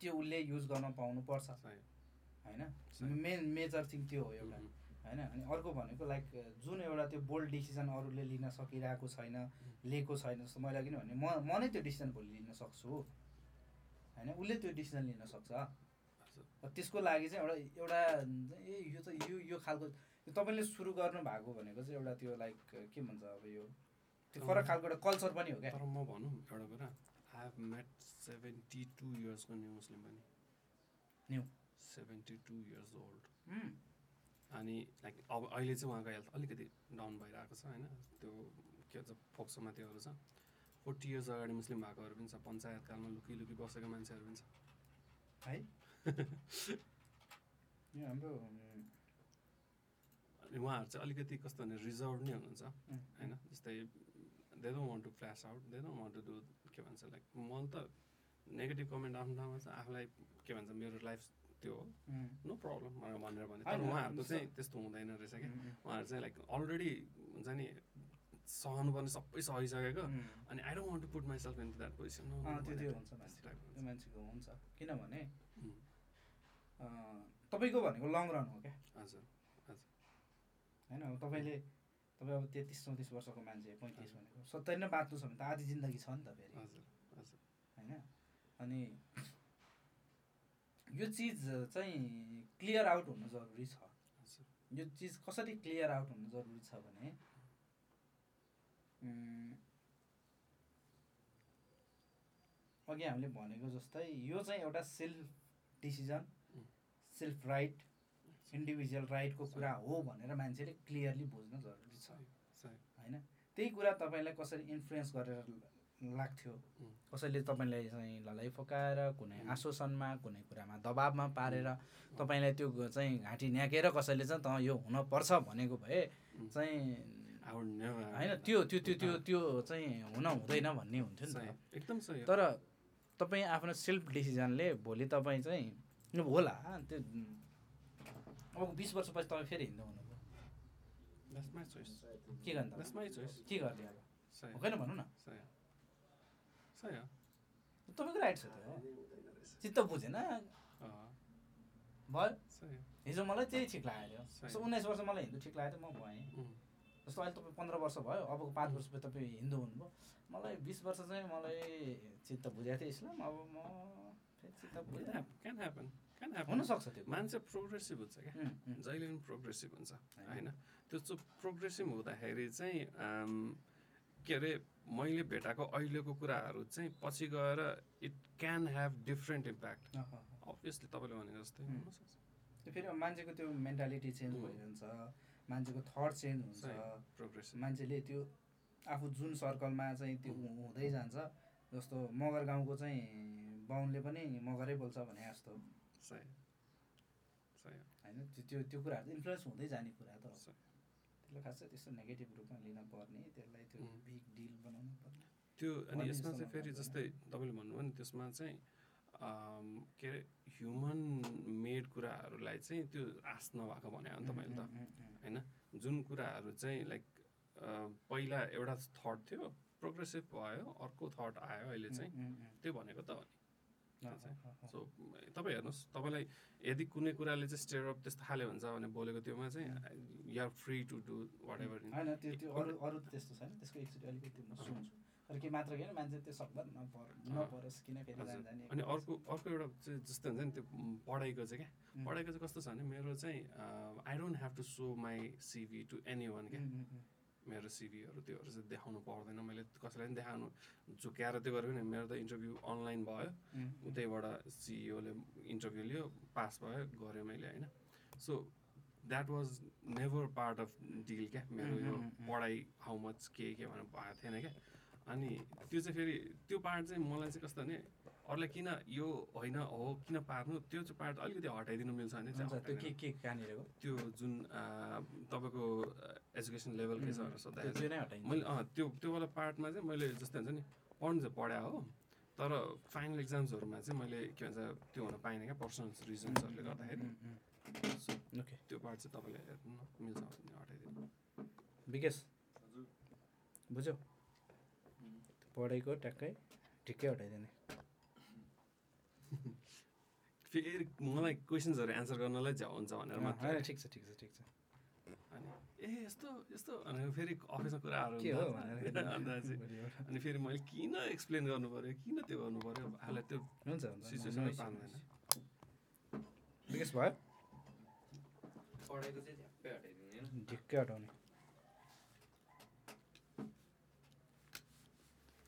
S1: त्यो उसले युज गर्न पाउनुपर्छ होइन मेन मेजर थिङ त्यो हो एउटा होइन अनि अर्को भनेको लाइक अ, जुन एउटा त्यो बोल्ड डिसिजन अरूले लिन सकिरहेको छैन लिएको छैन जस्तो मैले किनभने म म नै त्यो डिसिजन भोलि लिन सक्छु होइन उसले त्यो डिसिजन लिन सक्छ र त्यसको लागि चाहिँ एउटा एउटा ए यो त यो यो खालको यो तपाईँले सुरु गर्नु भएको भनेको चाहिँ एउटा त्यो लाइक के भन्छ अब यो त्यो फरक खालको एउटा कल्चर पनि हो क्या
S2: तर म भनौँ एउटा कुरा I have met seventy two इयर्सको न्यु मुस्लिम पनि
S1: New.
S2: Seventy two years old
S1: um,
S2: अनि लाइक अब अहिले चाहिँ उहाँको हेल्थ अलिकति डाउन भइरहेको छ होइन त्यो के भन्छ फोक्सोमा त्योहरू छ फोर्टी इयर्स अगाडि मुस्लिम भएकोहरू पनि छ पञ्चायतकालमा लुकी लुकी बसेको मान्छेहरू पनि छ
S1: है यो हाम्रो उम्,
S2: अनि उहाँहरू चाहिँ अलिकति कस्तो भने रिजर्भ नै हुनुहुन्छ
S1: उम्,
S2: होइन जस्तै they don't want to flash out they don't want to do के भन्छ लाइक मलाई त नेगेटिभ कमेन्ट आफ्नो ठाउँमा छ आफूलाई के भन्छ मेरो लाइफ त्यो हो
S1: उम्,
S2: नो प्रब्लम भनेर भनेर भने तर
S1: होइन,
S2: उहाँहरूको
S1: हुन्छ।
S2: चाहिँ त्यस्तो हुँदैन रहेछ क्या
S1: उम्,
S2: उहाँहरू चाहिँ लाइक अलरेडी हुन्छ नि सहनुपर्ने सबै सहिसकेको
S1: उम्,
S2: अनि I don't want to put myself in that position
S1: अँ, त्यो Ah, त्यो हुन्छ मान्छे त्यो मान्छेको हुन्छ किनभने
S2: उम्.
S1: अ, तपाईँको भनेको लङ रन हो क्या
S2: हजुर
S1: होइन अब तपाईँले तपाईँ अब तेत्तिस चौतिस वर्षको मान्छे पैँतिस भनेको सत्तरी नै बाँच्नु छ भने त आधी जिन्दगी छ नि त फेरि
S2: हजुर
S1: होइन अनि यो चिज चाहिँ क्लियर आउट हुनु जरुरी छ
S2: हजुर
S1: यो चिज कसरी क्लियर आउट हुनु जरुरी छ भने उम्, अघि हामीले भनेको जस्तै यो चाहिँ एउटा self decision
S2: um.
S1: Self right individual राइटको कुरा हो भनेर मान्छेले क्लियरली बुझ्न जरुरी छ
S2: सही
S1: होइन त्यही कुरा तपाईँलाई कसरी इन्फ्लुएन्स गरेर ल- लाग्थ्यो
S2: उम्.
S1: कसैले तपाईँलाई चाहिँ ललाइ फकाएर कुनै
S2: उम्.
S1: आश्वासनमा कुनै कुरामा दबाबमा पारेर तपाईँलाई त्यो ग- चाहिँ घाँटी न्याकेर कसैले चाहिँ त यो हुनपर्छ भनेको भए
S2: उम्.
S1: चाहिँ
S2: आई वुड नेभर
S1: होइन त्यो त्यो त्यो त्यो त्यो चाहिँ हुन हुँदैन भन्ने हुन्थ्यो नि
S2: सही
S1: त
S2: एकदम सही हो।
S1: तर तपाईँ आफ्नो सेल्फ डिसिजनले भोलि तपाईँ चाहिँ अब होला त्यो अब बिस वर्षपछि तपाईँ फेरि हिँड्नु हुनुभयो
S2: That's my choice.
S1: के गर्ने
S2: That's
S1: तपाईँ?
S2: my choice.
S1: के गर्ने अब
S2: सही
S1: हो कि न भनौँ न
S2: सही सही हो
S1: तपाईँको राइट छ त्यो चित्त बुझेन
S2: अँ,
S1: भयो
S2: सही हो
S1: हिजो मलाई त्यही ठिक लाग्यो अरे।
S2: सही।
S1: जस्तो उन्नाइस वर्ष मलाई हिन्दू ठिक लाग्यो त म भएँ
S2: उम्,
S1: जस्तो अहिले तपाईँ पन्ध्र वर्ष भयो अबको पाँच वर्षपछि तपाईँ हिन्दू हुनुभयो मलाई बिस वर्ष चाहिँ मलाई चित्त बुझाएको थियो इस्लाम अब म फेरि चित्त
S2: it
S1: बुझेँ
S2: hap- can happen, can happen.
S1: हुनसक्छ त्यो कुरा।
S2: मान्छे प्रोग्रेसिभ हुन्छ क्या
S1: उम्, उम्,
S2: जहिले पनि प्रोग्रेसिभ हुन्छ
S1: होइन।
S2: होइन त्यो चाहिँ प्रोग्रेसिभ हुँदाखेरि चाहिँ अम, के अरे मैले भेटाएको अहिलेको कुराहरू चाहिँ पछि गएर it can have different impact
S1: अँ, अँ, अँ।
S2: अभियसली तपाईँले भनेको जस्तै
S1: उम्.
S2: हुनसक्छ
S1: त्यो फेरि अब मान्छेको त्यो मेन्टालिटी चेन्ज
S2: उम्.
S1: भइरहन्छ मान्छेको थट चेन्ज हुन्छ
S2: सही। प्रोग्रेसिभ
S1: मान्छेले त्यो आफू जुन सर्कलमा चाहिँ त्यो हु- हुँदै जान्छ जस्तो मगर गाउँको चाहिँ बाहुनले पनि मगरै बोल्छ भने जस्तो
S2: सही सही हो,
S1: होइन त्यो त्यो त्यो कुराहरू त इन्फ्लुएन्स हुँदै जाने कुरा त हो।
S2: सही।
S1: त्यसलाई खासै त्यस्तो नेगेटिभ रूपमा लिन पर्ने त्यसलाई त्यो
S2: उम्.
S1: बिग डिल बनाउनु पर्ने
S2: त्यो अनि
S1: भन्ने
S2: यसमा
S1: जस्तो
S2: चाहिँ फेरि
S1: मलाई लाग्दैन।
S2: जस्तै तपाईँले भन्नुभयो नि त्यसमा चाहिँ के अरे ह्युमन मेड कुराहरूलाई चाहिँ त्यो आश नभएको भने हो नि तपाईँले
S1: Mm-hmm.
S2: त होइन जुन कुराहरू चाहिँ लाइक uh, पहिला एउटा थट थियो प्रोग्रेसिभ भयो अर्को थट आयो अहिले
S1: Mm-hmm.
S2: चाहिँ त्यो भनेको त हो नि त्यो चाहिँ। सो तपाईँ हेर्नुहोस् तपाईँलाई यदि कुनै कुराले चाहिँ स्टेयर अप त्यस्तो खाले हुन्छ भने बोलेको त्योमा चाहिँ you are free to do whatever
S1: होइन त्यो त्यो अरू अरू त्यस्तो छैन त्यसको एकचोटि अलिकति म सुन्छु अरू के मात्र होइन मान्छे त्यो सकभर नपर नपरोस् किन फेरि
S2: हजुर।
S1: जान जाने
S2: अनि अर्को अर्को एउटा चाहिँ जस्तो हुन्छ नि त्यो पढाइको चाहिँ क्या
S3: उम्.
S2: पढाइको चाहिँ कस्तो छ भने मेरो चाहिँ I don't have to show my CV to anyone क्या मेरो सिभीहरू त्योहरू चाहिँ देखाउनु पर्दैन मैले कसैलाई पनि देखाउनु झुक्याएर त्यो गरेको नि मेरो त इन्टरभ्यू अनलाइन भयो उतैबाट E सिइओले इन्टरभ्यू लियो पास भयो गरेँ मैले होइन so that was never part of deal क्या मेरो यो
S3: उम्, उम्, उम्.
S2: पढाइ हाउ मच के के भनेर भएको थिएन क्या अनि त्यो चाहिँ फेरि त्यो पार्ट चाहिँ मलाई चाहिँ कस्तो भने अरूलाई किन यो होइन हो किन पार्नु त्यो चाहिँ पार्ट अलिकति हटाइदिनु मिल्छ भने चाहिँ
S3: हुन्छ त्यो के
S2: हटाइदिनु।
S3: के कहाँनिर हो
S2: त्यो जुन अँ, तपाईँको एजुकेसन लेभल के छ भनेर
S3: त्यो
S2: सोद्धा
S3: चाहिँ नै हटाइन्छ
S2: मैले अँ, त्यो त्यो वाला पार्टमा चाहिँ मैले जस्तै हुन्छ नि पढ्नु चाहिँ पढाए हो तर फाइनल इक्जाम्सहरूमा चाहिँ मैले के भन्छ त्यो हुन पाइनँ क्या पर्सनल रिजन्सहरूले गर्दाखेरि
S3: उम्, उम्,
S2: सो
S3: उम्। ओके
S2: त्यो पार्ट चाहिँ तपाईँले हेर्नु न, मिल्छ भने हटाइदिनु
S3: विकेश बुझ्यौ पढाइको ट्याक्कै ठिकै हटाइदिने
S2: फेरि मलाई क्वेसन्सहरू एन्सर गर्नलाई झ्याउ हुन्छ भनेर
S3: अँ,
S2: मात्र
S3: होइन, ठिक छ ठिक छ ठिक छ
S2: अनि ए यस्तो यस्तो भनेर फेरि अफिसमा कुराहरू
S3: के हो
S2: हुन्छ।
S3: भनेर
S2: अन्त चाहिँ अनि फेरि मैले किन एक्सप्लेन गर्नु पऱ्यो किन त्यो गर्नु पऱ्यो हालै त्यो
S3: हुन्छ हुन्छ,
S2: सिचुएसनै
S3: हुन्छ
S2: पार्दैन
S3: विकेश भयो
S4: पढाइको चाहिँ झ्याप्पै हटाइदिने होइन
S3: ढिक्कै हटाउने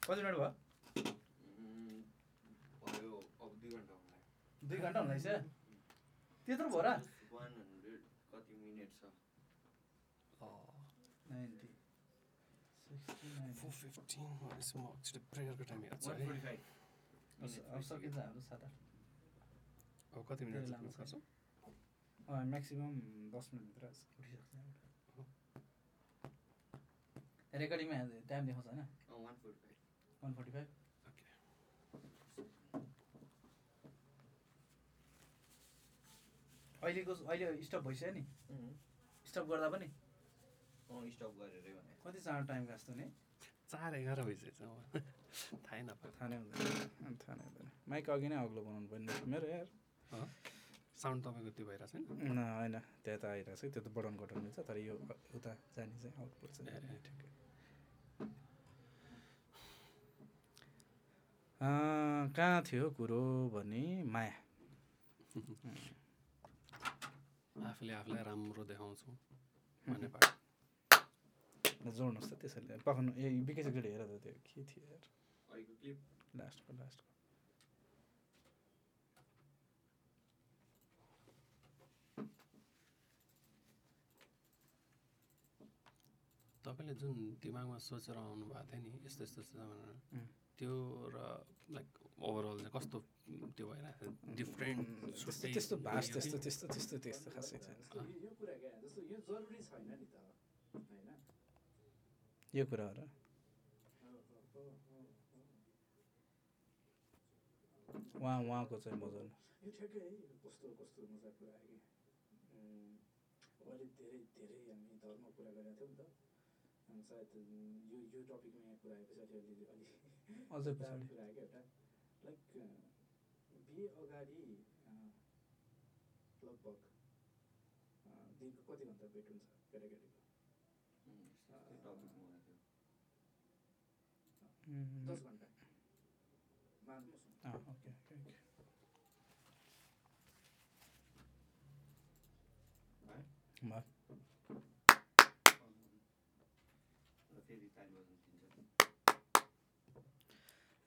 S3: कति मिनट भयो
S4: उम्, भयो अब दुई घन्टा हुन लाग्यो।
S1: दुई घन्टा हुँदैछ त्यत्रो भयो र
S4: Just 100 कति मिनट छ
S1: नाइन्टी सिक्सटी
S2: फोर फिफ्टिन भनेपछि म एकचोटि प्रेयरको टाइम हेर्छु है
S4: 145 minutes
S1: अब सकिन्छ हाम्रो सात आठ
S2: अब कति मिनट
S1: धेरै लामो
S2: लाग्नु
S1: छ।
S2: पर्छ
S1: म्याक्सिमम् दस मिनटभित्र उठिसक्छ रेकर्डिङमा टाइम देखाउँछ होइन
S4: अँ, 145
S1: वान फोर्टी फाइभ
S2: Okay.
S1: अहिलेको अहिले स्टप भइसक्यो नि स्टप गर्दा पनि
S4: अँ स्टप गरेरै भने
S1: कति चाँडो टाइम गाँच्छ नि
S2: चार एघार भइसकेछ अब। थाहै नपाएको
S3: थाहा नै हुँदैन थाहा नै हुँदैन माइक अघि नै अग्लो बनाउनु पर्ने थियो मेरो यार
S2: साउन्ड तपाईँको त्यो भइरहेको छैन
S3: न, होइन त्यहाँ त आइरहेको छ त्यो त बढाउनु घटाउनु मिल्छ तर यो उता जाने चाहिँ आउटपुट चाहिँ
S2: ए, ए,
S3: ठिकै अँ, कहाँ थियो कुरो भने माया
S2: आफूले आफूलाई राम्रो देखाउँछु भन्ने पार्ट
S3: ल, जोड्नुहोस् त त्यसैले पखाउनु ए विकेश एकचोटि हेर त त्यो के थियो यार
S4: अहिलेको क्लिप
S3: लास्टको लास्टको
S2: तपाईँले जुन दिमागमा सोचेर आउनुभएको थियो नि यस्तो यस्तो छ भनेर
S3: उम्.
S2: त्यो र लाइक ओभरअल चाहिँ कस्तो त्यो भइरहेको थियो डिफ्रेन्ट
S3: त्यस्तो त्यस्तो भाष त्यस्तो त्यस्तो त्यस्तो त्यस्तो खासै छैन
S5: यो कुरा क्या जस्तो यो जरुरी छैन नि त होइन
S3: यो कुराहरू उहाँ उहाँको चाहिँ बजाउनु
S5: यो ठ्याक्कै यो कस्तो कस्तो मजा कुरा आयो कि उम्, अब अलिक धेरै धेरै हामी धर्म कुरा गरेका थियौँ नि त अनि सायद उम्, यो यो टपिकमा यहाँ कुरा आए पछाडि अलिअलि अलिक
S3: अझै
S5: दामी
S3: पछाडि
S5: कुरा आयो क्या एउटा लाइक बिहे अगाडि अ, लगभग अ, दिनको कति घन्टा भेट हुन्छ केटाकेटीको
S4: उम्, त्यो topic मगाएको थियो।
S3: उम्,
S5: दस घन्टा मान्नुहोस् न।
S3: अँ, ओके ओके ओके भयो।
S4: ल, फेरि ताली बजाउनु दिन्छ।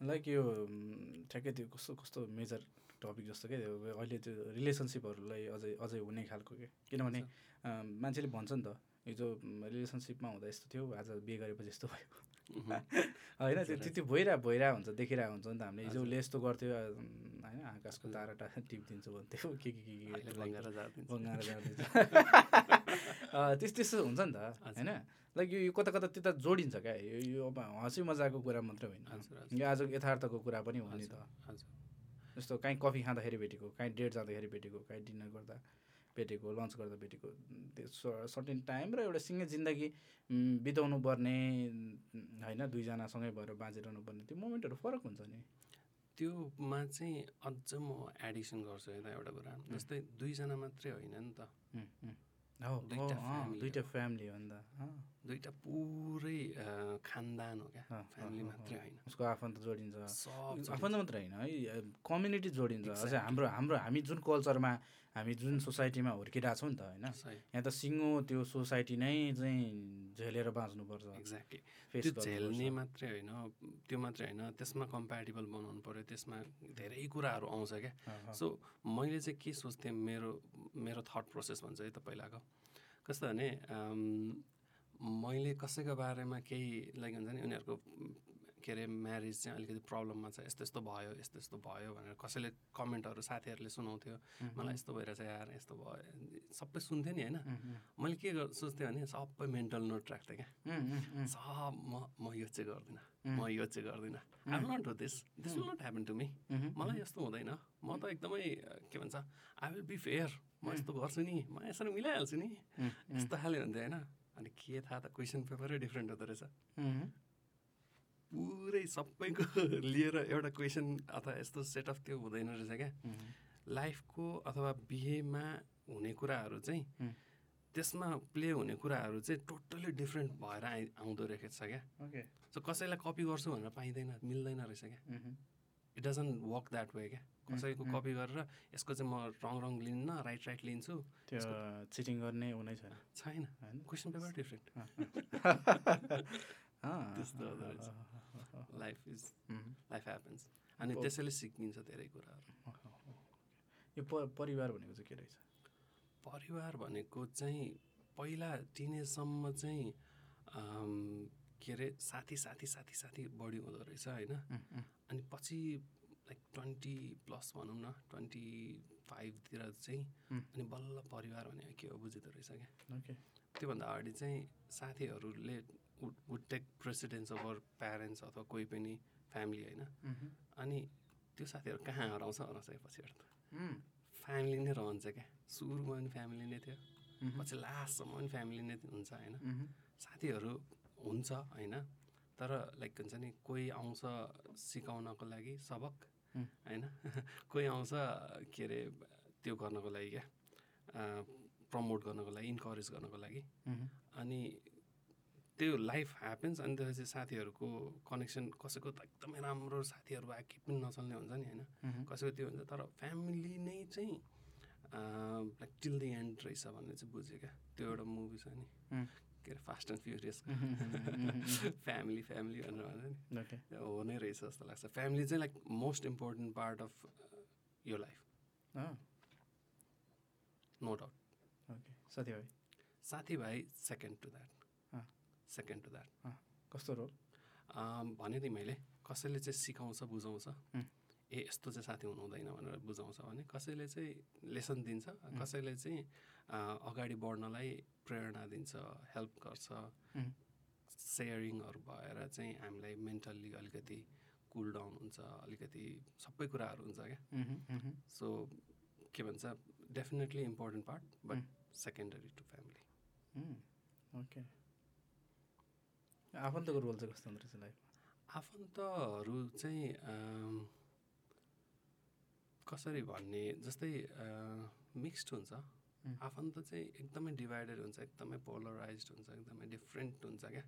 S3: लाइक यो उम्, ठ्याक्कै त्यो कस्तो कस्तो मेजर टपिक जस्तो क्या त्यो अहिले त्यो रिलेसनसिपहरूलाई अझै अझै हुने खालको के किनभने अँ, मान्छेले भन्छ नि त हिजो उम्, रिलेसनसिपमा हुँदा यस्तो थियो आज बिहे गरेपछि यस्तो भयो होइन त्यो त्यो- त्यो भइरह भइरहेको हुन्छ देखिरहेको हुन्छ नि त हामीले हिजो
S2: हजुर।
S3: उसले यस्तो गर्थ्यो अँ, होइन आकाशको तारा टारा टिपिदिन्छु भन्थ्यो के के के के के लगाएर बङ्गाएर जाँदैछ अँ, त्यस त्यस्तो हुन्छ नि त
S2: हजुर।
S3: होइन लाइक यो- यो कता कता त्यता जोडिन्छ क्या यो यो अब हँसी मजाको कुरा मात्रै होइन
S2: हजुर हजुर
S3: यो आज यथार्थको कुरा पनि हो नि त
S2: हजुर
S3: जस्तो काहीँ कफी खाँदाखेरि भेटेको काहीँ डेट जाँदाखेरि भेटेको काहीँ डिनर गर्दा भेटेको लन्च गर्दा भेटेको त्यो स- सर्टेन टाइम र एउटा सिँगै जिन्दगी उम्, बिताउनु पर्ने उम्, होइन दुईजनासँगै भएर बाँचिरहनु पर्ने त्यो मोमेन्टहरू फरक हुन्छ नि
S2: त्योमा चाहिँ अझ म एडिसन गर्छु यता एउटा कुरा जस्तै दुईजना मात्रै होइन नि त
S3: उम्, उम्। हो, हो
S2: दुईटा
S3: अँ,
S2: family
S3: दुइटा फ्यामिली हो नि त अँ,
S2: दुइटा पुरै अँ, खानदान हो क्या
S3: अँ,
S2: फ्यामिली
S3: अँ, अँ,
S2: मात्रै
S3: अँ।
S2: होइन
S3: उसको आफन्त जोडिन्छ
S2: सब
S3: आफन्त मात्र होइन है कम्युनिटी जोडिन्छ अझै हाम्रो हाम्रो हामी जुन कल्चरमा हामी जुन सोसाइटीमा हुर्किरहेको छौँ नि त होइन
S2: सही
S3: यहाँ त सिङ्गो त्यो सोसाइटी नै चाहिँ झेलेर बाँच्नुपर्छ
S2: एक्ज्याक्टली
S3: फेस
S2: त्यो
S3: गर्नुपर्छ।
S2: झेल्ने मात्रै होइन त्यो मात्रै होइन त्यसमा कम्प्याटेबल बनाउनु पऱ्यो त्यसमा धेरै कुराहरू आउँछ क्या
S3: अँ, अँ,
S2: सो मैले चाहिँ के सोच्थेँ मेरो मेरो थट प्रोसेस भन्छ है त पहिलाको कस्तो भने अम्, मैले कसैको बारेमा केही लाइक हुन्छ नि उनीहरूको म, के अरे म्यारिज चाहिँ अलिकति प्रब्लममा छ यस्तो यस्तो भयो यस्तो यस्तो भयो भनेर कसैले कमेन्टहरू साथीहरूले सुनाउँथ्यो
S3: उम्,
S2: मलाई यस्तो भइरहेछ यार यस्तो भयो सबै सुन्थेँ नि होइन
S3: उम्, उम्,
S2: मैले के गर- सोच्थेँ भने सबै मेन्टल नोट राख्थेँ क्या
S3: उम्, उम्, उम्,
S2: सब म म यो चाहिँ गर्दिनँ
S3: उम्,
S2: म यो चाहिँ गर्दिनँ I will not do this this will not happen to me
S3: um, um,
S2: मलाई यस्तो हुँदैन म त एकदमै अ, के भन्छ आई विल बी फेयर म यस्तो गर्छु नि म यसरी मिलाइहाल्छु नि
S3: उम्, उम्,
S2: यस्तो खाले हुन्थ्यो होइन अनि के थाहा त क्वेसन पेपरै डिफ्रेन्ट हुँदो रहेछ
S3: उम्,
S2: पुरै सबैको लिएर एउटा क्वेसन अथवा यस्तो सेट अफ त्यो हुँदैन रहेछ क्या
S3: उम्,
S2: लाइफको अथवा बिहेमा हुने कुराहरू चाहिँ
S3: उम्।
S2: त्यसमा प्ले हुने कुराहरू चाहिँ टोटल्ली डिफ्रेन्ट भएर आइ आउँदो रहेछ क्या
S3: ओके,
S2: सो कसैलाई कपी गर्छु भनेर पाइँदैन मिल्दैन रहेछ क्या
S3: उम्, um,
S2: it doesn't work that way क्या कसैको
S3: उम्.
S2: कपी गरेर यसको चाहिँ म रङ रङ लिन्न राइट राइट लिन्छु
S3: त्यो चिटिङ गर्ने उनै छैन
S2: छैन
S3: होइन
S2: क्वेसन पेपर डिफ्रेन्ट
S3: अँ, अँ। अँ,
S2: त्यस्तो हुँदो
S3: अँ,
S2: रहेछ।
S3: अँ, अँ, अँ, अँ,
S2: life is
S3: um,
S2: life happens अनि
S3: अब-
S2: त्यसैले सिकिन्छ धेरै कुराहरू
S3: अँ, अँ, अँ। यो प- परिवार भनेको चाहिँ के रहेछ
S2: परिवार भनेको चाहिँ पहिला टिनेजसम्म चाहिँ अम, के अरे साथी साथी साथी साथी बढी हुँदो रहेछ होइन
S3: उम्, उम्,
S2: अनि पछि लाइक ट्वेन्टी प्लस भनौँ न ट्वेन्टी फाइभतिर चाहिँ
S3: उम्.
S2: अनि बल्ल परिवार भनेको के हो बुझिँदो रहेछ क्या
S3: ओके
S2: त्योभन्दा अगाडि चाहिँ साथीहरूले would take precedence over parents अथवा कोही पनि फ्यामिली होइन
S3: उम्, उम्,
S2: अनि त्यो साथीहरू कहाँ हराउँछ हराउँछ यो पछिबाट त
S3: उम्,
S2: फ्यामिली नै रहन्छ क्या सुरुमा पनि फ्यामिली नै थियो
S3: उम्,
S2: पछि लास्टसम्म पनि फ्यामिली नै हुन्छ होइन
S3: उम्,
S2: साथीहरू हुन्छ होइन तर लाइक हुन्छ नि कोही आउँछ सिकाउनको लागि सबक
S3: उम्.
S2: होइन कोही आउँछ के अरे त्यो गर्नको लागि क्या प्रमोट गर्नको लागि इन्करेज गर्नको लागि
S3: उम्,
S2: अनि त्यो लाइफ ह्यापेन्स अनि त्यसपछि साथीहरूको कनेक्सन कसैको त एकदमै राम्रो साथीहरू भए के पनि नचल्ने हुन्छ नि होइन
S3: उम्,
S2: कसैको त्यो हुन्छ तर फ्यामिली नै चाहिँ लाइक टिल द एन्ड रहेछ भन्ने चाहिँ बुझ्यो क्या त्यो एउटा मुभी छ नि
S3: उम्.
S2: के अरे फास्ट एन्ड फ्युरियस
S3: उम्, उम्, उम्, उम्,
S2: फ्यामिली फ्यामिली भनेर भन्छ नि
S3: ओके
S2: त्यो हो नै रहेछ जस्तो लाग्छ फ्यामिली चाहिँ like most important part of यो लाइफ
S3: अँ,
S2: नो डाउट
S3: ओके साथीभाइ
S2: साथीभाइ सेकेन्ड टु द्याट
S3: अँ.
S2: सेकेन्ड टु द्याट
S3: कस्तो रोल
S2: अम, भने नि मैले कसैले चाहिँ सिकाउँछ बुझाउँछ
S3: उम्.
S2: ए यस्तो चाहिँ साथी हुनु हुँदैन भनेर बुझाउँछ भने कसैले चाहिँ लेसन दिन्छ कसैले चाहिँ अ, अगाडि बढ्नलाई प्रेरणा दिन्छ हेल्प गर्छ
S3: उम्.
S2: सेयरिङहरू भएर चाहिँ हामीलाई मेन्टल्ली अलिकति कुल डाउन हुन्छ अलिकति सबै कुराहरू हुन्छ क्या
S3: उम्, उम्, उम्,
S2: सो के भन्छ definitely important part but secondary to family
S3: um, okay आफन्तको रोल चाहिँ कस्तो हुँदो रहेछ लाइफ
S2: आफन्तहरू चाहिँ अम, कसरी भन्ने जस्तै मिक्स्ड हुन्छ
S3: उम्.
S2: आफन्त चाहिँ एकदमै डिभाइडेड हुन्छ एकदमै पोलराइज हुन्छ एकदमै डिफ्रेन्ट हुन्छ क्या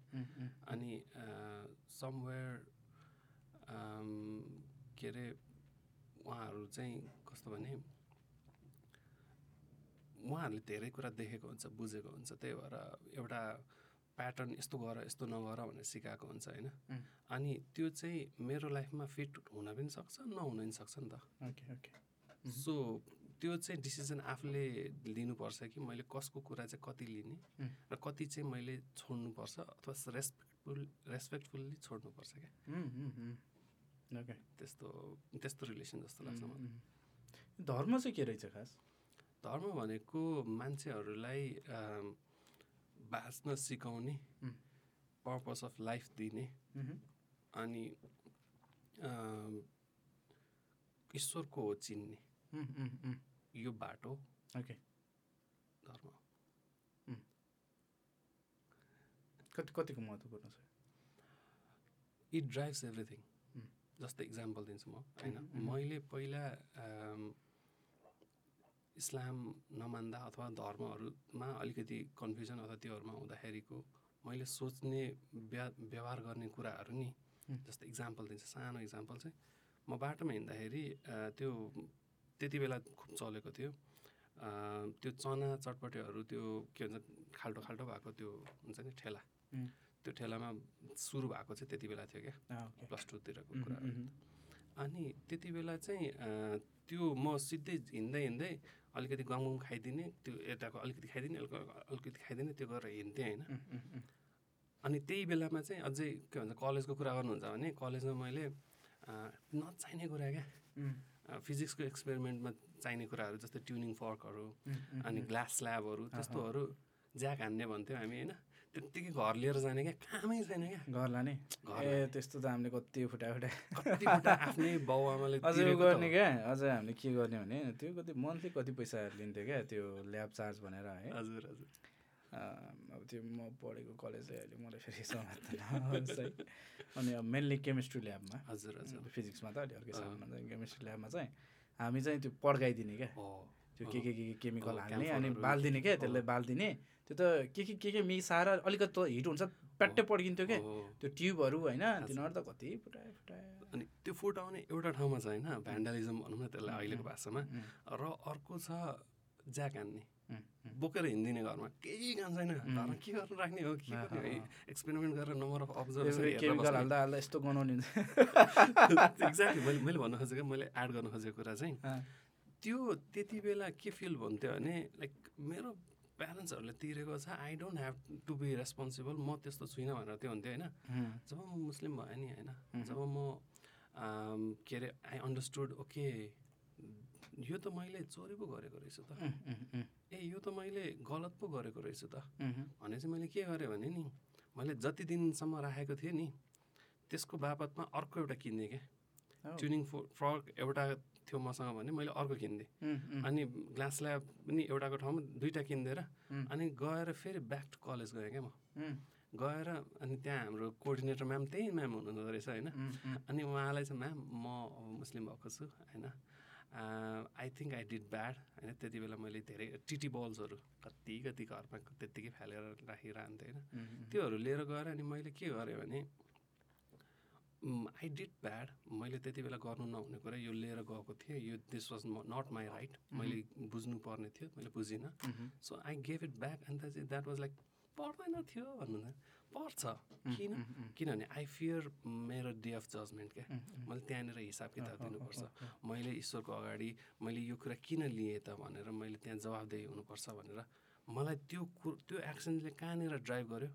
S2: अनि समवेयर के अरे उहाँहरू चाहिँ कस्तो भने उहाँहरूले धेरै कुरा देखेको हुन्छ बुझेको हुन्छ त्यही भएर एउटा प्याटर्न यस्तो गर यस्तो नगर भनेर सिकाएको हुन्छ होइन
S3: उम्.
S2: अनि त्यो चाहिँ मेरो लाइफमा फिट हुन पनि सक्छ नहुन पनि सक्छ नि त
S3: ओके ओके उम्.
S2: सो त्यो चाहिँ डिसिजन आफूले लिनुपर्छ कि मैले कसको कुरा चाहिँ कति लिने
S3: उम्.
S2: र कति चाहिँ मैले छोड्नुपर्छ अथवा रेस्पेक्टफुल रेस्पेक्टफुल्ली छोड्नुपर्छ क्या
S3: उम्, उम्, उम्, ओके
S2: त्यस्तो त्यस्तो रिलेसन जस्तो लाग्छ मलाई
S3: उम्, उम्। Hmm, धर्म चाहिँ के रहेछ खास
S2: धर्म भनेको मान्छेहरूलाई अम, बाँच्न सिकाउने
S3: उम्.
S2: पर्पस अफ लाइफ दिने
S3: उम्,
S2: अनि अम, ईश्वरको हो चिन्ने
S3: उम्, उम्, उम्,
S2: यो बाटो
S3: ओके
S2: धर्म हो।
S3: कति कतिको महत्त्वपूर्ण छ
S2: इट ड्राइभ्स एभ्रिथिङ
S3: Mm.
S2: जस्तै इक्जाम्पल दिन्छु म होइन
S3: Mm, mm.
S2: मैले पहिला अम, इस्लाम नमान्दा अथवा धर्महरूमा अलिकति कन्फ्युजन अथवा त्योहरूमा हुँदाखेरिको मैले सोच्ने व्या व्यवहार गर्ने कुराहरू नि
S3: Mm.
S2: जस्तै इक्जाम्पल दिन्छु सानो इक्जाम्पल चाहिँ म बाटोमा हिँड्दाखेरि अ, त्यो त्यति बेला खुब चलेको थियो अ, त्यो चना चटपटेहरू त्यो के भन्छ खाल्टो खाल्टो भएको त्यो हुन्छ नि ठेला
S3: Mm.
S2: त्यो ठेलामा सुरु भएको चाहिँ त्यति बेला थियो क्या
S3: अँ, ओके
S2: प्लस टूतिरको
S3: उम्,
S2: कुरा
S3: उम्, उम्,
S2: अनि त्यति बेला चाहिँ अँ, त्यो म सिधै हिँड्दै हिँड्दै अलिकति गाउँ खाइदिने त्यो यताको अलिकति खाइदिने अलिक- अलिकति खाइदिने त्यो गरेर हिँड्थेँ होइन
S3: उम्, उम्, उम्,
S2: अनि त्यही बेलामा चाहिँ अझै के भन्छ कलेजको कुरा गर्नुहुन्छ भने कलेजमा मैले अँ, नचाहिने कुरा क्या
S3: उम्,
S2: अँ, फिजिक्सको एक्सपेरिमेन्टमा चाहिने कुराहरू जस्तै ट्युनिङ फर्कहरू
S3: उम्, उम्,
S2: अनि
S3: उम्,
S2: ग्लास स्ल्याबहरू
S3: अहँ।
S2: त्यस्तोहरू ज्याक हान्ने भन्थ्यौँ हामी होइन त्यत्तिकै घर लिएर जाने क्या कामै छैन क्या
S3: घर लाने
S2: घर
S3: ए
S2: लाने।
S3: त्यस्तो त हामीले कति फुटा फुटा
S2: कति पल्ट आफ्नै बाउ आमाले
S3: अझ
S2: तिरेको
S3: उ
S2: त
S3: गर्ने
S2: हो।
S3: क्या अझ हामीले के गर्ने भने त्यो कति मन्थली कति पैसा लिन्थ्यो क्या त्यो ल्याब चार्ज भनेर है
S2: हजुर हजुर
S3: अम, अब त्यो म पढेको कलेज चाहिँ अहिले मलाई फेरि समाप्त नहोस् है अनि अब मेन्ली केमिस्ट्री ल्याबमा
S2: हजुर हजुर
S3: फिजिक्समा त अलि अर्कै सामान हुन्छ केमिस्ट्री ल्याबमा चाहिँ हामी चाहिँ त्यो पड्काइदिने क्या
S2: हो
S3: त्यो के के के के केमिकल
S2: अँ,
S3: हाल्ने अनि
S2: क्याम्फरहरू।
S3: बालिदिने क्या
S2: अँ।
S3: त्यसलाई बालिदिने त्यो त के के के के मिसाएर अलिकति त हिट हुन्छ प्याट्टै पड्किन्थ्यो क्या
S2: हो।
S3: त्यो ट्युबहरू होइन
S2: हजुर।
S3: तिनीहरू त कति फुटायो फुटायो
S2: अनि त्यो फोटो आउने एउटा ठाउँमा छ होइन भ्यान्डालिजम भनौँ न त्यसलाई
S3: उम्,
S2: अहिलेको भाषामा
S3: उम्,
S2: र अर्को छ ज्याक हान्ने
S3: उम्, उम्।
S2: बोकेर हिँडिदिने घरमा केही काम छैन घरमा के गर्नु राख्ने हो के
S3: अँ,
S2: गर्ने हो?
S3: अँ,
S2: एक्सपेरिमेन्ट गरेर नम्बर अफ
S3: त्यसरी केमिकल हाल्दा हाल्दा यस्तो गनाउने हुन्छ
S2: एक्ज्याक्टली मैले मैले भन्न खोजेको मैले एड गर्न खोजेको कुरा चाहिँ
S3: अँ,
S2: त्यो त्यति बेला के फिल भन्थ्यो भने लाइक मेरो प्यारेन्ट्सहरूले तिरेको छ I don't have to be responsible म त्यस्तो छुइनँ भनेर त्यो हुन्थ्यो होइन
S3: उम्,
S2: जब म मुस्लिम भएँ नि होइन
S3: मह्म।
S2: जब म आम, के अरे आई अन्डरस्टुड ओके यो त मैले चोरी पो गरेको रहेछु त
S3: उम्, उम्, उम्,
S2: ए यो त मैले गलत पो गरेको रहेछु त
S3: उम्,
S2: भने चाहिँ मैले के गरेँ भने नि मैले जति दिनसम्म राखेको थिएँ नि त्यसको बापतमा अर्को एउटा किनिदिएँ क्या
S3: औ,
S2: ट्युनिङ फो फ्रक एउटा थियो मसँग भने मैले अर्को किनिदिएँ
S3: उम्, उम्,
S2: अनि ग्लास ल्याब पनि एउटाको ठाउँमा दुइटा किनिदिएर
S3: उम्,
S2: अनि गएर फेरि ब्याक टु कलेज गएँ क्या म
S3: उम्,
S2: गएर अनि त्यहाँ हाम्रो कोअर्डिनेटर म्याम त्यही म्याम हुनुहुँदो रहेछ होइन
S3: उम्, उम्,
S2: अनि उहाँलाई चाहिँ म्याम म अब मुस्लिम भएको छु होइन I think I did bad होइन त्यति बेला मैले धेरै टिटी बल्सहरू कति कति घरमा त्यत्तिकै फालेर राखिरहन्थेँ होइन
S3: उम्,
S2: त्योहरू लिएर गएर अनि मैले के गरेँ भने आई डिड ब्याड मैले त्यति बेला गर्नु नहुने कुरा यो लिएर गएको थिएँ यो this was not my right मैले बुझ्नुपर्ने थियो मैले बुझिनँ
S3: um,
S2: so I gave it back अन्त चाहिँ द्याट वाज लाइक पर्दैन थियो भन्नु पर्छ किन
S3: उम्, उम्,
S2: किनभने आई फियर मेरो डे अफ जजमेन्ट क्या
S3: उम्, उम्,
S2: मैले त्यहाँनिर हिसाब किताब
S3: अँ, अँ,
S2: दिनुपर्छ
S3: अँ, अँ,
S2: मैले ईश्वरको अगाडि मैले यो कुरा किन लिएँ त भनेर मैले त्यहाँ जवाबदेही हुनुपर्छ भनेर मलाई त्यो कुर त्यो एक्सनले कहाँनिर ड्राइभ गर्यो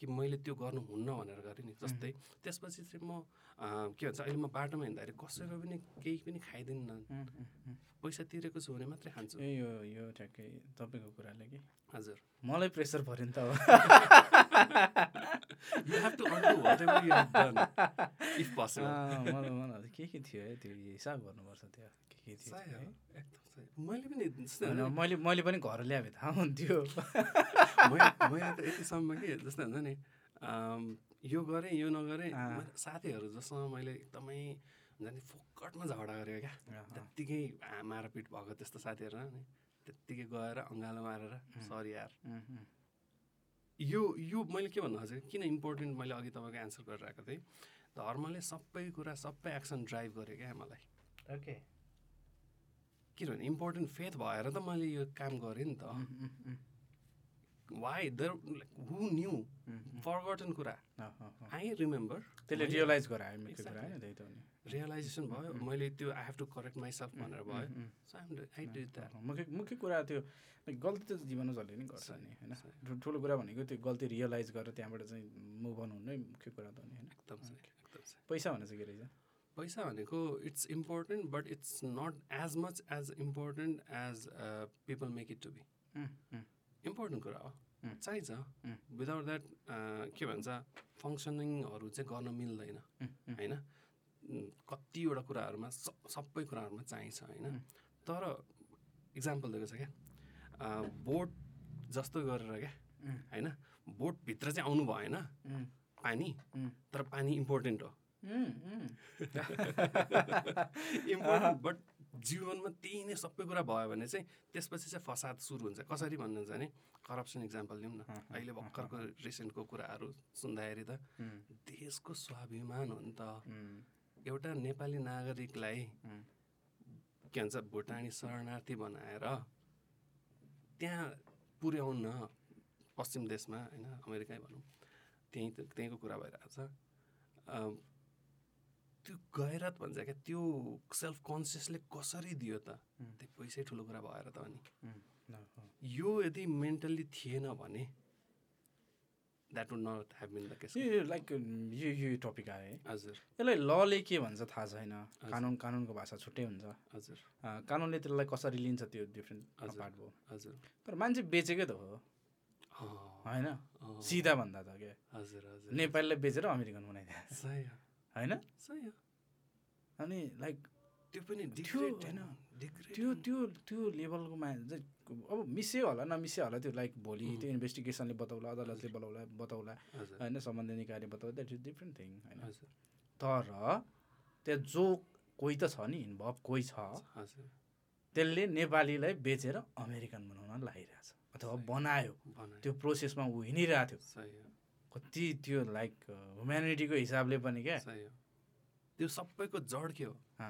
S2: कि मैले त्यो गर्नु हुन्न भनेर गरेँ नि जस्तै त्यसपछि चाहिँ म अँ, के भन्छ अहिले म बाटोमा हिँड्दाखेरि कसैको पनि केही पनि खाइदिन्न
S3: उम्, उम्, उम्।
S2: पैसा तिरेको छु भने मात्रै खान्छु
S3: ए यो यो ठ्याक्कै तपाईँको कुराले कि
S2: हजुर
S3: मलाई प्रेसर पऱ्यो नि त अब
S2: you have to earn whatever you have done if possible
S3: अँ, मलाई मलाई के के थियो है त्यो हिसाब गर्नुपर्छ त्यो के के थियो
S2: सही हो
S3: है।
S2: एकदम सही मैले पनि जस्तै
S3: होइन,
S2: होइन,
S3: मैले मैले पनि घर ल्याएँ थाहा हुन्थ्यो
S2: मैले मैले त यतिसम्म कि जस्तो हुन्छ नि अम, यो गरेँ यो नगरेँ
S3: अँ।
S2: मैले साथीहरू जसँग मैले एकदमै हुन्छ नि फोकटमा झगडा गरेको क्या
S3: Ah.
S2: त्यत्तिकै आ- मारपिट भएको त्यस्तो साथीहरू नि त्यत्तिकै गएर अँगालो मारेर सरी यार
S3: उम्, उम्,
S2: यो यो मैले के भन्नु खोजेको किन इम्पोर्टेन्ट मैले अघि तपाईँको एन्सर गरेर आएको थिएँ धर्मले सबै कुरा सबै एक्सन ड्राइभ गर्यो क्या मलाई किनभने इम्पोर्टेन्ट फेथ भएर त मैले यो काम गरेँ नि त
S3: उम्, उम्, um,
S2: why there like who knew
S3: um, um,
S2: फरगटन कुरा
S3: अँ, अँ, अँ।
S2: आई रिमेम्बर
S3: त्यसले
S2: मैले-
S3: रियलाइज गरायो मेरो कुरा
S2: Exactly.
S3: होइन त्यही त हो नि
S2: रियलाइजेसन भयो
S3: Mm-hmm.
S2: मैले त्यो I have to correct myself भनेर भयो
S3: um, um,
S2: so I'm I did that
S3: अँ, मुख्य मुख्य कुरा त्यो लाइक गल्ती त जीवनमा जसले नि गर्छ
S2: सही,
S3: नि होइन
S2: सही।
S3: ठु- ठुलो कुरा भनेको त्यो गल्ती रियलाइज गरेर त्यहाँबाट चाहिँ मुभ अन हुनु नै मुख्य कुरा त हो नि होइन
S2: एकदम सही एकदम सही
S3: पैसा भने चाहिँ के रहेछ
S2: पैसा भनेको it's important but it's not as much as important as people make it to be
S3: um, um,
S2: important कुरा हो
S3: Mm.
S2: चाहिन्छ uh,
S3: Mm.
S2: विदाउट द्याट के भन्छ फङ्सनिङहरू चाहिँ गर्न मिल्दैन
S3: उम्, उम्,
S2: होइन उम्, कतिवटा कुराहरूमा सब सबै कुराहरूमा चाहिन्छ होइन तर इक्जाम्पल दिएको छ क्या अँ, बोट जस्तो गरेर क्या
S3: उम्.
S2: होइन बोटभित्र चाहिँ आउनु भएन
S3: उम्,
S2: पानी
S3: उम्.
S2: तर पानी इम्पोर्टेन्ट हो
S3: उम्, उम्,
S2: इम्पोर्टेन्ट बट जीवनमा त्यही नै सबै कुरा भयो भने चाहिँ त्यसपछि चाहिँ फसाद सुरु हुन्छ कसरी भन्नुहुन्छ भने करप्सन इक्जाम्पल दिउँ न अहिले भर्खरको रिसेन्टको कुराहरू सुन्दाखेरि त
S3: उम्,
S2: देशको स्वाभिमान हो नि त
S3: उम्,
S2: एउटा नेपाली नागरिकलाई
S3: उम्.
S2: के भन्छ भुटानी शरणार्थी बनाएर त्यहाँ पुर्याउन पश्चिम देशमा होइन अमेरिकै भनौँ त्यहीँ त- त्यहीँको कुरा भइरहेको छ अम, त्यो गैरत भन्छ क्या त्यो सेल्फ कन्सियसले कसरी दियो त
S3: उम्.
S2: त्यो पैसै ठुलो कुरा भएर त अनि
S3: उम्, ल, हो।
S2: यो यदि मेन्टल्ली थिएन भने that would not have been the case
S3: यो- यो लाइक उम्, यो यो टपिक आयो है
S2: हजुर
S3: यसलाई लले के भन्छ थाहा छैन कानुन कानुनको भाषा छुट्टै हुन्छ
S2: हजुर
S3: अँ, कानुनले त्यसलाई कसरी लिन्छ त्यो डिफ्रेन्ट
S2: हजुर।
S3: पार्ट भयो
S2: हजुर
S3: तर मान्छे बेचेकै त हो
S2: अँ,
S3: होइन
S2: अँ,
S3: सिधा भन्दा त के
S2: हजुर हजुर
S3: नेपालीलाई बेचेर अमेरिकन बनाइदियो
S2: सही हो,
S3: होइन
S2: सही हो।
S3: अनि लाइक
S2: त्यो पनि
S3: त्यो
S2: डिग्रेड
S3: होइन,
S2: होइन डिग्रेड
S3: त्यो त्यो त्यो लेभलको मान्छे अब मिस्यो होला नमिस्यो होला त्यो लाइक भोलि त्यो इन्भेस्टिगेसनले बताउला अदालतले बताउला बताउला
S2: हजुर
S3: होइन सम्बन्धित निकायले बताउला द्याट इज डिफ्रेन्ट थिङ होइन
S2: हजुर
S3: तर त्यहाँ जो कोही त छ नि इन्भल्भ कोही छ
S2: हजुर
S3: त्यसले नेपालीलाई बेचेर अमेरिकन बनाउन लागिरहेछ अथवा बनायो
S2: बनायो
S3: त्यो प्रोसेसमा ऊ हिँडिरहेको थियो
S2: सही हो
S3: कति त्यो लाइक ह्युम्यानिटीको हिसाबले पनि क्या
S2: सही हो त्यो सबैको जड के हो
S3: अँ।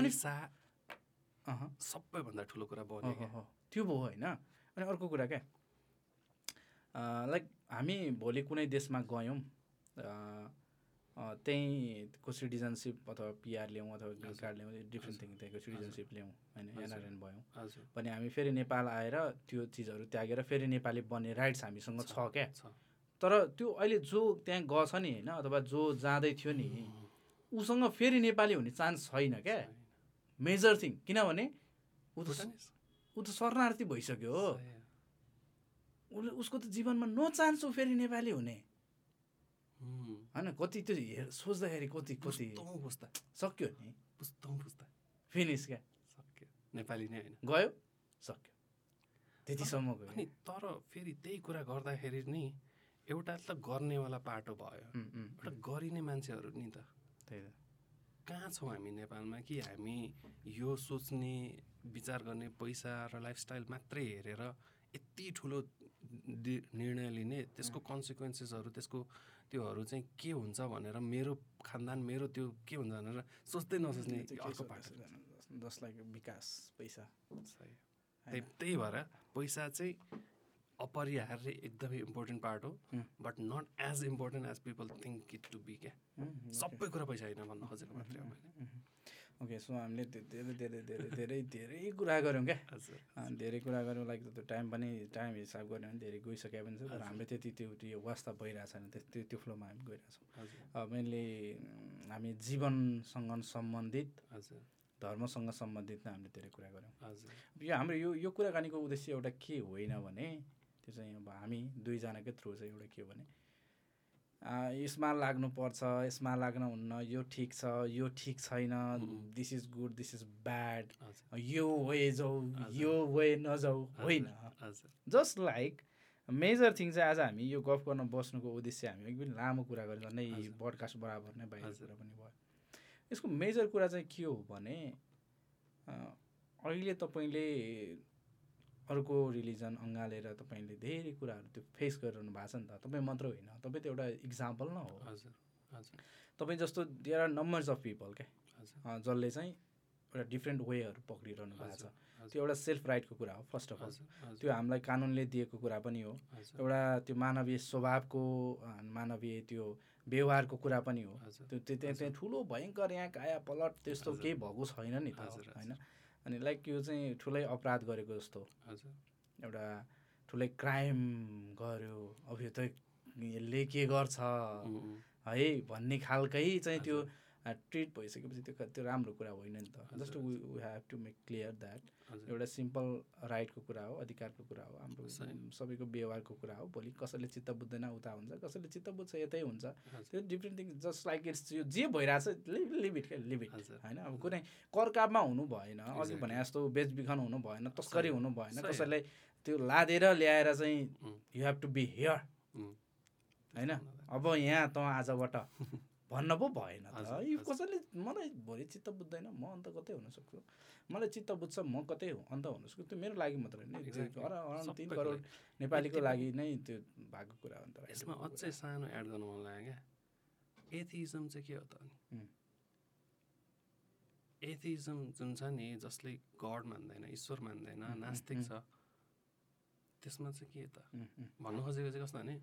S3: अनि-
S2: पैसा
S3: अहँ,
S2: सबैभन्दा ठुलो कुरा
S3: हो,
S2: बन्यो
S3: हो,
S2: क्या
S3: हो। त्यो भयो होइन अनि अर्को कुरा क्या अँ, लाइक हामी भोलि कुनै देशमा गयौँ अँ, अँ, त्यहीँको सिटिजनसिप अथवा पिआर ल्याउँ अथवा ग्रिन कार्ड ल्याउँ डिफ्रेन्ट थिङ त्यहीँको सिटिजनसिप ल्याउँ होइन एनआरएन भयौँ
S2: हजुर
S3: भने हामी फेरि नेपाल आएर त्यो चिजहरू त्यागेर फेरि नेपाली बन्ने राइट्स हामीसँग छ क्या
S2: छ
S3: तर त्यो अहिले जो त्यहाँ गछ नि होइन अथवा जो जाँदै थियो नि उसँग फेरि नेपाली हुने चान्स छैन क्या मेजर थिङ किनभने ऊ त
S2: भुटानिस?
S3: ऊ त शरणार्थी भइसक्यो हो
S2: सही हो।
S3: उसले उसको त जीवनमा नो चान्स हो फेरि नेपाली हुने
S2: उम्,
S3: होइन कति त्यो हेर- सोच्दाखेरि कति कति
S2: पुस्तौँ पुस्ता
S3: सक्यो नि
S2: पुस्तौँ पुस्ता
S3: फिनिस क्या
S2: सक्यो नेपाली नै होइन
S3: गयो सक्यो त्यतिसम्म गयो
S2: अनि तर फेरि त्यही कुरा गर्दाखेरि नि एउटा त गर्नेवाला पाटो भयो
S3: उम्, उम्,
S2: एउटा गरिने मान्छेहरू नि त
S3: त्यही त
S2: कहाँ छौँ हामी नेपालमा कि हामी यो सोच्ने विचार गर्ने पैसा र लाइफस्टाइल मात्रै हेरेर यति ठुलो दि- निर्णय लिने त्यसको कन्सिक्वेन्सेसहरू त्यसको त्योहरू चाहिँ के हुन्छ भनेर मेरो खानदान मेरो त्यो के हुन्छ भनेर सोच्दै
S3: Mm,
S2: नसोच्ने
S3: त्यो चाहिँ के
S2: अर्को
S3: छ,
S2: पाटो
S3: जसलाई विकास पैसा
S2: सही। त्यही त्यही भएर पैसा चाहिँ अपरिहार्य एकदमै इम्पोर्टेन्ट पार्ट हो
S3: हुँ।
S2: But not as important as people think it to be क्या
S3: उम्,
S2: सबै कुरा पैसा होइन भन्न खोजेको मात्रै हो मैले
S3: ओके सो हामीले त्यो धेरै धेरै धेरै धेरै धेरै कुरा गऱ्यौँ क्या
S2: हजुर
S3: अँ, धेरै कुरा गर्नु लागि त त्यो टाइम पनि टाइम हिसाब गर्ने भने धेरै गइसके पनि छ तर हाम्रो त्यति त्यो त्यो वास्ता भइरहेको छैन त्यस- त्यो त्यो फ्लोमा हामी गइरहेछौँ
S2: हजुर
S3: मेनली हामी जीवनसँग सम्बन्धित
S2: हजुर
S3: धर्मसँग सम्बन्धित नै हामीले धेरै कुरा गऱ्यौँ
S2: हजुर
S3: यो हाम्रो यो यो कुराकानीको उद्देश्य एउटा के होइन भने त्यो चाहिँ अब हामी दुईजनाकै थ्रु चाहिँ एउटा के हो भने आ, यसमा लाग्नुपर्छ यसमा लाग्न हुन्न यो ठिक छ यो ठिक छैन this is good this is bad
S2: हजुर
S3: यो वे जाऊ यो वे नजाऊ होइन
S2: हजुर
S3: जस्ट लाइक मेजर थिङ चाहिँ आज हामी यो गफ गर्न बस्नुको उद्देश्य हामी एकदम लामो कुरा गरेर नै ब्रडकास्ट बराबर नै बाहिर
S2: हजुर।
S3: कुरा पनि भयो यसको मेजर कुरा चाहिँ के हो भने अ, अहिले तपाईँले अर्को रिलिजन अँगालेर तपाईँले धेरै कुराहरू त्यो फेस गरिरहनु भएको छ नि त तपाईँ मात्र होइन तपाईँ त एउटा इक्जाम्पल न हो
S2: हजुर हजुर
S3: तपाईँ जस्तो there are numbers of people क्या
S2: हजुर
S3: अ, जसले चाहिँ एउटा डिफ्रेन्ट वेहरू पक्रिरहनु भएको छ
S2: हजुर, हजुर।
S3: त्यो एउटा सेल्फ राइटको कुरा हो फर्स्ट अफ अल
S2: हजुर हजुर
S3: त्यो हामीलाई कानुनले दिएको कुरा पनि हो
S2: हजुर
S3: एउटा त्यो मानवीय स्वभावको अ, मानवीय त्यो व्यवहारको कुरा पनि हो
S2: हजुर,
S3: त्यो त्यो त्यहाँ त्यहाँ ठुलो भयङ्कर यहाँ काया पलट त्यस्तो केही भएको छैन नि त
S2: हजुर, हजुर।
S3: होइन अनि लाइक यो चाहिँ ठुलै अपराध गरेको जस्तो
S2: हजुर
S3: एउटा ठुलै क्राइम गर्यो अब यो त यसले के गर्छ
S2: उम्, उम्,
S3: है भन्ने खालकै चाहिँ त्यो ट्रिट भइसकेपछि त्यो क- त्यो राम्रो कुरा होइन नि त
S2: हजुर,
S3: just we we have to make clear that
S2: हजुर
S3: एउटा सिम्पल राइटको कुरा हो अधिकारको कुरा हो हाम्रो
S2: सही।
S3: उम्, सबैको व्यवहारको कुरा हो भोलि कसैले चित्त बुझ्दैन उता हुन्छ कसैले चित्त बुझ्छ यतै हुन्छ
S2: हजुर
S3: त्यो different thing just like it's यो जे भइरहेछ लिभिट क्या लिभिट
S2: हजुर
S3: होइन अब कुनै करकापमा हुनु भएन अघि
S2: Exactly.
S3: भने जस्तो बेचबिखन हुनु भएन
S2: सही
S3: तस्करी
S2: हो,
S3: हुनु भएन
S2: सही हो।
S3: कसैलाई त्यो लादेर ल्याएर चाहिँ
S2: um,
S3: you have to be here
S2: um,
S3: होइन अब यहाँ त आजबाट भन्न पो भएन त
S2: हजुर,
S3: यी
S2: हजुर।
S3: कसैले मलाई भोलि चित्त बुझ्दैन म अन्त कतै हुनसक्छु मलाई चित्त बुझ्छ म कतै हु- अन्त हुनसक्छु त्यो मेरो लागि मात्र होइन त्यो
S2: Exactly.
S3: अरा- अराउन्ड तिन
S2: सबैको
S3: करोड
S2: लागि।
S3: नेपालीको
S2: यति-
S3: लागि नै त्यो भएको कुरा हो नि त
S2: यसमा अझै सानो एड गर्नु मन लाग्यो क्या एथिजम चाहिँ के हो त
S3: उम्.
S2: अनि एथिजम जुन छ नि जसले गड मान्दैन ईश्वर मान्दैन
S3: उम्,
S2: नास्तिक
S3: उम्,
S2: छ त्यसमा चाहिँ के त
S3: उम्, उम्,
S2: भन्नु खोजेको चाहिँ कस्तो भने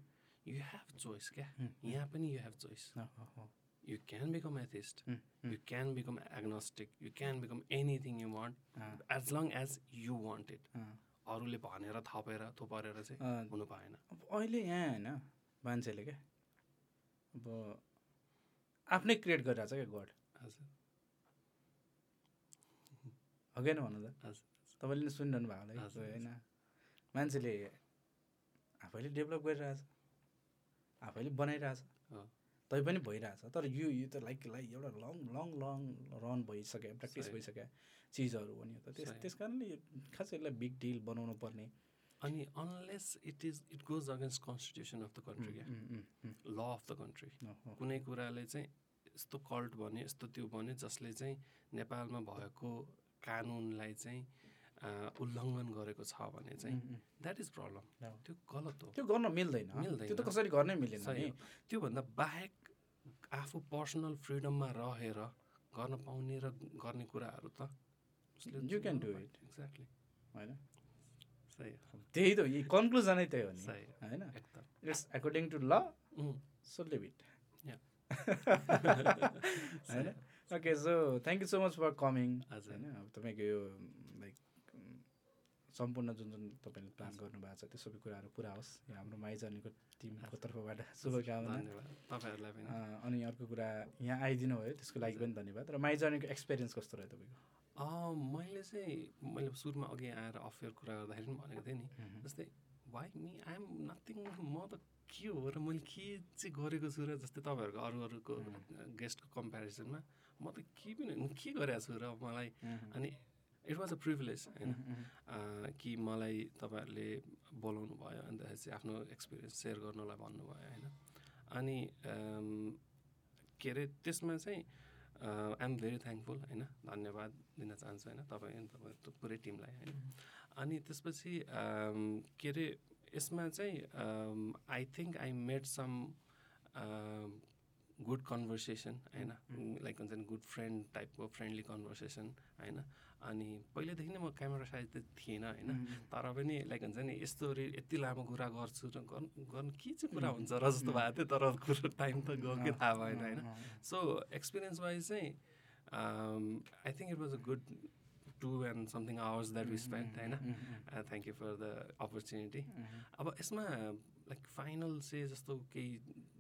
S2: यु हेभ चोइस क्या
S3: उम्, उम्,
S2: यहाँ पनि यु हेभ चोइस
S3: अँ, अँ, uh,
S2: you can become atheist
S3: um, um,
S2: you can become agnostic you can become anything you want
S3: uh,
S2: as long as you want it
S3: uh.
S2: अरूले भनेर थपेर थोपरेर चाहिँ
S3: अँ,
S2: हुनु पाएन
S3: अब अहिले यहाँ होइन मान्छेले क्या अब आफ्नै क्रिएट गरिरहेछ क्या गड
S2: हजुर
S3: हगेन भन्नु त
S2: हजुर।
S3: तपाईँले नि सुनिरहनु भएको होला है
S2: हजुर,
S3: त्यो
S2: हजुर।
S3: होइन मान्छेले आफैले डेभलप गरिरहेछ आफैले बनाइरहेछ
S2: अँ।
S3: तै पनि भइरहेछ तर यो यो त लाइक लाइक एउटा लङ लङ लङ रन भइसक्यो प्र्याक्टिस
S2: सही।
S3: भइसक्यो चिजहरू हो नि यो त त्यस
S2: सही।
S3: त्यस कारणले यो खास यसलाई बिग डिल बनाउनु पर्ने
S2: अनि unless it is it goes against constitution of the country क्या
S3: उम्, उम्, um,
S2: law of the country
S3: um, हो, हो।
S2: कुनै कुराले चाहिँ यस्तो कल्ट भन्यो यस्तो त्यो भन्यो जसले चाहिँ नेपालमा भएको कानुनलाई चाहिँ अँ, उल्लङ्घन गरेको छ भने चाहिँ
S3: um, um,
S2: that is problem
S3: हो।
S2: त्यो गलत हो
S3: त्यो गर्न मिल्दैन
S2: मिल्दैन।
S3: त्यो त कसरी गर्नै मिलेन
S2: सही
S3: नि
S2: हो। त्योभन्दा बाहेक आफू पर्सनल फ्रिडममा रहेर गर्न पाउने र गर्ने कुराहरू त उसले
S3: You can do it.
S2: Exactly
S3: होइन
S2: सही हो
S3: त्यही त हो, यी कन्क्लुजनै त्यही हो नि
S2: सही हो
S3: होइन
S2: एकदम
S3: it's according to law
S2: um,
S3: so leave it
S2: Yeah.
S3: होइन okay so thank you so much for coming
S2: हजुर।
S3: होइन अब तपाईँको यो लाइक सम्पूर्ण जुन जुन तपाईँले प्लान गर्नुभएको छ त्यो सबै कुराहरू पुरा होस् यो हाम्रो माइजनीको टिमको तर्फबाट शुभकामना
S2: धन्यवाद तपाईँहरूलाई पनि
S3: अँ, अनि अर्को कुरा यहाँ आइदिनु भयो त्यसको लागि पनि धन्यवाद र माइजनीको एक्सपिरियन्स कस्तो रह्यो तपाईँको
S2: अँ, मैले चाहिँ मैले सुरुमा अघि आएर अफेयर कुरा गर्दाखेरि पनि भनेको थिएँ नि जस्तै वाइ मी आइएम नथिङ म त के हो र मैले के चाहिँ गरेको छु र जस्तै तपाईँहरूको अरू अरूको गेस्टको कम्पेरिजनमा म त के पनि म के गरेको छु र मलाई अनि इट वाज अ प्रिभिलेज होइन अँ, कि मलाई तपाईँहरूले बोलाउनु भयो अन्त चाहिँ आफ्नो एक्सपिरियन्स सेयर गर्नलाई भन्नुभयो होइन अनि अम्, के अरे त्यसमा चाहिँ आई एम भेरी थ्याङ्कफुल होइन धन्यवाद दिन चाहन्छु होइन तपाईँ अनि तपाईँको पुरै टिमलाई होइन अनि त्यसपछि अम्, के अरे यसमा चाहिँ I think I made some good conversation होइन लाइक हुन्छ नि गुड फ्रेन्ड टाइपको फ्रेन्डली कन्भर्सेसन होइन अनि पहिल्यैदेखि नै म क्यामेरा साइज त थिएन होइन तर पनि लाइक हुन्छ नि यस्तो रे- यति लामो कुरा गर्छु र गर्नु गर्नु के चाहिँ कुरा हुन्छ र जस्तो भएको थियो तर कुरो टाइम त गएकै थाहा भएन होइन सो एक्सपिरियन्स वाइज चाहिँ I think it was a good two and something hours that we spend होइन thank you for the opportunity अब यसमा लाइक फाइनल से जस्तो केही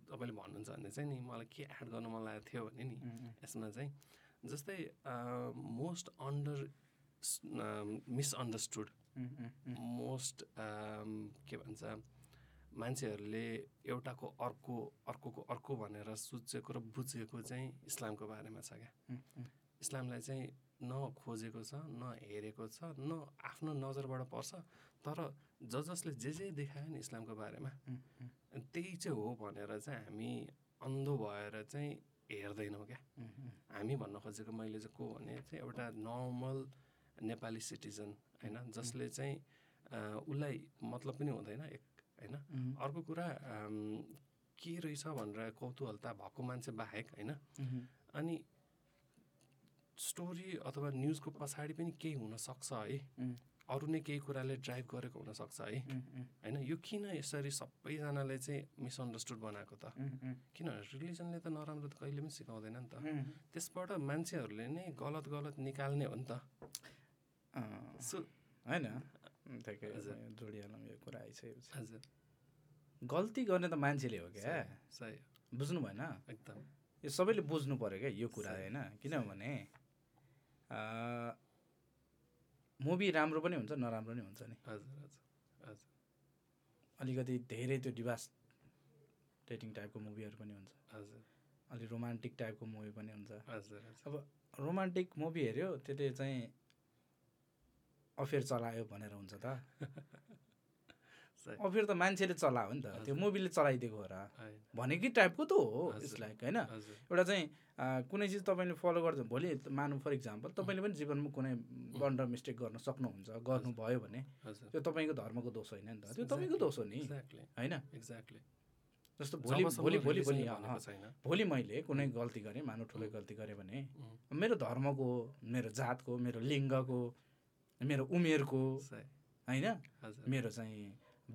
S2: तपाईँले भन्नुहुन्छ भने चाहिँ नि मलाई के एड गर्नु मन लागेको थियो भने
S3: Mm-hmm.
S2: नि यसमा चाहिँ जस्तै uh, most under um, misunderstood most के भन्छ मान्छेहरूले एउटाको अर्को अर्कोको अर्को भनेर सोचेको र बुझेको चाहिँ इस्लामको बारेमा छ क्या इस्लामलाई चाहिँ न खोजेको छ न हेरेको छ न आफ्नो नजरबाट पर्छ तर ज जसले जे जे देखायो नि इस्लामको बारेमा त्यही चाहिँ हो भनेर चाहिँ हामी अन्धो भएर चाहिँ हेर्दैनौँ क्या हामी भन्न खोजेको मैले चाहिँ को भने चाहिँ एउटा नर्मल नेपाली सिटिजन होइन जसले चाहिँ अ, उसलाई मतलब पनि हुँदैन एक होइन अर्को कुरा अम, के रहेछ भनेर कौतूहलता भएको मान्छे बाहेक होइन अनि स्टोरी अथवा न्युजको पछाडि पनि केही हुनसक्छ है
S3: उम्.
S2: अरू नै केही कुराले ड्राइभ गरेको हुनसक्छ है होइन यो किन यसरी सबैजनाले चाहिँ मिसअन्डरस्टुड बनाएको त किनभने रिलिजनले त नराम्रो त कहिले पनि सिकाउँदैन नि त त्यसबाट मान्छेहरूले नै गलत गलत निकाल्ने हो नि त सो
S3: होइन ठ्याक्कै
S2: हजुर।
S3: म जोडिहालौँ यो कुरा आइसकेपछि
S2: हजुर
S3: गल्ती गर्ने त मान्छेले हो क्या
S2: सही हो,
S3: बुझ्नु भएन
S2: एकदम
S3: यो यो सबैले बुझ्नु पऱ्यो क्या यो कुरा होइन किनभने मुभी राम्रो पनि हुन्छ नराम्रो पनि हुन्छ नि
S2: हजुर हजुर हजुर
S3: अलिकति धेरै त्यो डिभास डेटिङ टाइपको मुभीहरू पनि हुन्छ
S2: हजुर
S3: अलि रोमान्टिक टाइपको मुभी पनि हुन्छ
S2: हजुर हजुर
S3: अब रोमान्टिक मुभी हेऱ्यो त्यसले चाहिँ अफेयर चलायो भनेर हुन्छ त
S2: सही।
S3: अफेयर त मान्छेले चलायो नि त त्यो मुभीले चलाइदिएको हो र
S2: होइन,
S3: भनेकै टाइपको त हो
S2: हजुर।
S3: इट्स लाइक होइन
S2: हजुर
S3: एउटा चाहिँ अ, कुनै चिज तपाईँले फलो गर्छ भोलि मानौँ फर इक्जाम्पल तपाईँले पनि जीवनमा कुनै बन्ड मिस्टेक गर्न सक्नुहुन्छ गर्नुभयो भने
S2: हजुर
S3: त्यो तपाईँको धर्मको दोष होइन नि त त्यो तपाईँको दोष हो नि
S2: एक्ज्याक्टली
S3: होइन
S2: एक्ज्याक्टली
S3: जस्तो भोलि
S2: जबसम्म
S3: भोलि भोलि भोलि
S2: रिलिजनले भनेको
S3: अँ,
S2: छैन
S3: भोलि मैले कुनै गल्ती गरेँ मानव ठुलो गल्ती गरेँ भने
S2: उम्,
S3: मेरो धर्मको मेरो जातको मेरो लिङ्गको मेरो उमेरको
S2: सही
S3: होइन
S2: हजुर
S3: मेरो चाहिँ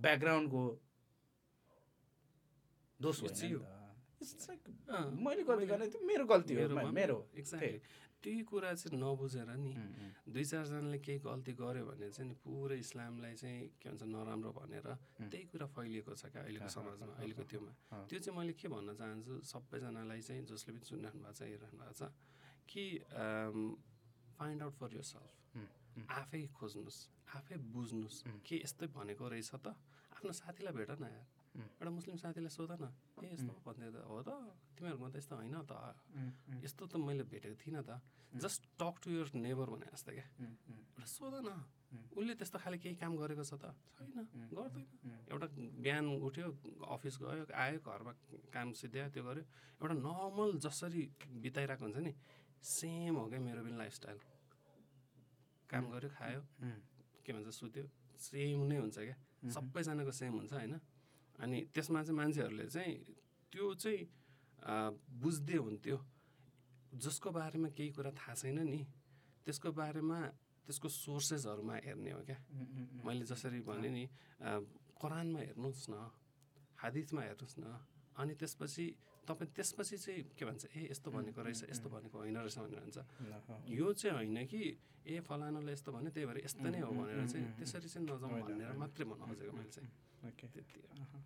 S3: ब्याकग्राउन्डको दोष
S2: It's
S3: होइन नि
S2: you.
S3: त। It's like
S2: अँ,
S3: मैले गल्ती गरेँ त्यो मेरो गल्ती हो
S2: मेरोमा-
S3: मा- मेरो
S2: एक्ज्याक्टली त्यही कुरा चाहिँ नबुझेर नि
S3: उम्, उम्,
S2: दुई चारजनाले केही गल्ती गर्यो भने चाहिँ नि पुरै इस्लामलाई चाहिँ के भन्छ नराम्रो भनेर त्यही कुरा फैलिएको छ क्या अहिलेको समाजमा अहिलेको त्योमा
S3: अँ।
S2: त्यो चाहिँ मैले के भन्न चाहन्छु सबैजनालाई चाहिँ जसले पनि सुनिरहनु भएको छ हेरिरहनु भएको छ कि find out for yourself
S3: um, um,
S2: आफै खोज्नुहोस् आफै बुझ्नुहोस् के यस्तै भनेको रहेछ त आफ्नो साथीलाई भेट न यार
S3: उम्.
S2: एउटा मुस्लिम साथीलाई सोध न ए यस्तो भन्दै त हो त तिमीहरूमा त यस्तो होइन त
S3: उम्, उम्,
S2: यस्तो त मैले भेटेको थिइनँ त just talk to your neighbour भने जस्तो क्या
S3: उम्, उम्,
S2: एउटा सोध न
S3: उम्.
S2: उसले त्यस्तो खाले केही काम गरेको छ त छैन गर्दैन एउटा बिहान उठ्यो अफिस गयो आयो घरमा काम सिध्यायो त्यो गर्यो एउटा नर्मल जसरी बिताइरहेको हुन्छ नि सेम हो क्या मेरो पनि लाइफस्टाइल काम गर्यो खायो
S3: उम्,
S2: के भन्छ सुत्यो सेम नै हुन्छ क्या सबैजनाको सेम हुन्छ होइन अनि त्यसमा चाहिँ मान्छेहरूले चाहिँ त्यो चाहिँ आ, बुझ्दै हुन्थ्यो जसको बारेमा केही कुरा थाहा छैन नि त्यसको बारेमा त्यसको सोर्सेसहरूमा हेर्ने हो क्या
S3: उम्, उम्, उम्।
S2: मैले जसरी भने नि आ, कुरानमा हेर्नुहोस् न हादिसमा हेर्नुहोस् न अनि त्यसपछि तपाईँ त्यसपछि चाहिँ के भन्छ ए यस्तो भनेको रहेछ यस्तो भनेको होइन रहेछ भनेर भन्छ
S3: ल, हो।
S2: यो चाहिँ होइन कि ए फलानाले यस्तो भन्यो त्यही भएर यस्तो नै हो भनेर चाहिँ त्यसरी चाहिँ नजाउँ भनेर मात्रै भन्न खोजेको मैले चाहिँ
S3: ओके
S2: त्यति हो।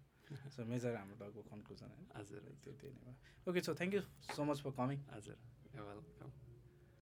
S3: सो मेजर हाम्रो लगभग कन्क्लुजन होइन
S2: हजुर
S3: त्यही त्यही नै भयो okay so thank you so much for coming
S2: हजुर वेलकम